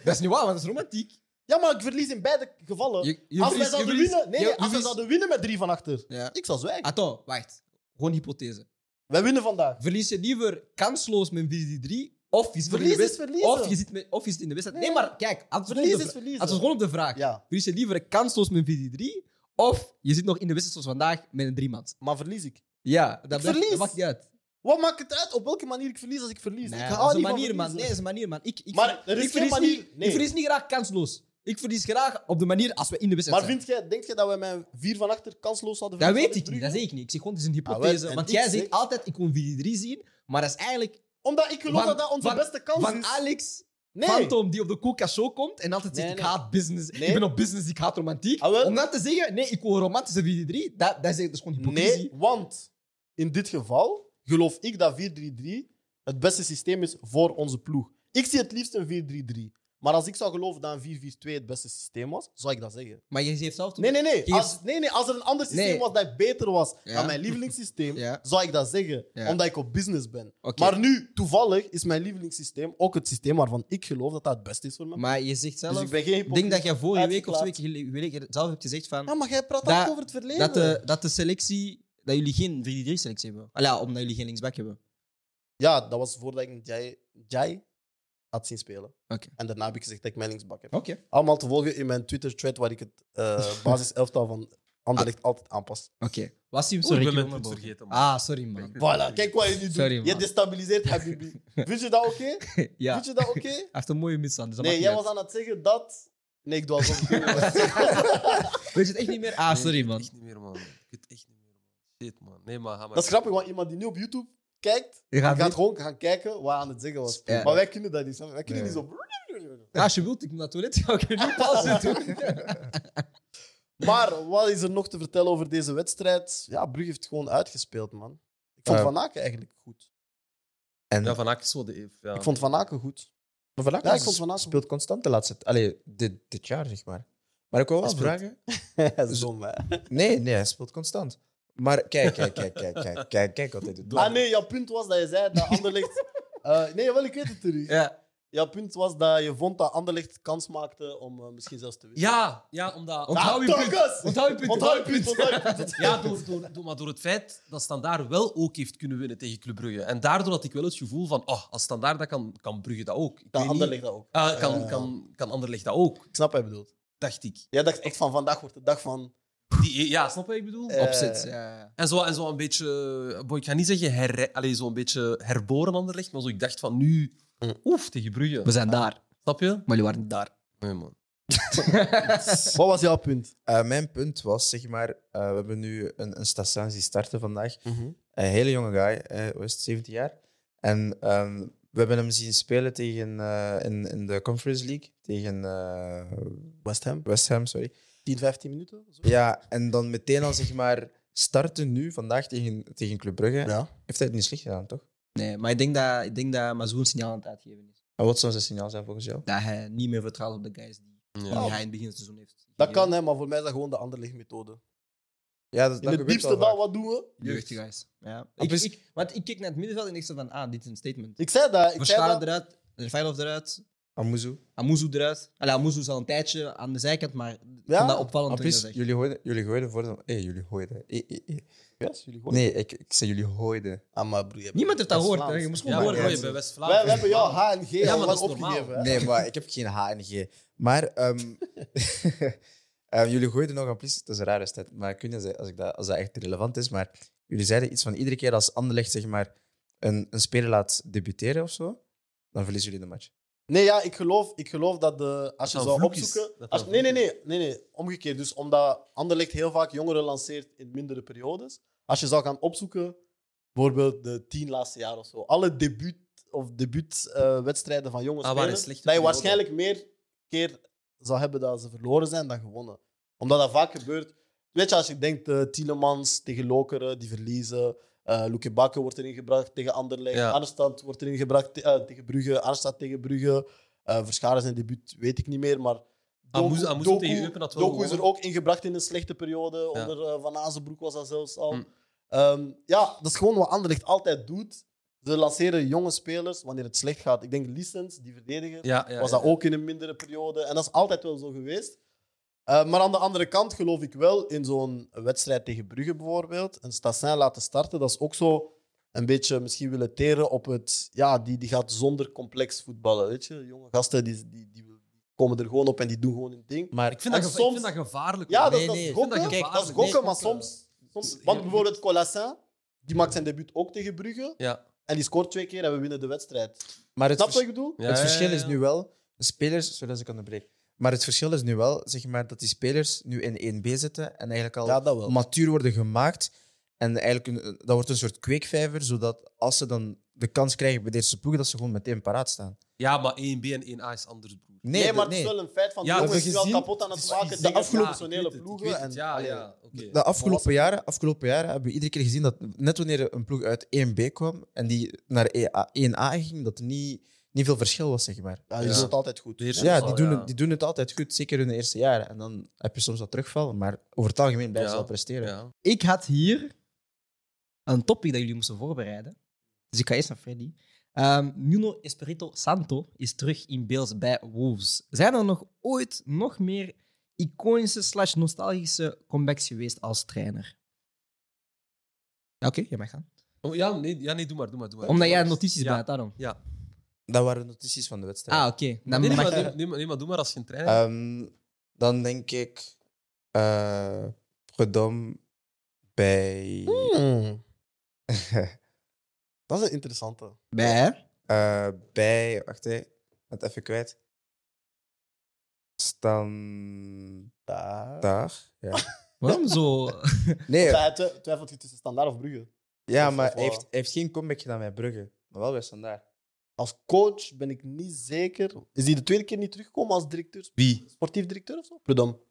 S1: Dat is niet waar, want dat is romantiek.
S6: ja, maar ik verlies in beide gevallen.
S1: Je, je
S6: als wij
S1: verliest- je
S6: zouden
S1: verliest-
S6: winnen, nee,
S1: je-
S6: nee,
S1: je
S6: als wij
S1: verliest-
S6: zouden winnen met drie van achter,
S1: Ja.
S6: ik zou zwijgen.
S1: Attends, wacht. Gewoon hypothese.
S6: Wij winnen vandaag.
S1: Verlies je liever kansloos met 4-3 of je zit in de
S6: Verlies is
S1: wedstrijd-
S6: verliezen.
S1: of je zit met- of je zit in de wedstrijd. Nee, maar kijk, antwoord
S6: Verlies
S1: op de
S6: is
S1: vra-
S6: verliezen.
S1: antwoord gewoon op de vraag.
S6: Ja,
S1: Verlies Dus je liever kansloos met 4-3 of je zit nog in de wedstrijd zoals vandaag met een driemand?
S6: maar verlies ik.
S1: Ja, dat, blijft-
S6: verlies.
S1: dat maakt niet uit.
S6: Wat maakt het uit op welke manier ik verlies als ik verlies?
S1: Nee,
S6: ik
S1: dat
S6: hou
S1: is een
S6: niet van
S1: manier, man.
S6: verliezen.
S1: Nee, dat is een manier, man. Ik, ik,
S6: Maar er is
S1: ik
S6: geen
S1: verlies
S6: manier-
S1: Niet,
S6: nee.
S1: Ik verlies niet graag kansloos. Ik verlies graag op de manier als we in de wedstrijd
S6: Maar
S1: zijn.
S6: vind jij, denk jij dat wij mijn vier van achter kansloos hadden
S1: Dat
S6: verliezen
S1: weet ik
S6: met
S1: niet, dat zeg
S6: Brugge?
S1: ik niet. Ik zeg gewoon, het is een
S6: Ah, wel,
S1: hypothese.
S6: en
S1: want
S6: ik
S1: jij
S6: zeg-
S1: zegt altijd, ik kon 4-3 zien, maar dat is eigenlijk
S6: Omdat ik geloof
S1: Van-
S6: dat dat onze
S1: van-
S6: beste kans
S1: van
S6: is.
S1: Alex
S6: nee.
S1: Phantom die op de Coca Show komt en altijd zegt:
S6: Nee,
S1: Ik
S6: nee.
S1: haat business.
S6: Nee.
S1: Ik ben op business, ik haat romantiek.
S6: Ah, wel.
S1: Om dan te zeggen: Nee, ik wil romantische 4-3, dat, dat, is, dat is gewoon hypocrisie.
S6: Nee, want in dit geval geloof ik dat 4-3-3 het beste systeem is voor onze ploeg. Ik zie het liefst een 4-3-3. Maar als ik zou geloven dat een 4-4-2 het beste systeem was, zou ik dat zeggen.
S1: Maar je zegt zelf toch-
S6: Nee, nee, nee.
S1: Geef-
S6: Als, nee, nee, als er een ander systeem
S1: Nee.
S6: was dat beter was
S1: Ja.
S6: dan mijn lievelingssysteem,
S1: Ja.
S6: zou ik dat zeggen.
S1: Ja.
S6: Omdat ik op business ben.
S1: Oké.
S6: Maar nu, toevallig, is mijn lievelingssysteem ook het systeem waarvan ik geloof dat dat het beste is voor mij.
S1: Maar je zegt zelf:
S6: dus ik ben geen
S1: Ik denk dat jij vorige week of twee
S6: uitgeklaard.
S1: keer gele- geleden zelf hebt gezegd van,
S6: Ja, Ah, maar jij praat
S1: Dat-
S6: altijd over het verleden.
S1: dat, eh, de, dat de selectie. Dat jullie geen 4-3-selectie hebben. Ah, ja, omdat jullie geen linksback hebben.
S6: Ja, dat was voordat ik Jai, Jai had zien spelen.
S1: Oké.
S6: En daarna heb ik gezegd dat ik mijn linksbak heb.
S1: Oké.
S6: Allemaal te volgen in mijn Twitter-thread waar ik het eh basiselftal van Anderlecht
S1: Ah.
S6: altijd aanpas.
S1: Oké. Wassim,
S5: Oeh,
S1: sorry.
S5: Oh, ik ben
S1: ik
S5: mijn
S1: heb
S5: punt
S1: onderbroken.
S5: vergeten, man.
S1: Ah, sorry, man.
S6: Voilà, kijk wat je nu doet.
S1: Sorry, man.
S6: je destabiliseert Habibi. Vind je dat oké?
S1: ja.
S6: Vind
S1: Hij
S6: je dat oké?
S1: heeft een mooie mis aan. Dus dat
S6: Nee,
S1: maakt
S6: jij
S1: niet
S6: was aan het zeggen dat... Nee, ik doe alsof ik het was.
S1: uit. Weet je het echt niet meer? Ah,
S5: Nee,
S1: sorry,
S5: ik weet
S1: man.
S5: het echt niet meer, man. Ik weet het echt niet meer, man. Shit, man. Nee, maar ga maar.
S6: Dat is grappig, want iemand die nu op YouTube kijkt,
S1: Ah, Je
S6: je
S1: gaat
S6: gaat,
S1: niet-
S6: gewoon gaan kijken wat hij aan het zeggen was.
S1: Ja.
S6: Maar wij kunnen dat niet. snap je? Wij kunnen
S2: Nee.
S6: niet zo...
S1: Ja, als je wilt, Ah, ik moet naar het toilet. Ga ik er niet pas doen.
S6: Maar wat is er nog te vertellen over deze wedstrijd? Ja, Brugge heeft gewoon uitgespeeld, man. Ik vond
S1: Eh.
S2: Ja.
S6: Van Aken eigenlijk goed.
S2: En
S5: Ja, Van Aken is wel de Eve. Ja.
S6: Ik vond Van Aken goed.
S2: maar Van Aken
S6: Ja, ik vond Van Aken-
S2: speelt constant de laatste tijd. Allee, dit, dit jaar, zeg maar. Maar ik wil wel
S6: Hij speelt-
S2: vragen...
S6: dat is dom, hè?
S2: Nee, nee, hij speelt constant. Maar kijk, kijk, kijk, kijk, kijk, kijk, kijk wat hij doet.
S6: Ah nee, jouw punt was dat je zei dat Anderlecht... Eh, nee, wel, ik weet het terug.
S1: Ja.
S6: Jouw punt was dat je vond dat Anderlecht kans maakte om eh, misschien zelfs te winnen.
S5: Ja, ja, omdat...
S1: Onthoud
S6: Ah,
S1: je punt.
S6: telkens!
S1: Onthoud je punt.
S6: Onthoud je punt, onthoud je punt.
S5: Ja, door, door, door- maar door het feit dat Standaard wel ook heeft kunnen winnen tegen Club Brugge. En daardoor had ik wel het gevoel van, oh, als Standaard dat kan, kan Brugge dat ook. Ik
S6: Dat
S5: weet niet-
S6: Anderlecht dat ook.
S5: Ah, kan,
S6: Ja.
S5: kan, kan Anderlecht dat ook,
S6: Ik snap wat je bedoelt.
S5: dacht ik.
S6: Jij dacht echt van vandaag wordt de dag van...
S5: Die, ja, snap je wat ik bedoel?
S6: Eh.
S1: Opzet, ja. ja.
S5: En zo, en zo een beetje, eh, boy, ik ga niet zeggen her, allez, zo een beetje herboren Anderlecht, maar zo, ik dacht van nu,
S6: Mm.
S5: oef, tegen Brugge.
S1: We zijn daar,
S5: Snap je?
S1: maar jullie waren niet daar.
S5: Nee, man.
S6: Wat was jouw punt?
S2: Eh, mijn punt was, zeg maar, eh, we hebben nu een, een station die starten vandaag.
S5: Mhm.
S2: Een hele jonge guy, eh, hoe is het, 17 jaar. En ehm, we hebben hem zien spelen tegen, eh, in, in de Conference League tegen eh,
S6: West Ham.
S2: West Ham. Sorry.
S6: 10, 15 minuten? Zo.
S2: Ja, en dan meteen al zeg maar starten nu vandaag tegen, tegen Club Brugge.
S6: Ja.
S2: Heeft hij het niet slecht gedaan, toch?
S1: Nee, maar ik denk dat, ik denk dat Mazou een signaal aan het uitgeven is.
S2: En wat zou zijn signaal zijn volgens jou?
S1: Dat hij niet meer vertrouwt op de guys die, die
S5: Ja.
S1: hij in het begin van het seizoen heeft.
S6: Dat kan, hè, maar voor mij is dat gewoon de Anderlecht-methode.
S2: Ja, dat,
S6: In
S2: dat
S6: het
S2: gebeurt
S6: diepste
S2: wel
S6: dal,
S2: vaak.
S6: wat doen we?
S1: Jeugdige guys. Ja.
S2: Ah,
S1: Ik,
S2: precies.
S1: ik, want ik keek naar het middenveld en ik zei van, ah, dit is een statement.
S6: Ik zei dat. Ik zei
S1: Verscharen
S6: dat.
S1: eruit, Rafaelov eruit,
S2: Amuzu.
S1: Amuzu eruit. Allee, Amuzu is al een tijdje aan de zijkant, maar ik
S6: Ja,
S1: vond dat opvallend
S2: En
S1: toen je
S2: plus,
S1: dat zegt.
S2: jullie gooiden, jullie gooiden voor de... Hey, jullie gooiden. Eh, eh, eh.
S6: Yes, jullie gooien.
S2: Nee, ik, ik zei jullie gooiden.
S6: Ah, maar broer, je hebt-
S1: Niemand heeft dat
S6: is
S1: gehoord,
S6: Vlaams.
S1: hè. Je moest
S5: Ja,
S1: gewoon
S5: hoor,
S1: maar-
S5: hoor, je
S1: Ja.
S5: bij West
S6: Wij,
S5: Vlaanderen.
S6: we hebben jouw H en G
S5: Ja,
S6: al
S5: maar dat
S6: lang
S5: is normaal.
S6: opgegeven. hè.
S2: Nee, maar ik heb geen H en G. Maar ehm, ehm, jullie gooiden nog een plus. Dat is een rare stat. Maar ik weet niet als, ik dat, als dat echt relevant is. Maar jullie zeiden iets van iedere keer als Anderlecht zeg maar, een, een speler laat debuteren of zo, dan verliezen jullie de match.
S6: Nee, ja, ik geloof, ik geloof dat de, als je
S5: Dat
S6: zou
S5: vloek is.
S6: opzoeken.
S5: Dat
S6: Als,
S5: dat
S6: nee, nee,
S5: vloek
S6: nee, nee, nee. Omgekeerd. Dus omdat Anderlecht heel vaak jongeren lanceert in mindere periodes. Als je zou gaan opzoeken, bijvoorbeeld de tien laatste jaar of zo. Alle debuut- of debuutwedstrijden van jonge
S5: Ah, waar
S6: spelers.
S5: een slechte
S6: Dat je
S5: periode.
S6: waarschijnlijk meer keer zou hebben dat ze verloren zijn dan gewonnen. Omdat dat vaak gebeurt. Weet je, als je denkt, eh Tielemans tegen Lokeren, die verliezen. eh Luke Bakke wordt erin gebracht tegen Anderlecht.
S5: Ja.
S6: Arnstad wordt erin gebracht te- eh, tegen Brugge. Arnstad tegen Brugge. Eh Verscharen zijn debuut weet ik niet meer, maar...
S5: Amoes-
S6: Doku-
S5: Amoes
S6: Doku-
S5: ah, tegen Eupen had wel
S6: Doku is er
S5: gewonnen.
S6: ook ingebracht in een slechte periode.
S5: Ja.
S6: Onder eh, Van Azenbroek was dat zelfs al.
S5: Hm.
S6: Ehm, ja, dat is gewoon wat Anderlecht altijd doet. Ze lanceren jonge spelers wanneer het slecht gaat. Ik denk Lissens, die verdediger,
S5: Ja, ja,
S6: was
S5: ja.
S6: dat ook in een mindere periode. En dat is altijd wel zo geweest. Eh, maar aan de andere kant geloof ik wel in zo'n wedstrijd tegen Brugge bijvoorbeeld. Een Stassin laten starten, dat is ook zo een beetje misschien willen teren op het... Ja, die, die gaat zonder complex voetballen, weet je. Jonge gasten, die, die, die komen er gewoon op en die doen gewoon hun ding.
S2: Maar
S5: Ik vind, dat
S6: En
S5: geva-
S6: soms-
S5: ik vind dat gevaarlijk.
S6: Ja,
S5: hoor.
S6: dat,
S1: Nee,
S6: dat,
S1: nee,
S6: is
S1: ik
S5: vind dat
S6: gokken. dat
S5: gevaarlijk.
S6: is gokken,
S5: Nee,
S6: maar
S5: gokken.
S6: soms... soms
S5: Heel
S6: want bijvoorbeeld Colassin, die maakt zijn debuut ook tegen Brugge.
S5: Ja.
S6: En die scoort twee keer en we winnen de wedstrijd.
S2: Maar het,
S6: Snap je
S2: vers-
S6: wat ik bedoel?
S5: Ja,
S2: het
S5: ja,
S2: verschil
S5: ja,
S2: is
S5: ja.
S2: nu wel... de Spelers... Sorry dat ik onderbreek. Maar het verschil is nu wel zeg maar, dat die spelers nu in 1B zitten en eigenlijk al...
S6: dat wel.
S2: matuur worden gemaakt. En eigenlijk een, dat wordt een soort kweekvijver, zodat als ze dan de kans krijgen bij deze ploegen, dat ze gewoon meteen paraat staan.
S5: Ja, maar 1B en 1A is anders, broer.
S6: Nee,
S2: dat-
S6: maar het is wel een feit van
S5: Ja,
S6: die jongens
S2: heb je
S6: die wel
S2: gezien?
S6: kapot aan het
S5: Dus
S6: maken.
S5: ik
S6: De
S5: zeg het,
S6: afgelopen
S5: ja, ik weet het, ik
S6: ploegen.
S5: weet het,
S6: en,
S5: ja,
S6: allee,
S5: ja, oké.
S2: De
S6: Oh,
S2: afgelopen jaren, afgelopen jaren hebben we iedere keer gezien dat net wanneer een ploeg uit 1B kwam en die naar E EA 1A ging, dat er niet, niet veel verschil was, zeg maar. Dus
S6: Ja, die
S5: Ja.
S6: doen het altijd goed.
S5: De eerste
S2: Ja,
S5: zal,
S2: die doen,
S5: ja.
S2: het- die doen het altijd goed, zeker hun eerste jaren. En dan heb je soms wat terugval, maar over het algemeen blijven
S5: Ja.
S2: ze wel presteren.
S5: Ja.
S1: Ik had hier een topic dat jullie moesten voorbereiden. Dus ik ga eerst naar Freddy. Ehm, Nuno Espirito Santo is terug in beeld bij Wolves. Zijn er nog ooit nog meer iconische slash nostalgische comebacks geweest als trainer? Ja, Oké, jij mag gaan.
S5: Oh, ja, nee, ja, nee, doe maar, doe maar. Doe maar.
S1: Omdat jij notities
S5: ja.
S1: bij daarom.
S5: Ja.
S2: Dat waren notities van de wedstrijd.
S1: Ah, oké. Dan
S5: Nee, nee,
S1: mag-
S5: maar, nee, nee, maar, nee, maar doe maar als je een trainer
S2: Ehm, dan denk ik eh Predom bij,
S6: Hmm. Dat is een interessante.
S1: bij, hè?
S2: eh, bij, wacht hè, ik ben het even kwijt. Standaard.
S6: Daar.
S2: Ja.
S1: Waarom zo?
S2: Nee,
S6: Twijfelt je tussen standaard of Brugge?
S2: Ja,
S6: Of-
S2: maar
S6: of
S2: hij
S6: wat?
S2: heeft, hij heeft geen comeback gedaan bij Brugge. Maar wel bij Standaard.
S6: Als coach ben ik niet zeker. Is hij de tweede keer niet teruggekomen als directeur,
S5: Wie?
S6: sportief directeur of zo? Prudom. Nee,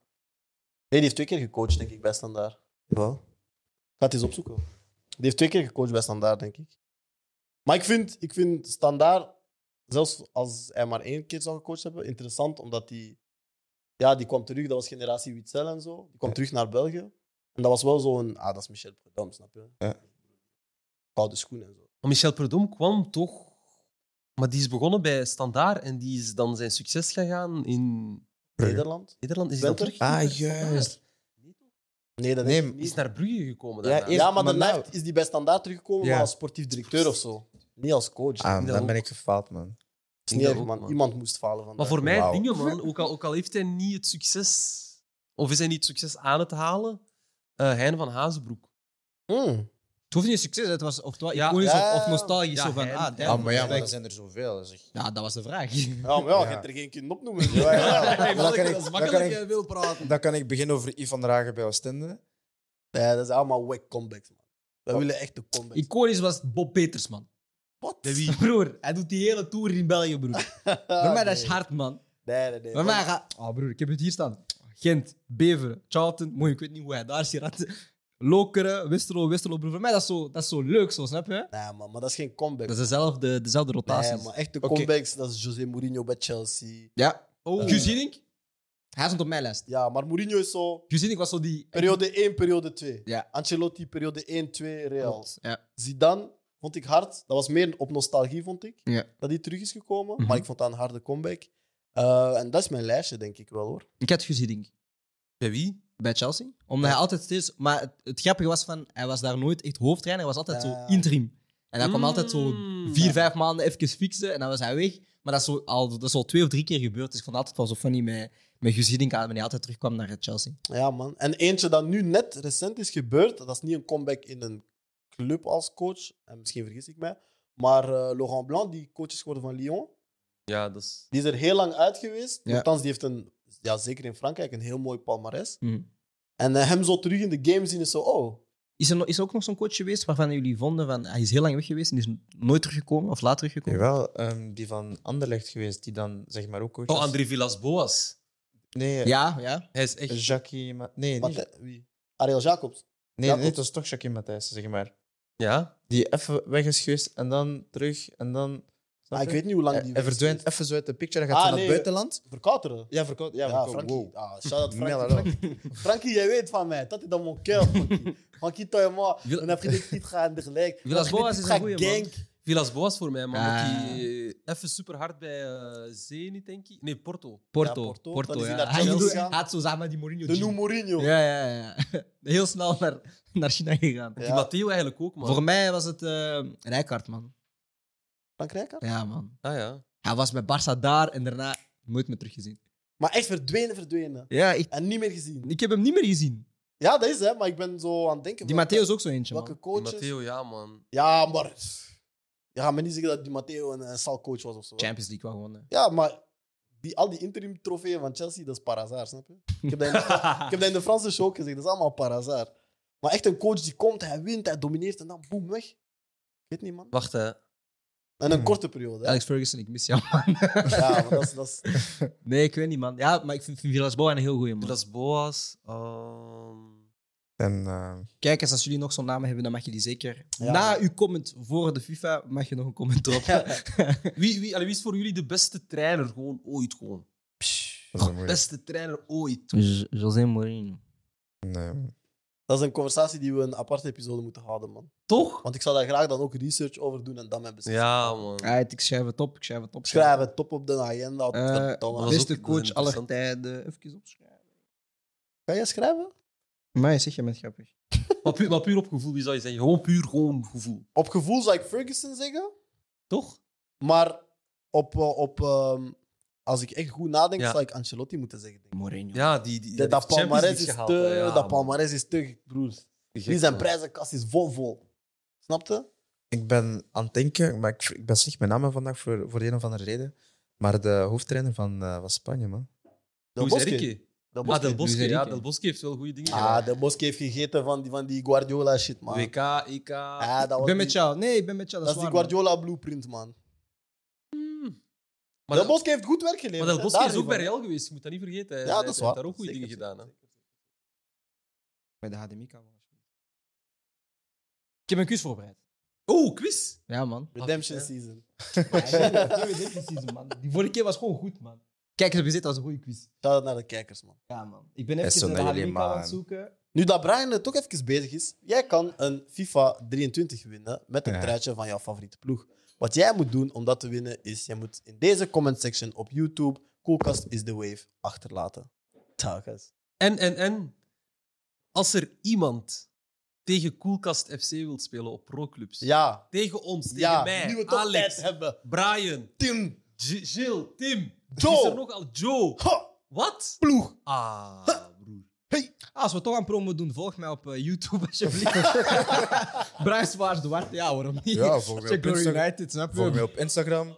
S6: die heeft twee keer gecoacht, denk ik, bij Standaard.
S2: Wel?
S6: Gaat eens opzoeken. Die heeft twee keer gecoacht bij Standaard, denk ik. Maar ik vind, ik vind Standaard, zelfs als hij maar één keer zou gecoacht hebben, interessant, omdat die, ja, die kwam terug, dat was generatie Witzel en zo. Die kwam terug naar België. En dat was wel zo'n, ah, dat is Michel Prudhomme, snap je?
S2: Ja.
S6: Koude schoen en zo.
S5: Maar Michel Prudhomme kwam toch... Maar die is begonnen bij Standaard en die is dan zijn succes gegaan in
S6: Nederland?
S5: Nederland. Is hij dan
S6: Twente?
S5: teruggegaan
S2: Ah,
S5: bij Standaard?
S2: juist.
S5: Nee, toch?
S6: Nee, dat
S2: Nee,
S6: denk ik
S5: Die is
S6: niet.
S5: naar Brugge gekomen
S2: Ja,
S5: daarna.
S2: eerst-
S6: Ja, maar
S2: maar
S6: daarna
S2: nou-
S6: is die bij Standaard teruggekomen,
S2: Ja.
S6: maar als sportief directeur of zo. Niet als coach.
S2: Ah,
S6: Dat
S2: maar dan ben ik gefaald, man.
S6: is
S5: Ik
S6: niet
S5: denk
S6: erg,
S5: dat ook,
S6: man.
S5: man.
S6: Iemand moest falen van
S5: Maar voor mij,
S2: Wauw.
S5: dingen, man, ook al, ook al heeft hij niet het succes... Of is hij niet het succes aan het halen? eh Hein van Hazenbroek.
S6: Hmm.
S1: Het hoeft niet succes, het was of het was
S5: Ja.
S1: iconisch
S6: Ja.
S1: of, of nostalgisch.
S5: Ja,
S1: zo van,
S5: hem.
S1: ah, damn,
S5: Ja,
S2: Ah, maar ja, maar
S1: respect.
S2: dan zijn er zoveel. Zeg.
S1: Ja, dat was de vraag.
S6: Ja, maar ja, je
S2: Ja.
S6: hebt er geen kunnen opnoemen.
S2: Ja,
S6: Ja,
S2: ja. Dan kan ik-
S1: dat is
S2: dan kan
S1: makkelijk,
S2: ik-
S1: jij wil praten.
S2: Dan kan ik beginnen over Ivan Dragen bij Oostende.
S6: Nee, dat is allemaal wack comebacks, man. Wij willen echt de comebacks.
S1: Iconisch was Bob Peters, man.
S6: Wat?
S1: Broer, hij doet die hele tour in België, broer.
S2: Ah,
S1: Voor mij, dat is
S6: Ah, nee.
S1: hard, man.
S6: Nee, nee, nee.
S1: Voor mij gaat... Oh, broer, ik heb het hier staan. Gent, Beveren, Charlton. Mooi, ik weet niet hoe hij daar is geraakt. Lokeren, Westerlo, Westerlo, broer. Voor mij, dat is zo, dat is zo leuk, zo, snap je?
S6: Nee, man, maar dat is geen
S1: Dat
S6: comeback.
S1: is dezelfde, dezelfde rotatie.
S6: Nee, maar echt de
S2: Oké.
S6: comebacks, dat is José Mourinho bij Chelsea.
S1: Ja.
S5: Oh.
S1: Guzinink? Hij stond op mijn lijst.
S6: Ja, maar Mourinho is zo...
S1: Guzinink was zo die...
S6: Periode 1, periode 2.
S1: Ja.
S6: Ancelotti, periode 1, 2, Real.
S1: Ja.
S6: Zidane vond ik hard. Dat was meer op nostalgie, vond ik.
S1: Ja.
S6: Dat hij terug is gekomen.
S1: Mhm.
S6: Maar ik vond dat een harde comeback. Eh, en dat is mijn lijstje, denk ik wel, hoor.
S1: Ik had Guzinink.
S5: Bij wie?
S1: bij Chelsea. Omdat hij altijd steeds... Maar het, het grappige was van... Hij was daar nooit echt hoofdtrainer. Hij was altijd
S6: Ja.
S1: zo interim. En hij kwam altijd zo
S5: Mm.
S1: vier, vijf maanden even fixen. En dan was hij weg. Maar dat is, zo, al, dat is al twee of drie keer gebeurd. Dus ik vond het altijd wel zo funny met, met Guzidink aan. Wanneer hij altijd terugkwam naar het Chelsea.
S6: Ja, man. En eentje dat nu net recent is gebeurd, dat is niet een comeback in een club als coach, en misschien vergis ik mij, maar eh, Laurent Blanc, die coach is geworden van Lyon,
S5: Ja, dat is...
S6: die is er heel lang uit geweest.
S1: Ja.
S6: Althans, die heeft een, ja, zeker in Frankrijk, een heel mooi palmares.
S1: Mhm.
S6: En eh, hem zo terug in de game zien is zo, oh,
S1: Is er, no- is er ook nog zo'n coach geweest waarvan jullie vonden van... Hij is heel lang weg geweest en is nooit teruggekomen. Of laat teruggekomen.
S2: Jawel, ehm, die van Anderlecht geweest, die dan zeg maar ook coach
S5: Oh,
S2: was.
S5: André Villas-Boas.
S2: Nee,
S1: Ja, ja.
S5: Hij is echt...
S2: Jackie... Ma- nee,
S6: wat,
S2: niet-
S6: eh, wie? Ariel Jacobs.
S2: nee, nee,
S6: Jacobs.
S2: het was toch Jackie Matthijs, zeg maar.
S5: Ja?
S2: Die even weg is geweest en dan terug en dan... snap
S6: Ah, ik
S2: je?
S6: weet niet hoe lang
S2: Hij-
S6: die
S2: Hij
S6: weg is
S2: verdwijnt
S6: geweest.
S2: even zo uit de picture. Hij gaat
S6: Ah,
S2: zo naar
S6: nee.
S2: het buitenland.
S6: Verkouteren.
S2: Ja, verkoop. Ja,
S6: Ja,
S2: verkoop.
S6: Frankie.
S2: Wow.
S6: Ah, shout-out Frankie.
S2: Mel,
S6: Frankie. Frankie, jij weet van mij. Dat is dan mon cœur, Frankie. Frankie, toi en moi.
S1: Wil-
S6: On a pris des titres aan de gelijk.
S1: Villas-Boas is een goeie, man.
S5: Villas-Boas voor mij, man.
S1: Ah.
S5: omdat hij, eh, even super hard bij eh Zenit, denk ik. Nee, Porto.
S1: Porto.
S6: Ja, Porto.
S1: Porto,
S6: Dan is hij
S1: ja.
S6: naar
S1: Hij,
S6: Chelsea
S1: doet-
S6: gegaan.
S1: hij had zo samen die Mourinho.
S6: De
S1: gene.
S6: Lou Mourinho.
S1: Ja, ja, ja. ja. Heel snel naar, naar China gegaan.
S5: Die
S6: Ja.
S5: Matteo eigenlijk ook, man.
S1: Voor mij was het eh Rijkaard, man.
S6: Frankrijk, hè?
S1: Ja, man.
S5: Ah ja.
S1: Hij was met Barça daar en daarna nooit meer teruggezien.
S6: Maar echt verdwenen, verdwenen.
S1: Ja, ik,
S6: En niet meer gezien.
S1: ik heb hem niet meer gezien.
S6: Ja, dat is hè, maar ik ben zo aan het denken.
S1: Die
S6: welke-
S1: Matteo is ook zo eentje,
S6: Welke
S1: man.
S5: Die
S6: coaches?
S5: Matteo, ja, man.
S6: Ja, maar. Je gaat me niet zeggen dat die Matteo een, een salcoach was of zo. hè?
S1: Champions League wel gewonnen.
S6: Ja, maar die, al die interim trofeeën van Chelsea, dat is parazaar, snap je? Ik heb, dat in de, ik heb dat in de Franse show ook gezegd, dat is allemaal parazaar. Maar echt een coach die komt, hij wint, hij domineert en dan boem, weg. Ik weet niet, man.
S5: Wacht, hè.
S6: En een
S2: Hmm.
S6: korte periode. hè.
S1: Alex Ferguson, ik mis jou.
S6: Ja, maar dat is, dat is,
S1: Nee, ik weet niet, man. Ja, maar ik vind, vind Villas-Boas een heel goeie, man.
S5: Villas-Boas. ehm,
S2: En eh,
S1: Kijk eens, als jullie nog zo'n naam hebben, dan mag je die zeker...
S6: Ja,
S1: Na
S6: man.
S1: uw comment voor de FIFA mag je nog een comment droppen.
S5: Wie, wie, allee, wie is voor jullie de beste trainer gewoon ooit? Gewoon?
S2: dat is een moeilijk.
S5: Beste trainer ooit.
S1: Jo- José Mourinho.
S2: Nee.
S6: dat is een conversatie die we een aparte episode moeten houden, man.
S5: Toch?
S6: Want ik zou daar graag dan ook research over doen en dan mijn beslissing.
S5: Ja, man.
S1: Right, ik schrijf het op, ik schrijf het op.
S6: Schrijven, top op de agenda.
S1: Eh,
S6: Verdomme.
S5: dat is
S1: beste
S5: ook- dat is
S1: coach aller
S5: interessant.
S1: tijden. Even opschrijven.
S6: Kan jij schrijven?
S1: Maar zeg je met grappig.
S5: Maar puur, maar puur op gevoel, wie zou je zeggen? Gewoon puur gewoon gevoel.
S6: Op gevoel zou ik Ferguson zeggen,
S5: Toch?
S6: maar op, eh, op, ehm, als ik echt goed nadenk,
S5: Ja.
S6: zou ik Ancelotti moeten zeggen. Denk ik.
S1: Mourinho.
S5: Ja, die, die,
S6: Dat, dat
S5: heeft Champions
S6: palmarès
S5: League
S6: is
S5: gehaald,
S6: te,
S5: hè. Ja,
S6: dat
S5: man.
S6: palmarès is te, broer.
S5: Gek,
S6: Die zijn
S5: man.
S6: prijzenkast is vol vol. Snapte?
S2: Ik ben aan het denken, maar ik, ik ben slecht met namen vandaag voor, voor de een of andere reden. Maar de hoofdtrainer van, eh, van Spanje, man.
S6: De
S5: Hoe is
S6: Bosque.
S5: Enrique?
S6: Del
S5: Ah,
S6: Bosque.
S5: Del Bosque,
S1: Luis
S5: ja,
S1: Enrique.
S5: Del Bosque heeft wel goede dingen gedaan.
S6: Ah, Del Bosque heeft gegeten van die, van die Guardiola shit, man.
S5: WK, EK.
S6: Ah, dat was
S1: Ik ben
S6: die-
S1: met jou. Nee, ik ben met jou.
S6: Dat
S1: Dat,
S6: is die
S1: waar, man.
S6: Guardiola blueprint, man.
S5: Maar
S6: Del
S5: Del,
S6: Bosque heeft goed werk geleverd.
S5: maar Del
S6: hè,
S5: Bosque
S6: daar
S5: is
S6: niet
S5: ook bij
S6: van.
S5: Real geweest, je moet dat niet vergeten. Hij-
S6: Ja,
S5: hij
S6: dat is
S5: heeft
S6: waar.
S5: daar ook goede
S6: Zeker,
S5: dingen gedaan. hè.
S1: Bij de HDMI-kabel. Ik heb een kus voorbereid.
S5: Oh, quiz!
S1: Ja, man.
S6: Redemption
S5: Ja.
S6: season.
S1: Die vorige keer was gewoon goed, man. Kijk eens, we zitten als een goede quiz.
S6: Shout out naar de kijkers, man.
S1: Ja, man. Ik ben
S2: is zo
S1: even de
S2: met jullie,
S1: HDMI-kabel aan het
S2: man.
S1: zoeken.
S6: Nu dat Brian er toch even bezig is, jij kan een FIFA 23 winnen met een
S2: Ja.
S6: truitje van jouw favoriete ploeg. Wat jij moet doen om dat te winnen is, jij moet in deze comment section op YouTube Coolcast is the wave achterlaten. Tagas.
S5: En, en, en, als er iemand tegen Koelkast FC wil spelen op pro-clubs,
S6: Ja,
S5: tegen ons, tegen
S6: ja. nu we
S5: mij,
S6: toch tijd
S5: Alex,
S6: hebben.
S5: Brian,
S6: Tim.
S5: G- Gilles, Tim,
S6: Joe.
S5: Is er nogal Joe.
S6: Ha,
S5: Wat?
S6: ploeg.
S5: Ah, broer.
S1: Ah, Als we toch aan promo doen, volg mij op eh, YouTube alsjeblieft. Brian Swaars Duarte, ja, waarom niet?
S2: Ja, volg mij
S1: Check
S2: op
S1: Glory
S2: Insta-
S1: United, snap
S2: Volg mij
S1: je?
S2: op Instagram.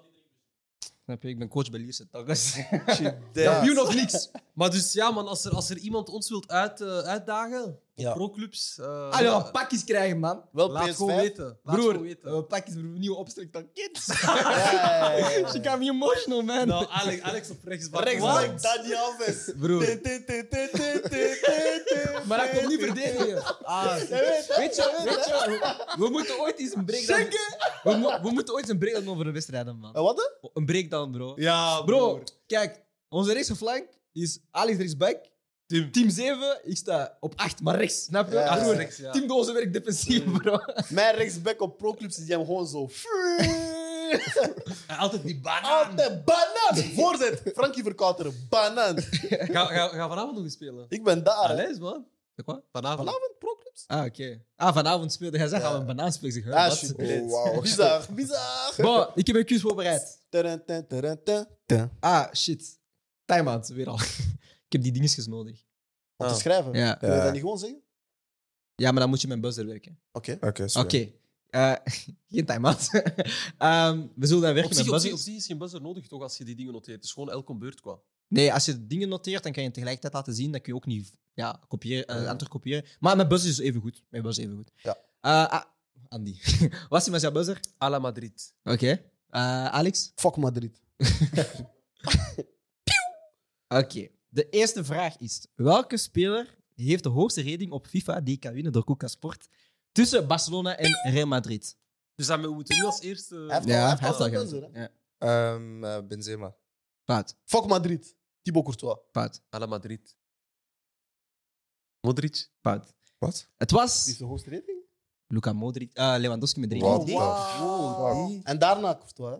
S1: Snap je? Ik ben coach bij Lierse Taggers.
S2: Ja.
S5: Kampioen of niks. Maar dus ja, man, als er, als er iemand ons wilt uit, eh, uitdagen op
S6: Ja.
S5: pro-clubs, eh,
S1: Ah, ja, pakjes krijgen, man.
S6: Wel
S5: laat het gewoon
S6: PS5.
S5: weten. Laat het
S1: Broer,
S5: gewoon weten.
S1: eh, pakjes, broer, nieuwe opstrik dan kids.
S6: Ja, ja, ja, ja.
S1: She got me emotional, man.
S5: nou, Alex, Alex op rechtsbak.
S6: Rechtsback
S5: Wat?
S6: Dani Alves.
S1: Broer.
S6: Tin, tin, tin, tin, tin, tin, tin.
S1: Maar hij komt niet verdedigen. Ah, weet
S6: weet
S1: je, weet je, we- we moeten ooit eens een breakdown... We, mo- we moeten ooit eens een breakdown over de wedstrijd hebben,
S6: Eh,
S1: man.
S6: Wat? hè?
S1: Een breakdown, bro.
S5: Ja,
S1: Bro, kijk, onze rechtse flank is Alex rechtsback.
S5: Tim.
S1: Team 7, ik sta op 8, maar rechts, snap je?
S6: Ja,
S1: Ah,
S6: ja,
S1: broer,
S5: rechts, ja.
S1: Team Dozen werkt defensief, bro.
S6: Mijn rechtsback op proclubs is hem gewoon zo.
S5: En altijd die banaan.
S6: Altijd banaan! Voorzet! Frankie Verkouteren, banaan!
S5: Ga, ga, ga vanavond nog eens spelen.
S6: Ik ben daar. hè.
S5: Alex, man.
S1: Wat?
S5: Vanavond.
S6: Vanavond proclubs?
S1: Ah, oké. Ah, vanavond speelde hij, zegt
S6: Ja.
S1: al een banaanspeel. Ik zeg, huh,
S6: Ah,
S1: wat?
S6: alsjeblieft.
S2: Oh, wauw.
S6: Bizar, bizar.
S1: Bo, ik heb een quiz voorbereid.
S6: Tadun, tadun, tadun, tadun.
S1: Ah, shit. Time-out, weer al. ik heb die dingetjes nodig.
S6: Om te
S5: Ah.
S6: schrijven.
S1: Ja.
S6: Kun je
S2: Ja.
S6: dat niet gewoon zeggen?
S1: ja, maar dan moet je mijn buzzer werken.
S6: Oké.
S2: Oké,
S1: Oké.
S2: sorry.
S1: Eh, geen time-out. Ehm, we zullen dan
S5: Op
S1: werken met
S5: zich, op, zich, op
S1: buzzers.
S5: zich is geen buzzer nodig toch als je die dingen noteert. Het is gewoon elke beurt qua.
S1: Nee, als je dingen noteert, dan kan je het tegelijkertijd laten zien. Dan kun je ook niet ja, kopiëren, eh, aan terugkopiëren. Maar mijn buzzer is even goed. Mijn buzzer is even goed.
S6: Ja.
S1: Eh, ah, Andy. Wat is met jouw buzzer?
S5: A la Madrid.
S1: Oké. Eh, Alex?
S6: Fuck Madrid.
S1: Oké. De eerste vraag is: welke speler heeft de hoogste rating op FIFA die kan winnen door Kuka Sport tussen Barcelona en Real Madrid? Oh,
S5: Dus dan we moeten nu als eerste...
S6: Hij heeft al- hij heeft
S1: hij
S6: al
S1: heeft al
S6: zijn
S1: gehad.
S6: buzzer, hè?
S1: Ja.
S2: Ehm, eh, Benzema.
S1: Fout,
S6: Fuck Madrid. Thibaut Courtois.
S1: fout,
S5: A la Madrid. Modric.
S1: fout.
S2: Wat?
S1: Het
S6: Die is
S1: was
S6: de hoogste rating.
S1: Luka Modric, eh, Lewandowski met 3.
S2: Wat?
S1: Eh,
S6: En daarna Courtois.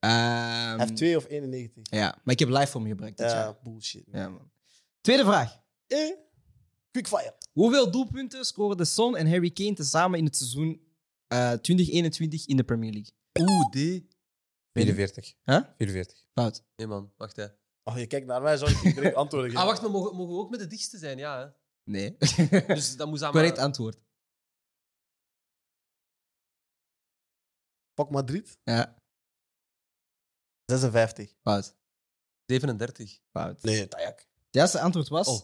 S6: hè? Hij heeft 2 of 91.
S1: Ehm, Ja, maar ik heb live voor me gebruikt. dit jaar.
S6: Ja, bullshit.
S1: Ja, man. Tweede vraag.
S6: Eh, Quickfire.
S1: Hoeveel doelpunten scoren de Son en Harry Kane tezamen in het seizoen eh, 2021 in de Premier League?
S5: Oeh, D.
S2: 44.
S1: Huh?
S2: 44.
S1: Fout.
S5: Nee, man. Wacht, hè.
S6: Oh, je kijkt naar mij, zou ik direct antwoorden
S5: Ah,
S6: geven.
S5: wacht, maar mogen, mogen we ook met de dichtste zijn? Ja, hè.
S1: Nee.
S5: Dus dat moet aan
S1: Correct
S5: maar-
S1: antwoord.
S6: Fuck Madrid.
S1: Ja,
S6: 56.
S1: fout.
S5: 37.
S1: Fout.
S6: Nee, Tajak.
S1: Het juiste antwoord was
S5: Oh.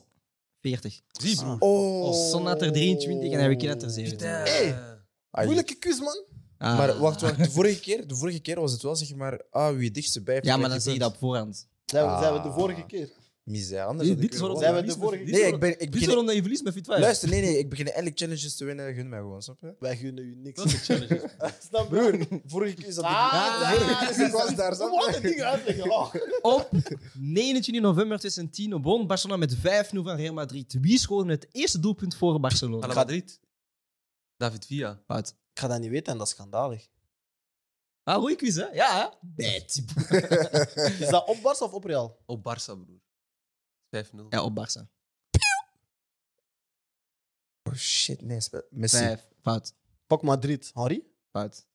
S1: 40.
S5: Zie, broer.
S2: Oh.
S1: Oh, Son had er 23 en Harry Kane had er 17.
S5: Putain.
S6: Hey.
S2: Ai.
S6: Moeilijke quiz, man.
S1: Ah.
S2: Maar wacht, wacht. De vorige keer, de vorige keer was het wel zeg maar, ah, wie het dichtst bij heeft,
S1: Ja, maar dan
S2: krijgt
S1: zie je
S2: die
S1: dat op voorhand.
S6: Zijn we,
S2: Ah.
S6: zijn we de vorige keer?
S2: punt. Misère, anders
S1: Dit
S2: had ik
S1: dit is
S2: weer
S1: waarom
S6: Zijn we
S2: gewonnen.
S6: de vorige-
S1: dit is
S2: Nee, ik
S1: waarom-
S2: ben... Ik
S1: Dit is
S2: begin...
S1: waarom dat je verliest met fit 5.
S2: Luister, nee, nee. Ik begin eindelijk challenges te winnen. Gun mij gewoon, snap je?
S6: Wij gunnen u niks.
S5: Welke challenge?
S6: Snap je?
S2: Broer, vorige keer is dat...
S6: Ah,
S1: Ja,
S6: ja,
S2: vorige keer
S6: ja,
S2: ik was daar,
S6: Ze
S2: snap
S6: moeten
S2: je?
S6: dingen uitleggen. Oh.
S1: Op 29 november 2010 won Barcelona met 5-0 van Real Madrid. Wie schoot het eerste doelpunt voor
S5: A
S1: Barcelona?
S5: la Madrid. David Villa.
S1: Fout.
S6: Ik ga dat niet weten en dat is schandalig.
S1: Ah, goeie quiz, hè? Ja, hè? Bad.
S6: Is dat op Barca of op Real?
S5: Op Oh, Barça, broer. 5-0.
S1: Ja, op Barça.
S2: Oh shit, nee. spe- Messi.
S1: Vijf. Fout.
S6: Pak Madrid. Henri?
S1: Fout.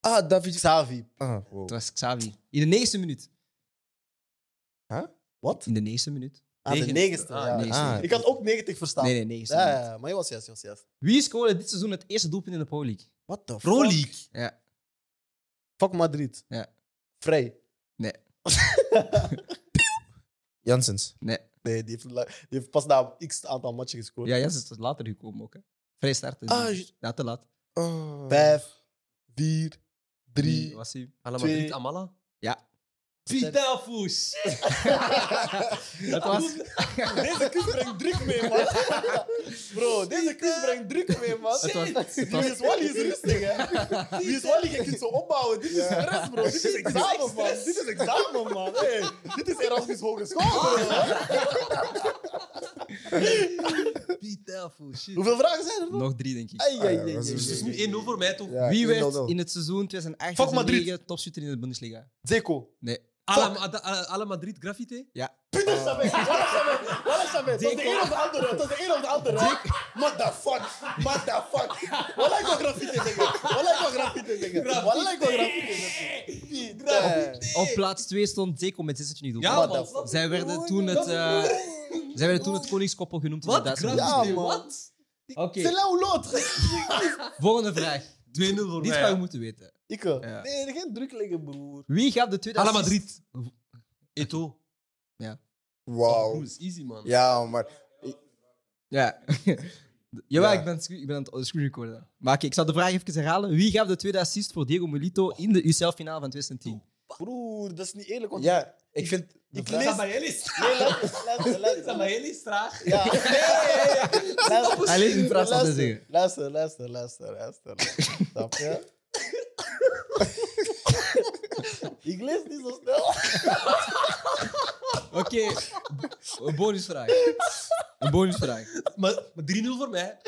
S2: Ah, David...
S6: Xavi.
S2: Ah, wow.
S1: Het was Xavi. In de negende minuut.
S6: Wat?
S1: In de negende minuut.
S6: Aan de
S5: Negen-
S6: negenste.
S5: Ah,
S6: ja.
S1: negen- e
S2: Ah,
S6: Ik had ook 90 verstaan.
S1: dus- Nee, nee, negende
S6: Ja,
S1: minuut.
S6: ja, ja, maar je was juist, je was juist.
S1: Wie scoorde dit seizoen het eerste doelpunt in de Pro League?
S6: What the fuck?
S5: Pro League.
S1: Ja.
S6: Fuck Madrid.
S1: Ja.
S6: Vrij.
S2: Janssens.
S1: Nee.
S6: Nee, die heeft, la- die heeft pas na x aantal matchen gescoord.
S1: Ja, Jens is later gekomen ook. Hè. Vrij starten.
S2: Ah, juist.
S1: ja, te laat.
S2: Oh.
S6: Vijf, vier,
S1: Wie
S6: drie.
S1: Was hij?
S5: Allemaal
S6: Twee.
S5: Madrid, Amala.
S1: Ja.
S5: Pidafus!
S1: Het
S6: Ah,
S1: was,
S6: Deze kus brengt druk mee, man. Bro, deze kus brengt druk mee, man.
S1: eh. het was, het
S6: Die
S1: was,
S6: is Wally is rustig, hè. Die is Wally, je kunt zo opbouwen. Dit is stress, bro. Dit is examen, man. Dit is examen, man. Hey, dit is Erasmus Hogeschool, bro.
S5: Pidafus, shit.
S6: Hoeveel vragen zijn er nog?
S1: nog Ah drie, denk ik.
S6: Ai, ai, ai,
S2: dat is
S6: ai,
S5: Dus het is
S6: ai.
S5: nu 1-0 voor mij toch?
S2: Ja,
S1: Wie werd
S2: 1-0.
S1: in het seizoen 2008
S6: Fuck Madrid.
S1: 2009 topschutter in de Bundesliga?
S6: Zeko.
S1: Nee.
S5: Alla, Ada- Alla- Alla Madrid Graffiti?
S6: Putain, je savais. Voilà, je savais. Voilà, je savais. Dat is de een of de andere. Dat is de een of de andere. What the fuck? What the fuck? Voilà, ik wil graffiti zeggen. Voilà, ik wil graffiti zeggen. Voilà, ik wil graffiti zeggen. Putain.
S1: Op plaats 2 stond Deco met 26 doelpunten.
S5: Ja,
S6: What the
S5: man.
S6: fuck?
S1: Zij werden toen het, eh, zij werden toen het koningskoppel genoemd. in
S5: Wat?
S1: de Duitse
S5: Graffiti?
S6: Ja, man.
S5: Wat?
S1: Oké,
S6: C'est l'un ou l'autre.
S1: volgende vraag.
S5: 2-0 voor
S1: Dit
S5: mij.
S1: ga je
S5: ja.
S1: moeten weten.
S6: Ik.
S1: Ja.
S6: Nee, geen druk leggen, broer.
S1: Wie gaf de tweede
S5: Alla
S1: assist-
S5: Madrid. Eto.
S2: Wauw.
S5: Broers, easy, man.
S2: Ja, maar
S1: Ja. Jawel,
S2: Ja.
S1: Ik, ben, sc- ik ben aan het oh, screen recorden. Maar oké, ik zal de vraag even herhalen. Wie gaf de tweede assist voor Diego Milito in de UCL-finale van 2010?
S6: Broer, dat is niet eerlijk. Want
S2: ja, ik vind.
S6: ik
S2: de vraag-
S6: lees...
S5: Sabayelis.
S6: Nee, luister, luister, luister.
S5: Sabayelis, traag.
S6: Ja. Nee, nee, nee. Luister.
S1: Hij leest in het Frans, laat hij
S6: Luister,
S1: zeggen.
S6: luister, luister, luister, luister. Snap je? Ik lees niet zo snel.
S1: Oké, een bonusvraag. Een bonusvraag.
S5: Maar, maar 3-0 voor mij.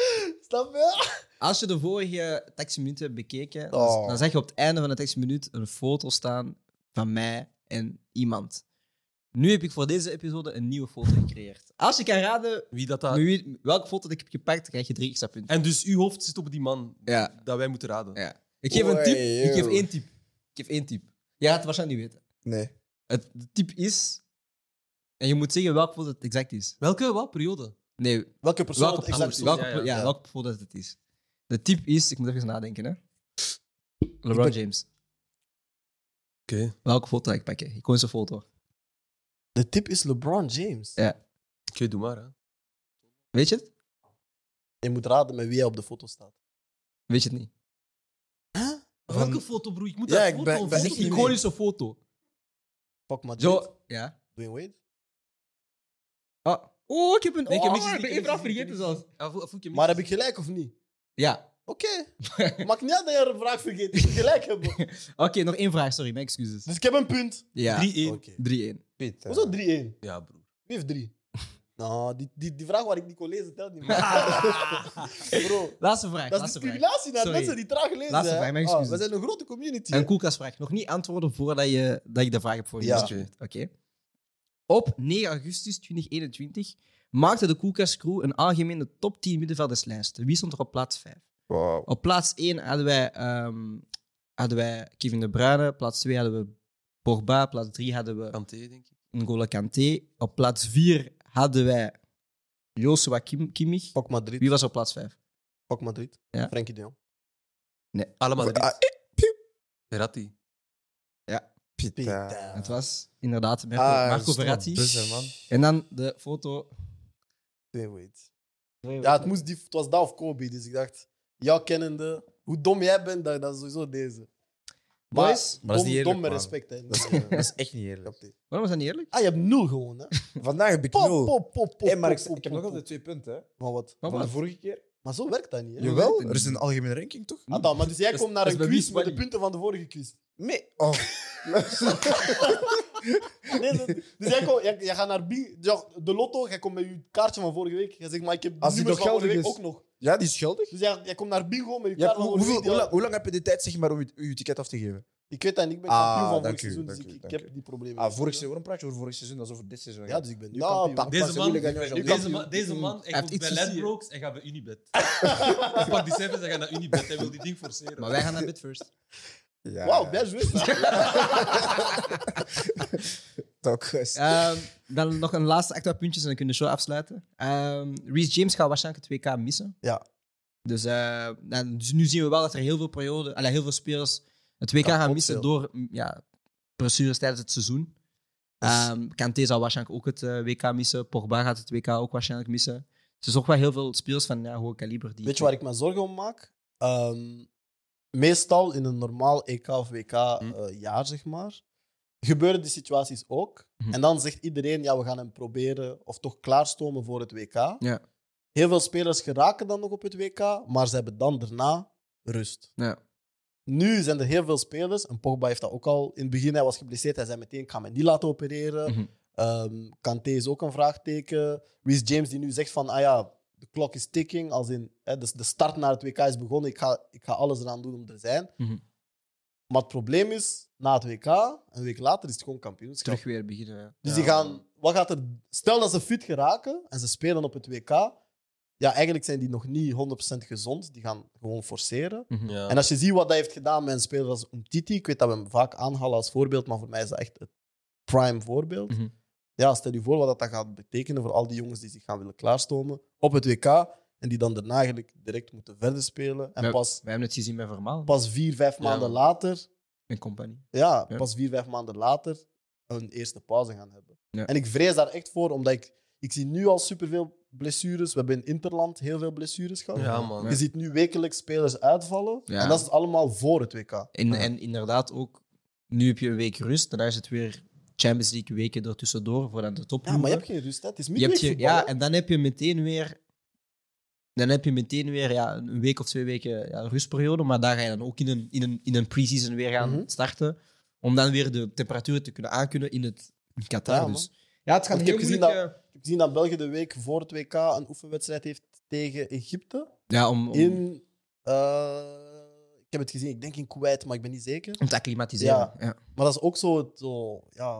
S6: Snap je?
S1: Als je de vorige taximinuten hebt bekeken, dan-
S2: Oh.
S1: dan zag je op het einde van de taximinuut een foto staan van mij en iemand. Nu heb ik voor deze episode een nieuwe foto gecreëerd. Als je kan raden
S5: Wie dat
S1: met
S5: dat...
S1: wie- welke foto ik heb gepakt, krijg je drie extra punten.
S5: En dus uw hoofd zit op die man
S1: Ja,
S5: dat wij moeten raden.
S1: ja. Ik geef een
S2: Oei,
S1: tip. Ik geef
S2: joh.
S1: één tip. Ik geef één tip. Jij gaat het waarschijnlijk niet weten.
S2: Nee.
S1: Het de tip is... En je moet zeggen welke foto het exact is.
S5: Welke wat periode?
S1: Nee,
S6: Welke persoon
S1: welke,
S5: exact
S1: persoon-
S5: is.
S1: welke,
S5: Ja, ja,
S1: per- ja,
S2: ja.
S1: welke persoon dat het is. De tip is... Ik moet even nadenken, hè. LeBron James.
S5: Oké. Oké.
S1: Welke foto ga ik pakken? Ik kon zijn foto.
S6: De tip is LeBron James.
S1: Ja.
S5: doe maar. Hè.
S1: Weet je het?
S6: Je moet raden met wie hij op de foto staat.
S1: Weet je het niet?
S5: Welke foto, broer? Ik moet
S2: Ja,
S5: daar
S2: ik
S5: foto
S2: ben-
S5: een
S2: ben
S5: foto
S2: echt
S5: doen.
S2: niet
S5: iconische foto.
S6: Fuck Madrid.
S1: Zo, ja.
S6: Dwayne Wade.
S1: Ah. Oh, ik heb een...
S5: Nee, ik heb niks
S1: oh, ik ben één
S5: gezien, ik heb
S1: vraag
S5: niks
S1: vergeten
S5: gezien.
S1: zelfs.
S5: Ja, vo- voel ik hem
S6: Maar
S5: niet.
S6: heb ik gelijk of niet?
S1: Ja.
S6: Oké. Maakt niet uit dat je een vraag vergeet. Ik moet gelijk hebben.
S1: Oké, nog één vraag. Sorry, mijn excuses.
S6: Dus ik heb een punt.
S1: Ja.
S5: 3-1.
S6: Oké.
S1: 3-1.
S2: Piet.
S6: Hoezo 3-1? Wie
S5: Ja, broer.
S6: heeft 3? Nou, die, die, die vraag waar ik niet kon lezen telt niet meer. Bro,
S1: Ah. Laatste vraag.
S6: dat
S1: laatste
S6: is
S1: vraag.
S6: discriminatie naar
S1: Sorry.
S6: mensen die traag lezen.
S1: Laatste
S6: hè.
S1: vraag, mijn
S6: Ah,
S1: excuses.
S6: we zijn een grote community.
S1: Een koelkastvraag. Nog niet antwoorden voordat je, dat ik de vraag heb voor je.
S6: Ja.
S1: gestuurd. Oké. Op 9 augustus 2021 maakte de Koelkastcrew een algemene top 10 middenvelderslijst. Wie stond er op plaats 5?
S2: Wauw.
S1: Op plaats 1 hadden wij, ehm, hadden wij Kevin De Bruyne. Plaats 2 hadden we Borba. Plaats 3 hadden we
S5: Kanté, denk ik.
S1: N'Golo Kanté. Op plaats 4 hadden wij Joshua Kim Kimmich.
S6: Pak Madrid.
S1: Wie was op plaats 5?
S6: Pak Madrid.
S1: Ja.
S6: Frenkie de Jong.
S5: Allemaal
S2: Ah,
S5: dit. Verratti.
S2: Piet.
S6: Pita.
S2: Ah,
S1: Het was inderdaad Marco,
S6: Ah,
S2: dat
S1: Marco
S2: is toch
S1: Verratti.
S2: buzzer, man.
S1: En dan de foto.
S6: Dwayne Wade. Ja, het, moest die, het was dat of Kobe. Dus ik dacht, jou kennende, hoe dom jij bent, dat, dat is sowieso deze. Maar,
S1: Boys,
S2: maar dat is
S6: dom,
S2: niet eerlijk,
S6: dom met
S2: man.
S6: respect. Hè.
S2: Dat is, dat is echt niet eerlijk.
S1: waarom was dat niet eerlijk?
S6: Ah, je hebt nul gewoon, hè?
S2: Vandaag heb ik
S6: Pop,
S2: nul.
S6: pop, pop, pop.
S2: Hey, maar ik,
S6: pop,
S2: ik heb
S6: pop, pop.
S2: nog altijd twee punten. Hè.
S6: Maar wat?
S1: Maar
S2: Van de
S1: wat?
S2: vorige keer.
S6: Maar zo werkt dat niet, hè?
S1: Ja.
S2: Jawel,
S1: weet het
S2: er is
S1: niet.
S2: een algemene ranking toch?
S6: Adam, maar dus jij
S5: is-
S6: komt naar
S5: dat
S6: een
S5: is bij
S6: quiz
S5: Wie
S6: met de
S5: Smiley.
S6: punten van de vorige quiz.
S2: Nee. Oh.
S6: Nee, dat- dus jij, komt, jij, jij gaat naar Bing, ja, de lotto, jij komt met je kaartje van vorige week. Jij zegt, maar ik heb de
S2: Als die
S6: nummers
S2: nog
S6: van vorige week
S2: geldig
S6: ook nog.
S2: Ja, die is schuldig.
S6: Dus jij, jij komt naar bingo met je
S2: Je hebt-
S6: kaart van
S2: hoe,
S6: vorige
S2: hoeveel-
S6: week.
S2: hoe, lang,
S6: die-
S2: hoe lang heb je de tijd zeg maar, om je, je ticket af te geven?
S6: Ik weet dat niet, ik ben
S2: Ah,
S6: kampioen van
S2: dank
S6: vorig
S2: u,
S6: seizoen, dus
S2: dank
S6: ik,
S2: u,
S6: ik
S2: dank
S6: heb
S2: u.
S6: die problemen.
S2: Ah, vorig seizoen, waarom praat je over vorig seizoen? Dat is over dit seizoen.
S6: Ja, dus ik ben nu
S2: Nou,
S6: kampioen.
S2: papa.
S6: Pas-
S5: Deze
S2: Pas-
S5: man,
S2: Jullie gaan jou-
S5: deze
S2: Jullie
S5: man, deze man hij
S1: Mm. Hij
S5: komt
S1: heeft
S5: bij
S1: iets te zien.
S5: Ladbrokes en gaat bij Unibet. hij pakt die cijfers en gaat naar Unibet. Hij wil die ding forceren.
S1: Maar wij gaan naar bed first.
S2: Ja,
S6: Wauw, bien joué. ça.
S2: Talk, guys.
S1: Ehm, dan nog een laatste extra puntje en dan kunnen we de show afsluiten. Ehm Reece James gaat waarschijnlijk het 2K missen.
S6: Ja.
S1: Dus, eh, dan- dus nu zien we wel dat er heel veel, periode, allee, heel veel spelers het 2K
S6: Kapot
S1: gaan missen
S6: veel.
S1: door mm, ja, blessures tijdens het seizoen.
S6: Dus-
S1: Ehm Kanté zal waarschijnlijk ook het eh, WK missen. Pogba gaat het WK ook waarschijnlijk missen. Ze is ook wel heel veel speels van ja, hoog kaliber. Die
S6: Weet je waar ik me zorgen om maak? Ehm, meestal in een normaal EK of WK
S5: Hm.
S6: eh, jaar, zeg maar, gebeuren die situaties ook.
S1: Hm.
S6: En dan zegt iedereen, ja, we gaan hem proberen of toch klaarstomen voor het WK.
S1: Ja.
S6: Heel veel spelers geraken dan nog op het WK, maar ze hebben dan daarna rust.
S1: Ja.
S6: Nu zijn er heel veel spelers, en Pogba heeft dat ook al in het begin, hij was geblesseerd, hij zei meteen, ik ga me niet laten opereren.
S1: Mhm.
S6: Ehm, Kanté is ook een vraagteken. Reece James die nu zegt van, ah ja, de klok is ticking, als in hè, dus de start naar het WK is begonnen, ik ga, ik ga alles eraan doen om er te zijn.
S1: Mhm.
S6: Maar het probleem is, na het WK, een week later is het gewoon kampioenschap.
S1: terug weer beginnen. ja.
S6: Dus
S5: Ja.
S6: die gaan, wat gaat er, stel dat ze fit geraken en ze spelen op het WK, ja, eigenlijk zijn die nog niet 100% gezond, die gaan gewoon forceren.
S1: Mhm.
S5: Ja.
S6: En als je ziet wat dat heeft gedaan met een speler als Umtiti, ik weet dat we hem vaak aanhalen als voorbeeld, maar voor mij is dat echt het prime voorbeeld.
S1: Mhm.
S6: Ja, stel je voor wat dat dan gaat betekenen voor al die jongens die zich gaan willen klaarstomen op het WK en die dan daarna eigenlijk direct moeten verder spelen. En
S1: Ja.
S6: pas,
S1: We hebben het gezien met Vermaal
S6: pas vier, vijf
S5: Ja,
S6: maanden
S5: man.
S6: later
S1: en compagnie.
S6: ja,
S1: Ja.
S6: pas vier, vijf maanden later een eerste pauze gaan hebben.
S1: Ja.
S6: En ik vrees daar echt voor, omdat ik, ik zie nu al superveel blessures. We hebben in Interland heel veel blessures gehad.
S5: Ja, man.
S6: Je ziet nu wekelijks spelers uitvallen.
S1: Ja.
S6: En dat is allemaal voor het WK.
S1: En, en inderdaad ook, nu heb je een week rust. Daarna is het weer Champions League weken ertussendoor voor aan de top.
S6: Ja, maar je hebt geen rust, hè. Het is
S1: Je hebt
S6: midweek
S1: je- ja, en dan heb je meteen weer, dan heb je meteen weer ja, een week of twee weken ja, rustperiode. Maar daar ga je dan ook in een, in een, in een pre-season weer gaan
S6: Mhm.
S1: starten. Om dan weer de temperatuur te kunnen aankunnen in, het, in Qatar.
S6: Ja, man.
S1: dus. ja het gaat
S6: Want ik
S1: heel
S6: heb gezien
S1: moeilijk, eh,
S6: Ik heb gezien dat België de week voor het WK een oefenwedstrijd heeft tegen Egypte.
S1: ja, om, om,
S6: In, eh, ik heb het gezien, ik denk in Kuwait, maar ik ben niet zeker.
S1: om te acclimatiseren. Ja.
S6: Ja. Maar dat is ook zo, het, zo ja,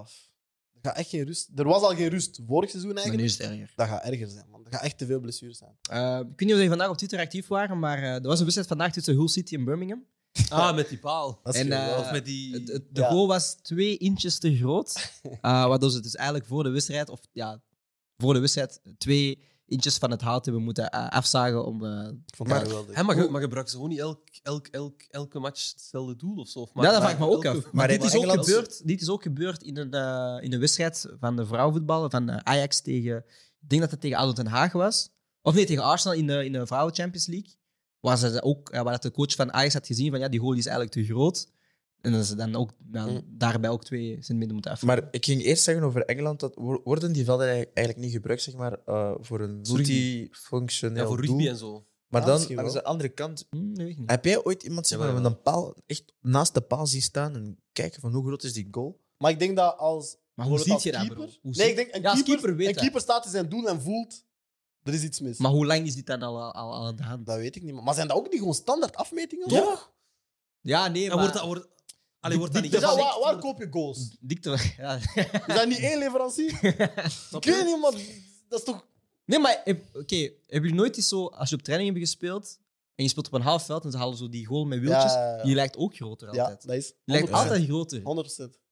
S6: er, gaat echt geen rust. er was al geen rust vorig seizoen
S1: Maar
S6: eigenlijk.
S1: nu is het erger.
S6: Dat gaat erger zijn, man. Dat gaat echt te veel blessures zijn.
S1: Eh, ik weet niet of jullie vandaag op Twitter actief waren, maar eh, er was een wedstrijd vandaag tussen Hull City en Birmingham.
S5: Ah, met die paal.
S6: Dat
S1: En, eh,
S5: Of met die...
S1: Het- het- de
S6: Ja.
S1: goal was twee inches te groot. eh, waardoor ze dus eigenlijk voor de wedstrijd, of ja, voor de wedstrijd, twee inches van het hout hebben moeten eh, afzagen om. eh,
S6: ik vond dat
S5: maar-
S6: geweldig.
S5: Hè, maar, ge- maar gebruik ze gewoon niet elk, elk, elk, elke match hetzelfde doel of zo? Of
S1: ja, dat
S5: maak-
S1: vraag ik me ook
S5: elke-
S1: af. Maar dit
S2: heeft
S1: is ook,
S2: Engeland-
S1: gebeurd, dit is ook gebeurd in een, eh, in een wedstrijd van de vrouwenvoetbal van eh, Ajax tegen. Ik denk dat het tegen ADO Den Haag was. Of nee, tegen Arsenal in de, in de Vrouwen Champions League. Waar, ze dat ook, eh, waar dat de coach van Ajax had gezien van ja, die goal is eigenlijk te groot. En dat ze dan ook ja,
S2: Hm.
S1: daarbij ook twee centimeter moeten afvangen.
S2: Maar ik ging eerst zeggen over Engeland, dat wo- worden die velden eigenlijk eigenlijk niet gebruikt zeg maar, eh, voor een
S5: Voor rugby.
S2: multifunctioneel
S5: Ja, voor rugby
S2: doel.
S5: en zo.
S2: Maar
S6: Ja,
S2: dan,
S6: misschien
S2: aan
S6: wel.
S2: de andere kant,
S1: Hm, dat weet ik niet.
S2: heb jij ooit iemand zeg maar,
S5: Jawel,
S2: met een paal echt naast de paal zien staan en kijken van hoe groot is die goal?
S6: Maar ik denk dat als.
S1: Maar hoe
S6: bijvoorbeeld
S1: ziet je
S6: als
S1: dat,
S6: keeper-
S1: bro? Hoe
S6: nee,
S1: ziet-
S6: ik denk een
S1: Ja, als
S6: keeper,
S1: keeper weet
S6: een
S1: dat.
S6: keeper staat in zijn doel en voelt. Er is iets mis.
S1: Maar hoe lang is dit dan al, al, al aan de hand?
S6: dat weet ik niet. man. Maar zijn dat ook niet gewoon standaard afmetingen?
S5: Ja.
S6: Toch?
S1: Ja, nee,
S5: En
S1: maar...
S5: wordt dat... Wordt, allee, wordt dat
S1: die-
S5: niet...
S6: Dus dat,
S5: geflikt?
S6: waar, waar koop je goals?
S1: Dikte... Ja.
S6: Is dat niet één leverancier? ik
S5: Snap je?
S6: weet niet, man. Dat is toch.
S1: Nee, maar heb- oké, hebben jullie nooit eens zo... Als je op training hebt gespeeld en je speelt op een half veld en ze halen zo die goal met wieltjes,
S6: Ja, ja, ja.
S1: die lijkt ook groter
S6: Ja,
S1: altijd.
S6: dat is. 100%.
S1: Die lijkt altijd groter
S6: 100%.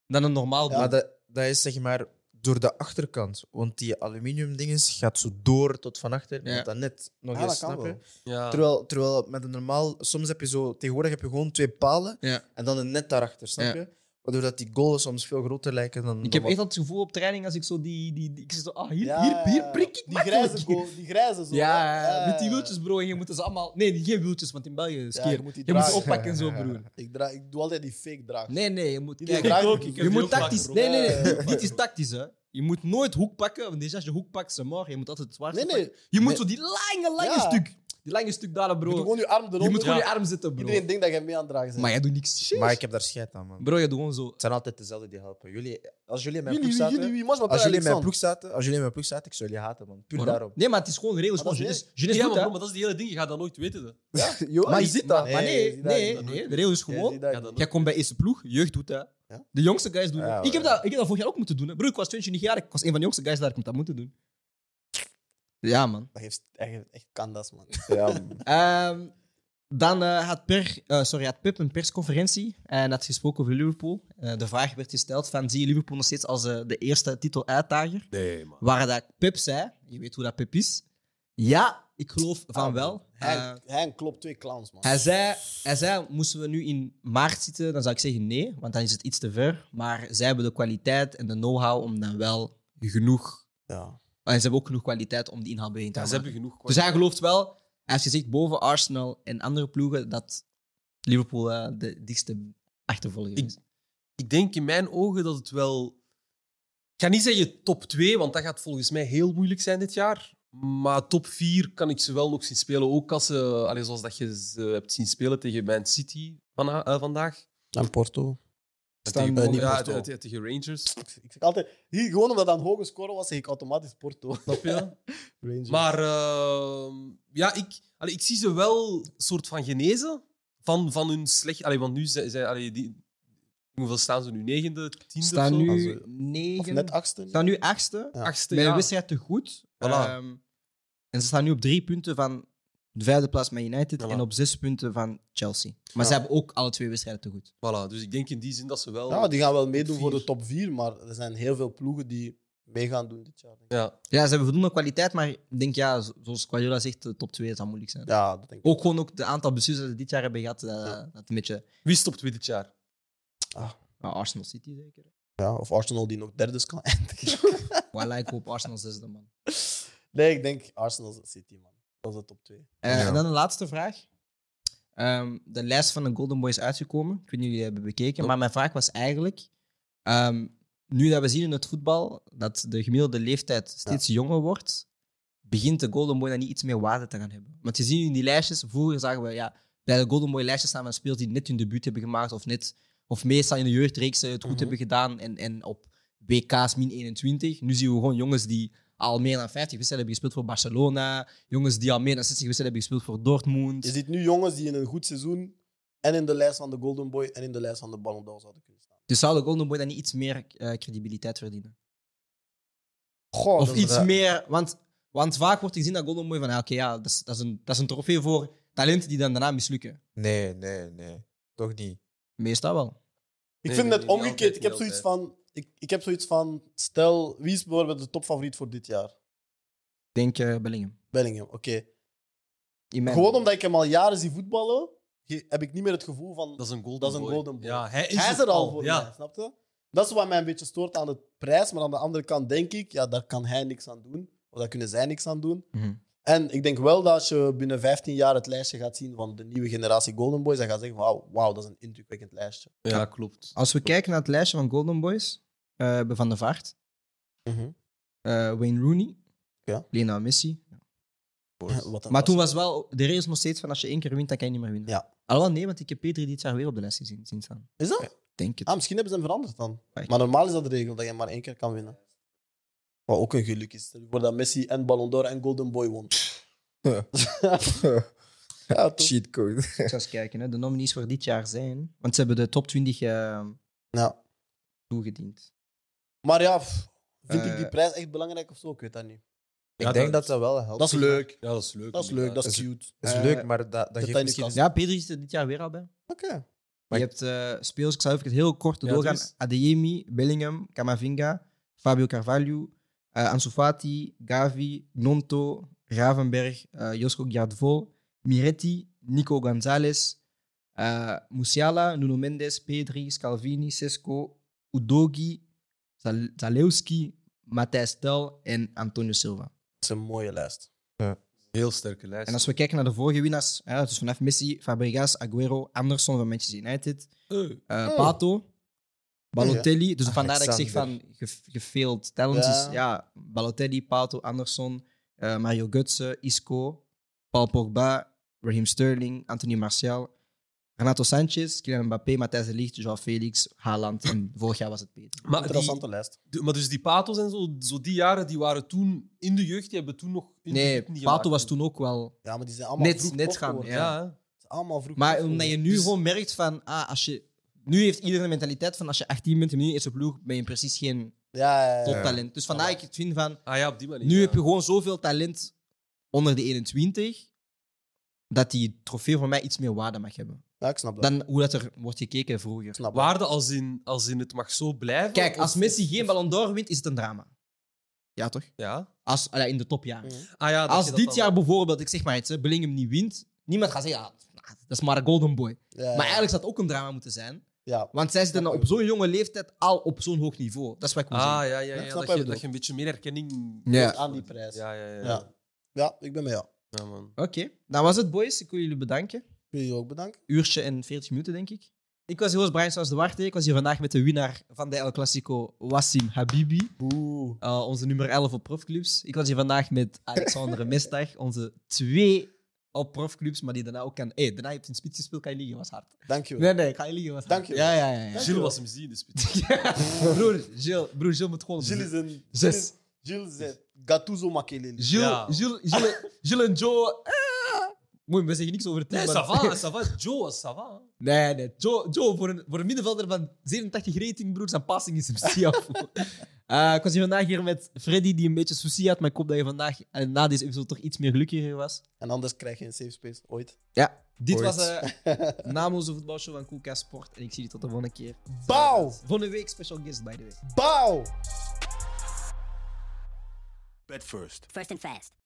S1: dan een normaal
S6: Ja.
S1: doel.
S2: Maar dat, dat is zeg maar door de achterkant, want die aluminium dinges gaat zo door tot van achter.
S1: Ja. Ah,
S2: Ja. Dat net nog
S6: Ja,
S2: eens
S6: dat kan
S2: snap je?
S6: wel.
S5: Ja.
S2: Terwijl, terwijl met een normaal, soms heb je zo, tegenwoordig heb je gewoon twee palen
S1: Ja.
S2: en dan een net daarachter, snap
S1: Ja.
S2: je? Waardoor dat die goals soms veel groter lijken dan.
S1: Ik
S2: dan
S1: heb echt
S2: wat-
S1: altijd het gevoel op training als ik zo die... die, die- ik zeg zo, ah, hier,
S6: Ja,
S1: hier, hier prik ik
S6: Die grijze,
S1: makkelijk.
S6: goal, die grijze zo.
S1: Ja,
S6: hè?
S1: ja, met die wieltjes, bro. En je moet ze allemaal... Nee, geen wieltjes, want in België is
S6: Ja,
S1: keer.
S6: je moet die
S1: Je moet ze
S6: dragen.
S1: oppakken en zo, broer.
S6: Ik, draai, ik doe altijd die fake draag.
S1: Nee, nee, je moet...
S6: Die
S1: Kijk,
S6: draag-
S5: ook, ik heb
S1: Je
S5: die
S1: moet
S5: ook vaak
S1: tactisch.
S5: geroepen.
S1: Nee, nee,
S6: Ja, ja,
S1: nee.
S6: ja.
S1: Dit is tactisch, hè? Je moet nooit hoek pakken, want deze als je hoek pakt, ze maar. Je moet altijd het zwaard
S6: Nee, nee.
S1: pakken. Je moet
S6: Nee.
S1: zo die lange, lange
S6: Ja.
S1: stuk. Die lange stuk daar,
S6: Je moet
S1: bro.
S6: gewoon je arm eronder.
S1: Je moet gewoon
S5: Ja.
S1: je arm zetten, bro.
S6: Iedereen denkt dat jij mee aan het dragen bent.
S1: Maar jij doet niks. Shit.
S2: Maar ik heb daar scheid aan, man.
S1: Bro, je doet gewoon zo.
S2: Het zijn altijd dezelfde die helpen. Jullie, als jullie in mijn
S6: jullie,
S2: ploeg
S6: jullie,
S2: zaten,
S6: jullie, wie was maar
S2: als
S6: bij
S2: jullie in mijn
S6: Alexander?
S2: ploeg zaten, als jullie in mijn ploeg zaten, ik zou jullie haten, man. Puur
S1: Waarom?
S2: daarom.
S1: Nee, maar het is gewoon de regels.
S6: Maar Ah, dat
S1: Gewoon,
S6: is
S1: Jeunesse Jeunesse
S5: Ja,
S1: doet
S5: maar,
S1: dat.
S5: bro, maar dat is het hele ding. Je gaat dat nooit weten. hè.
S6: Ja, joh,
S1: Maar
S6: je ziet dat.
S1: Maar nee, nee,
S5: dat
S1: nee.
S5: nooit.
S1: De regels is
S6: Je
S1: gewoon.
S6: ziet dat.
S5: Ja, dat
S1: Jij komt bij eerste ploeg, jeugd doet dat.
S6: Ja.
S1: De jongste guys doen
S2: Ja,
S1: dat.
S2: maar-
S1: Ik heb dat. Ik heb dat vorig jaar ook moeten doen. hè. Bro, ik was 22 jaar. Ik was een van de jongste guys daar. Ik moet dat moeten doen. Ja, man.
S6: Dat heeft dat heeft echt kandas, man.
S2: Ja,
S1: Ehm, dan eh, had, per, eh, sorry, had Pep een persconferentie en had gesproken over Liverpool. Eh, de vraag werd gesteld van, zie je Liverpool nog steeds als eh, de eerste titeluitdager?
S5: Nee, man.
S1: Waar dat Pep zei, je weet hoe dat Pep is, ja, ik geloof van wel. Eh,
S6: Henk, Henk klopt twee clowns, man.
S1: hij, zei, hij zei, moesten we nu in maart zitten, dan zou ik zeggen nee, want dan is het iets te ver. Maar zij hebben de kwaliteit en de know-how om dan wel genoeg...
S6: Ja.
S1: En ze hebben ook genoeg kwaliteit om die inhaal bijeen te
S5: Ja, ze
S1: houden.
S5: hebben genoeg
S1: Dus hij gelooft wel, hij heeft gezegd boven Arsenal en andere ploegen, dat Liverpool eh, de dichtste achtervolger
S5: Ik-
S1: is.
S5: ik denk in mijn ogen dat het wel. Ik ga niet zeggen top 2, want dat gaat volgens mij heel moeilijk zijn dit jaar. Maar top 4 kan ik ze wel nog zien spelen. Ook als ze, allee, zoals dat je ze hebt zien spelen tegen Man City vana- eh, vandaag.
S6: En Porto.
S5: tegen,
S6: bij die
S5: ja,
S6: Porto.
S5: te- te- tegen Rangers.
S6: Ik zeg altijd, hier, gewoon omdat dat een hoge score was, zeg ik automatisch Porto.
S5: Snap je?
S6: Rangers.
S5: Maar eh, ja, ik, allee, ik zie ze wel soort van genezen van, van hun slecht. Allee, want nu zijn, zijn allee, die, hoeveel staan ze nu? Negende, tiende
S1: Staan
S5: of zo?
S6: Als
S1: nu
S6: we- Of
S1: negen...
S6: net achtste.
S1: staan nu achtste.
S6: Ja.
S5: achtste.
S1: Met een
S5: ja.
S1: wedstrijd te goed.
S5: Voilà.
S1: Ehm, en ze staan nu op drie punten van de vijfde plaats met United
S5: Voilà.
S1: en op zes punten van Chelsea. Maar
S6: Ja.
S1: ze hebben ook alle twee wedstrijden te goed.
S5: Voilà, dus ik denk in die zin dat ze wel.
S6: Ja, die gaan wel meedoen
S5: vier.
S6: voor de top 4, maar er zijn heel veel ploegen die mee gaan doen dit jaar. denk ik.
S5: ja.
S1: Ja, ze hebben voldoende kwaliteit, maar ik denk, ja, zo- zoals Guardiola zegt, de top 2 zou moeilijk zijn.
S6: Ja, dat denk ik.
S1: Ook gewoon ook de aantal beslissingen die ze dit jaar hebben gehad, eh, dat een beetje...
S5: Wie stopt wie dit jaar?
S1: Nou, Arsenal City zeker.
S6: Ja, of Arsenal die nog derde kan eindigen.
S1: Waar lijken op Arsenal zesde, man.
S6: nee, ik denk Arsenal City, man. Dat is de top 2.
S1: Eh,
S5: Ja.
S1: En dan de laatste vraag. Ehm, de lijst van de Golden Boy is uitgekomen. Ik weet niet of jullie hebben bekeken. Maar mijn vraag was eigenlijk... ehm, nu dat we zien in het voetbal dat de gemiddelde leeftijd steeds jonger wordt, begint de Golden Boy dan niet iets meer waarde te gaan hebben. Want je ziet nu in die lijstjes, vroeger zagen we ja, bij de Golden Boy lijstjes staan van spelers die net hun debuut hebben gemaakt of, net, of meestal in de jeugdreeks eh, het goed
S5: Mhm.
S1: hebben gedaan en, en op WK's min 21. Nu zien we gewoon jongens die al meer dan 50 wedstrijden hebben gespeeld voor Barcelona, jongens die al meer dan 60 wedstrijden hebben gespeeld voor Dortmund.
S6: Je ziet nu jongens die in een goed seizoen en in de lijst van de Golden Boy en in de lijst van de Ballon d'Or zouden kunnen staan.
S1: Dus zou de Golden Boy dan niet iets meer eh, credibiliteit verdienen?
S6: Goh,
S1: Of iets meer, want, want vaak wordt gezien dat Golden Boy van, ja, oké, ja, dat is, dat, is een, dat is een trofee voor talenten die dan daarna mislukken.
S2: Nee, nee, nee. Toch niet.
S1: Meestal wel.
S6: Ik
S5: Nee,
S6: vind
S5: nee,
S6: het
S5: nee, niet altijd,
S6: omgekeerd. Ik heb,
S5: niet
S6: zoiets van, ik, ik heb zoiets van, stel, wie is bijvoorbeeld de topfavoriet voor dit jaar?
S1: Ik denk eh, Bellingham.
S6: Bellingham, oké.
S1: In mijn-
S6: Gewoon omdat ik hem al jaren zie voetballen, ge- heb ik niet meer het gevoel van...
S5: Dat is een golden
S6: Dat is een
S5: boy.
S6: golden boy.
S5: Ja, hij is,
S6: hij is er al voor mij,
S5: Ja.
S6: snap je? Dat is wat mij een beetje stoort aan de prijs. Maar aan de andere kant denk ik, ja, daar kan hij niks aan doen. Of daar kunnen zij niks aan doen.
S1: Mhm.
S6: En ik denk wel dat als je binnen 15 jaar het lijstje gaat zien van de nieuwe generatie Golden Boys, dan gaat zeggen, wauw, wauw, dat is een indrukwekkend lijstje.
S5: ja, klopt.
S1: Als we kijken naar het lijstje van Golden Boys, eh, hebben Van der Vaart,
S6: Mhm.
S1: eh, Wayne Rooney,
S6: Ja.
S1: Lionel Messi.
S6: Wat een-
S1: Maar toen was wel, de regel is nog steeds van als je één keer wint, dan kan je niet meer winnen.
S6: Ja.
S1: Alhoewel, nee, want ik heb P3 dit jaar weer op de lijst gezien zien staan.
S6: Is dat?
S1: Denk het.
S6: Ah, misschien hebben ze hem veranderd dan.
S1: Maar ik-
S6: Maar normaal is dat de regel, dat je maar één keer kan winnen. Wat ook een geluk is. Stel je voor dat Messi en Ballon d'Or en Golden Boy won. Ja, toch?
S2: Cheat code.
S1: Ik zou eens kijken, hè. de nominees voor dit jaar zijn. Want ze hebben de top 20 eh,
S6: Ja.
S1: toegediend.
S6: Maar ja, pff, vind
S1: Eh,
S6: ik die prijs echt belangrijk of zo? Ik weet dat niet.
S2: Ik
S5: Ja,
S2: denk
S5: dat-
S2: dat dat wel helpt.
S6: Dat is leuk.
S5: Ja, dat is leuk.
S6: Dat is leuk, dat is
S2: Dat
S6: cute.
S2: Dat is
S1: Eh,
S2: leuk, maar dat, dat
S6: hij
S2: geeft
S6: nu
S2: misschien...
S6: kan-
S1: Ja, P3 zit er dit jaar weer al bij.
S6: Oké.
S1: Je hebt eh, spelers, ik zou even heel kort
S5: Ja,
S1: doorgaan.
S5: doe eens.
S1: Adeyemi, Bellingham, Camavinga, Fabio Carvalho, eh Ansu Fati, Gavi, Nonto, Ravenberg, eh Josko Giardvol, Miretti, Nico Gonzalez, eh Musiala, Nuno Mendes, Pedri, Scalvini, Sesco, Udogi, Zal- Zalewski, Matthijs Tel en Antonio Silva.
S6: Dat is een mooie lijst.
S5: heel sterke lijst.
S1: En als we kijken naar de vorige winnaars, hè, dus vanaf Messi, Fabregas, Aguero, Anderson van Manchester United,
S5: Eh,
S1: eh,
S6: Oh. Ah,
S1: Pato, Balotelli. Dus vandaar dat ik zeg van
S2: Alexander.
S1: ge- gefailed talents.
S6: Ja.
S1: Is, ja, Balotelli, Pato, Anderson, eh, Mario Götze, Isco, Paul Pogba, Raheem Sterling, Anthony Martial, Renato Sanchez, Kylian Mbappé, Matthijs de Ligt, Joao Felix, Haaland. En vorig jaar was het Peter.
S5: maar, die,
S6: Interessante lijst.
S5: de- maar dus die patos en zo, zo die jaren, die waren toen in de jeugd, die hebben toen nog... in de
S1: Nee,
S5: jeugd niet
S1: Pato
S5: gemaakt.
S1: was toen ook wel...
S6: Ja, maar die zijn allemaal
S1: Net-
S6: vroeg
S1: net
S6: prof
S1: gaan,
S6: geworden.
S5: Ja,
S1: ja.
S5: hè.
S6: Het is Allemaal vroeg.
S1: Maar
S6: prof
S1: omdat je
S6: geworden.
S1: nu
S5: Dus-
S1: gewoon merkt van... Ah, als je, nu heeft iedereen de mentaliteit van als je 18 bent in je eerste ploeg, ben je precies geen
S6: Ja, ja, ja.
S1: toptalent. Dus vandaar ik het vind van...
S5: Ah ja, op die manier.
S1: Nu
S5: ja.
S1: heb je gewoon zoveel talent onder de 21 dat die trofee voor mij iets meer waarde mag hebben.
S6: Ja, ik snap dat.
S1: Dan hoe dat er wordt gekeken vroeger.
S6: Ik snap dat.
S5: Waarde als in, als in het mag zo blijven.
S1: Kijk,
S5: of-
S1: als Messi
S5: of-
S1: geen Ballon d'Or wint, is het een drama. Ja, toch?
S5: Ja,
S1: Als, allee, in de topjaren.
S5: Ah, ja, dat je
S1: Als
S5: dat
S1: dit
S5: dan-
S1: jaar bijvoorbeeld, ik zeg maar iets, hè, Bellingham niet wint, niemand gaat zeggen, ja, nou, dat is maar een golden boy.
S6: Ja,
S1: Maar eigenlijk zou het ook een drama moeten zijn.
S6: ja.
S1: Want zij zitten
S6: Snap
S1: dan op
S6: ik.
S1: zo'n jonge leeftijd al op zo'n hoog niveau. Dat is wat ik wil
S5: Ah, ja,
S1: zeggen.
S5: ja, ja,
S6: snap wat
S5: dat,
S6: je
S5: je,
S6: bedoelt.
S5: dat je een beetje meer erkenning...
S1: Ja.
S6: aan die prijs. Ja,
S5: Ja, ja,
S1: Eh,
S5: ja.
S6: ja. ik ben mee. Ja.
S5: Ja, man.
S1: Oké, dat was het boys. Ik wil jullie bedanken.
S6: Wil je ook bedanken?
S1: Uurtje en 40 minuten, denk ik. Ik was Joost Brian Saus de Warte. Ik was hier vandaag met de winnaar van de El Clasico, Wassim Habibi.
S6: Boe.
S1: Uh, onze nummer 11 op profclubs. Ik was hier vandaag met Alexander Mestag, onze twee op profclubs, maar die daarna ook kan. Hé, hey, daarna heb je een spits gespeeld, kan je liegen, was hard.
S6: Dankjewel.
S1: Nee, nee, kan je liegen, was hard.
S6: Dank je wel.
S1: Ja, ja, ja. ja.
S5: Gilles was hem zien in de spits.
S1: broer, Gilles, broer, Gilles moet gewoon.
S6: Gilles is een...
S1: Zes.
S6: Gilles is een Gattuso Makelele.
S1: Gilles,
S5: Ja.
S1: Gilles, Gilles, Gilles en Joe. eh. Mooi, we zeggen niks over het team.
S5: Nee, ça
S1: maar-
S5: va, Eh, ça va. Joe, ça va.
S1: Nee, nee. Joe, Joe voor, een, voor een middenvelder van 87 rating, broer, zijn passing is hem stiaf. Eh ik was hier vandaag hier met Freddy, die een beetje sushi had, maar ik hoop dat je vandaag eh, na deze episode toch iets meer gelukkiger was.
S6: En anders krijg je een safe space. Ooit.
S1: Ja. Dit
S6: Ooit.
S1: was eh namens de voetbalshow van Koelka Sport. En ik zie jullie tot de volgende keer.
S6: Bouw!
S1: Volgende week special guest, by the way.
S6: Bouw!
S3: Bet first.
S4: First and fast.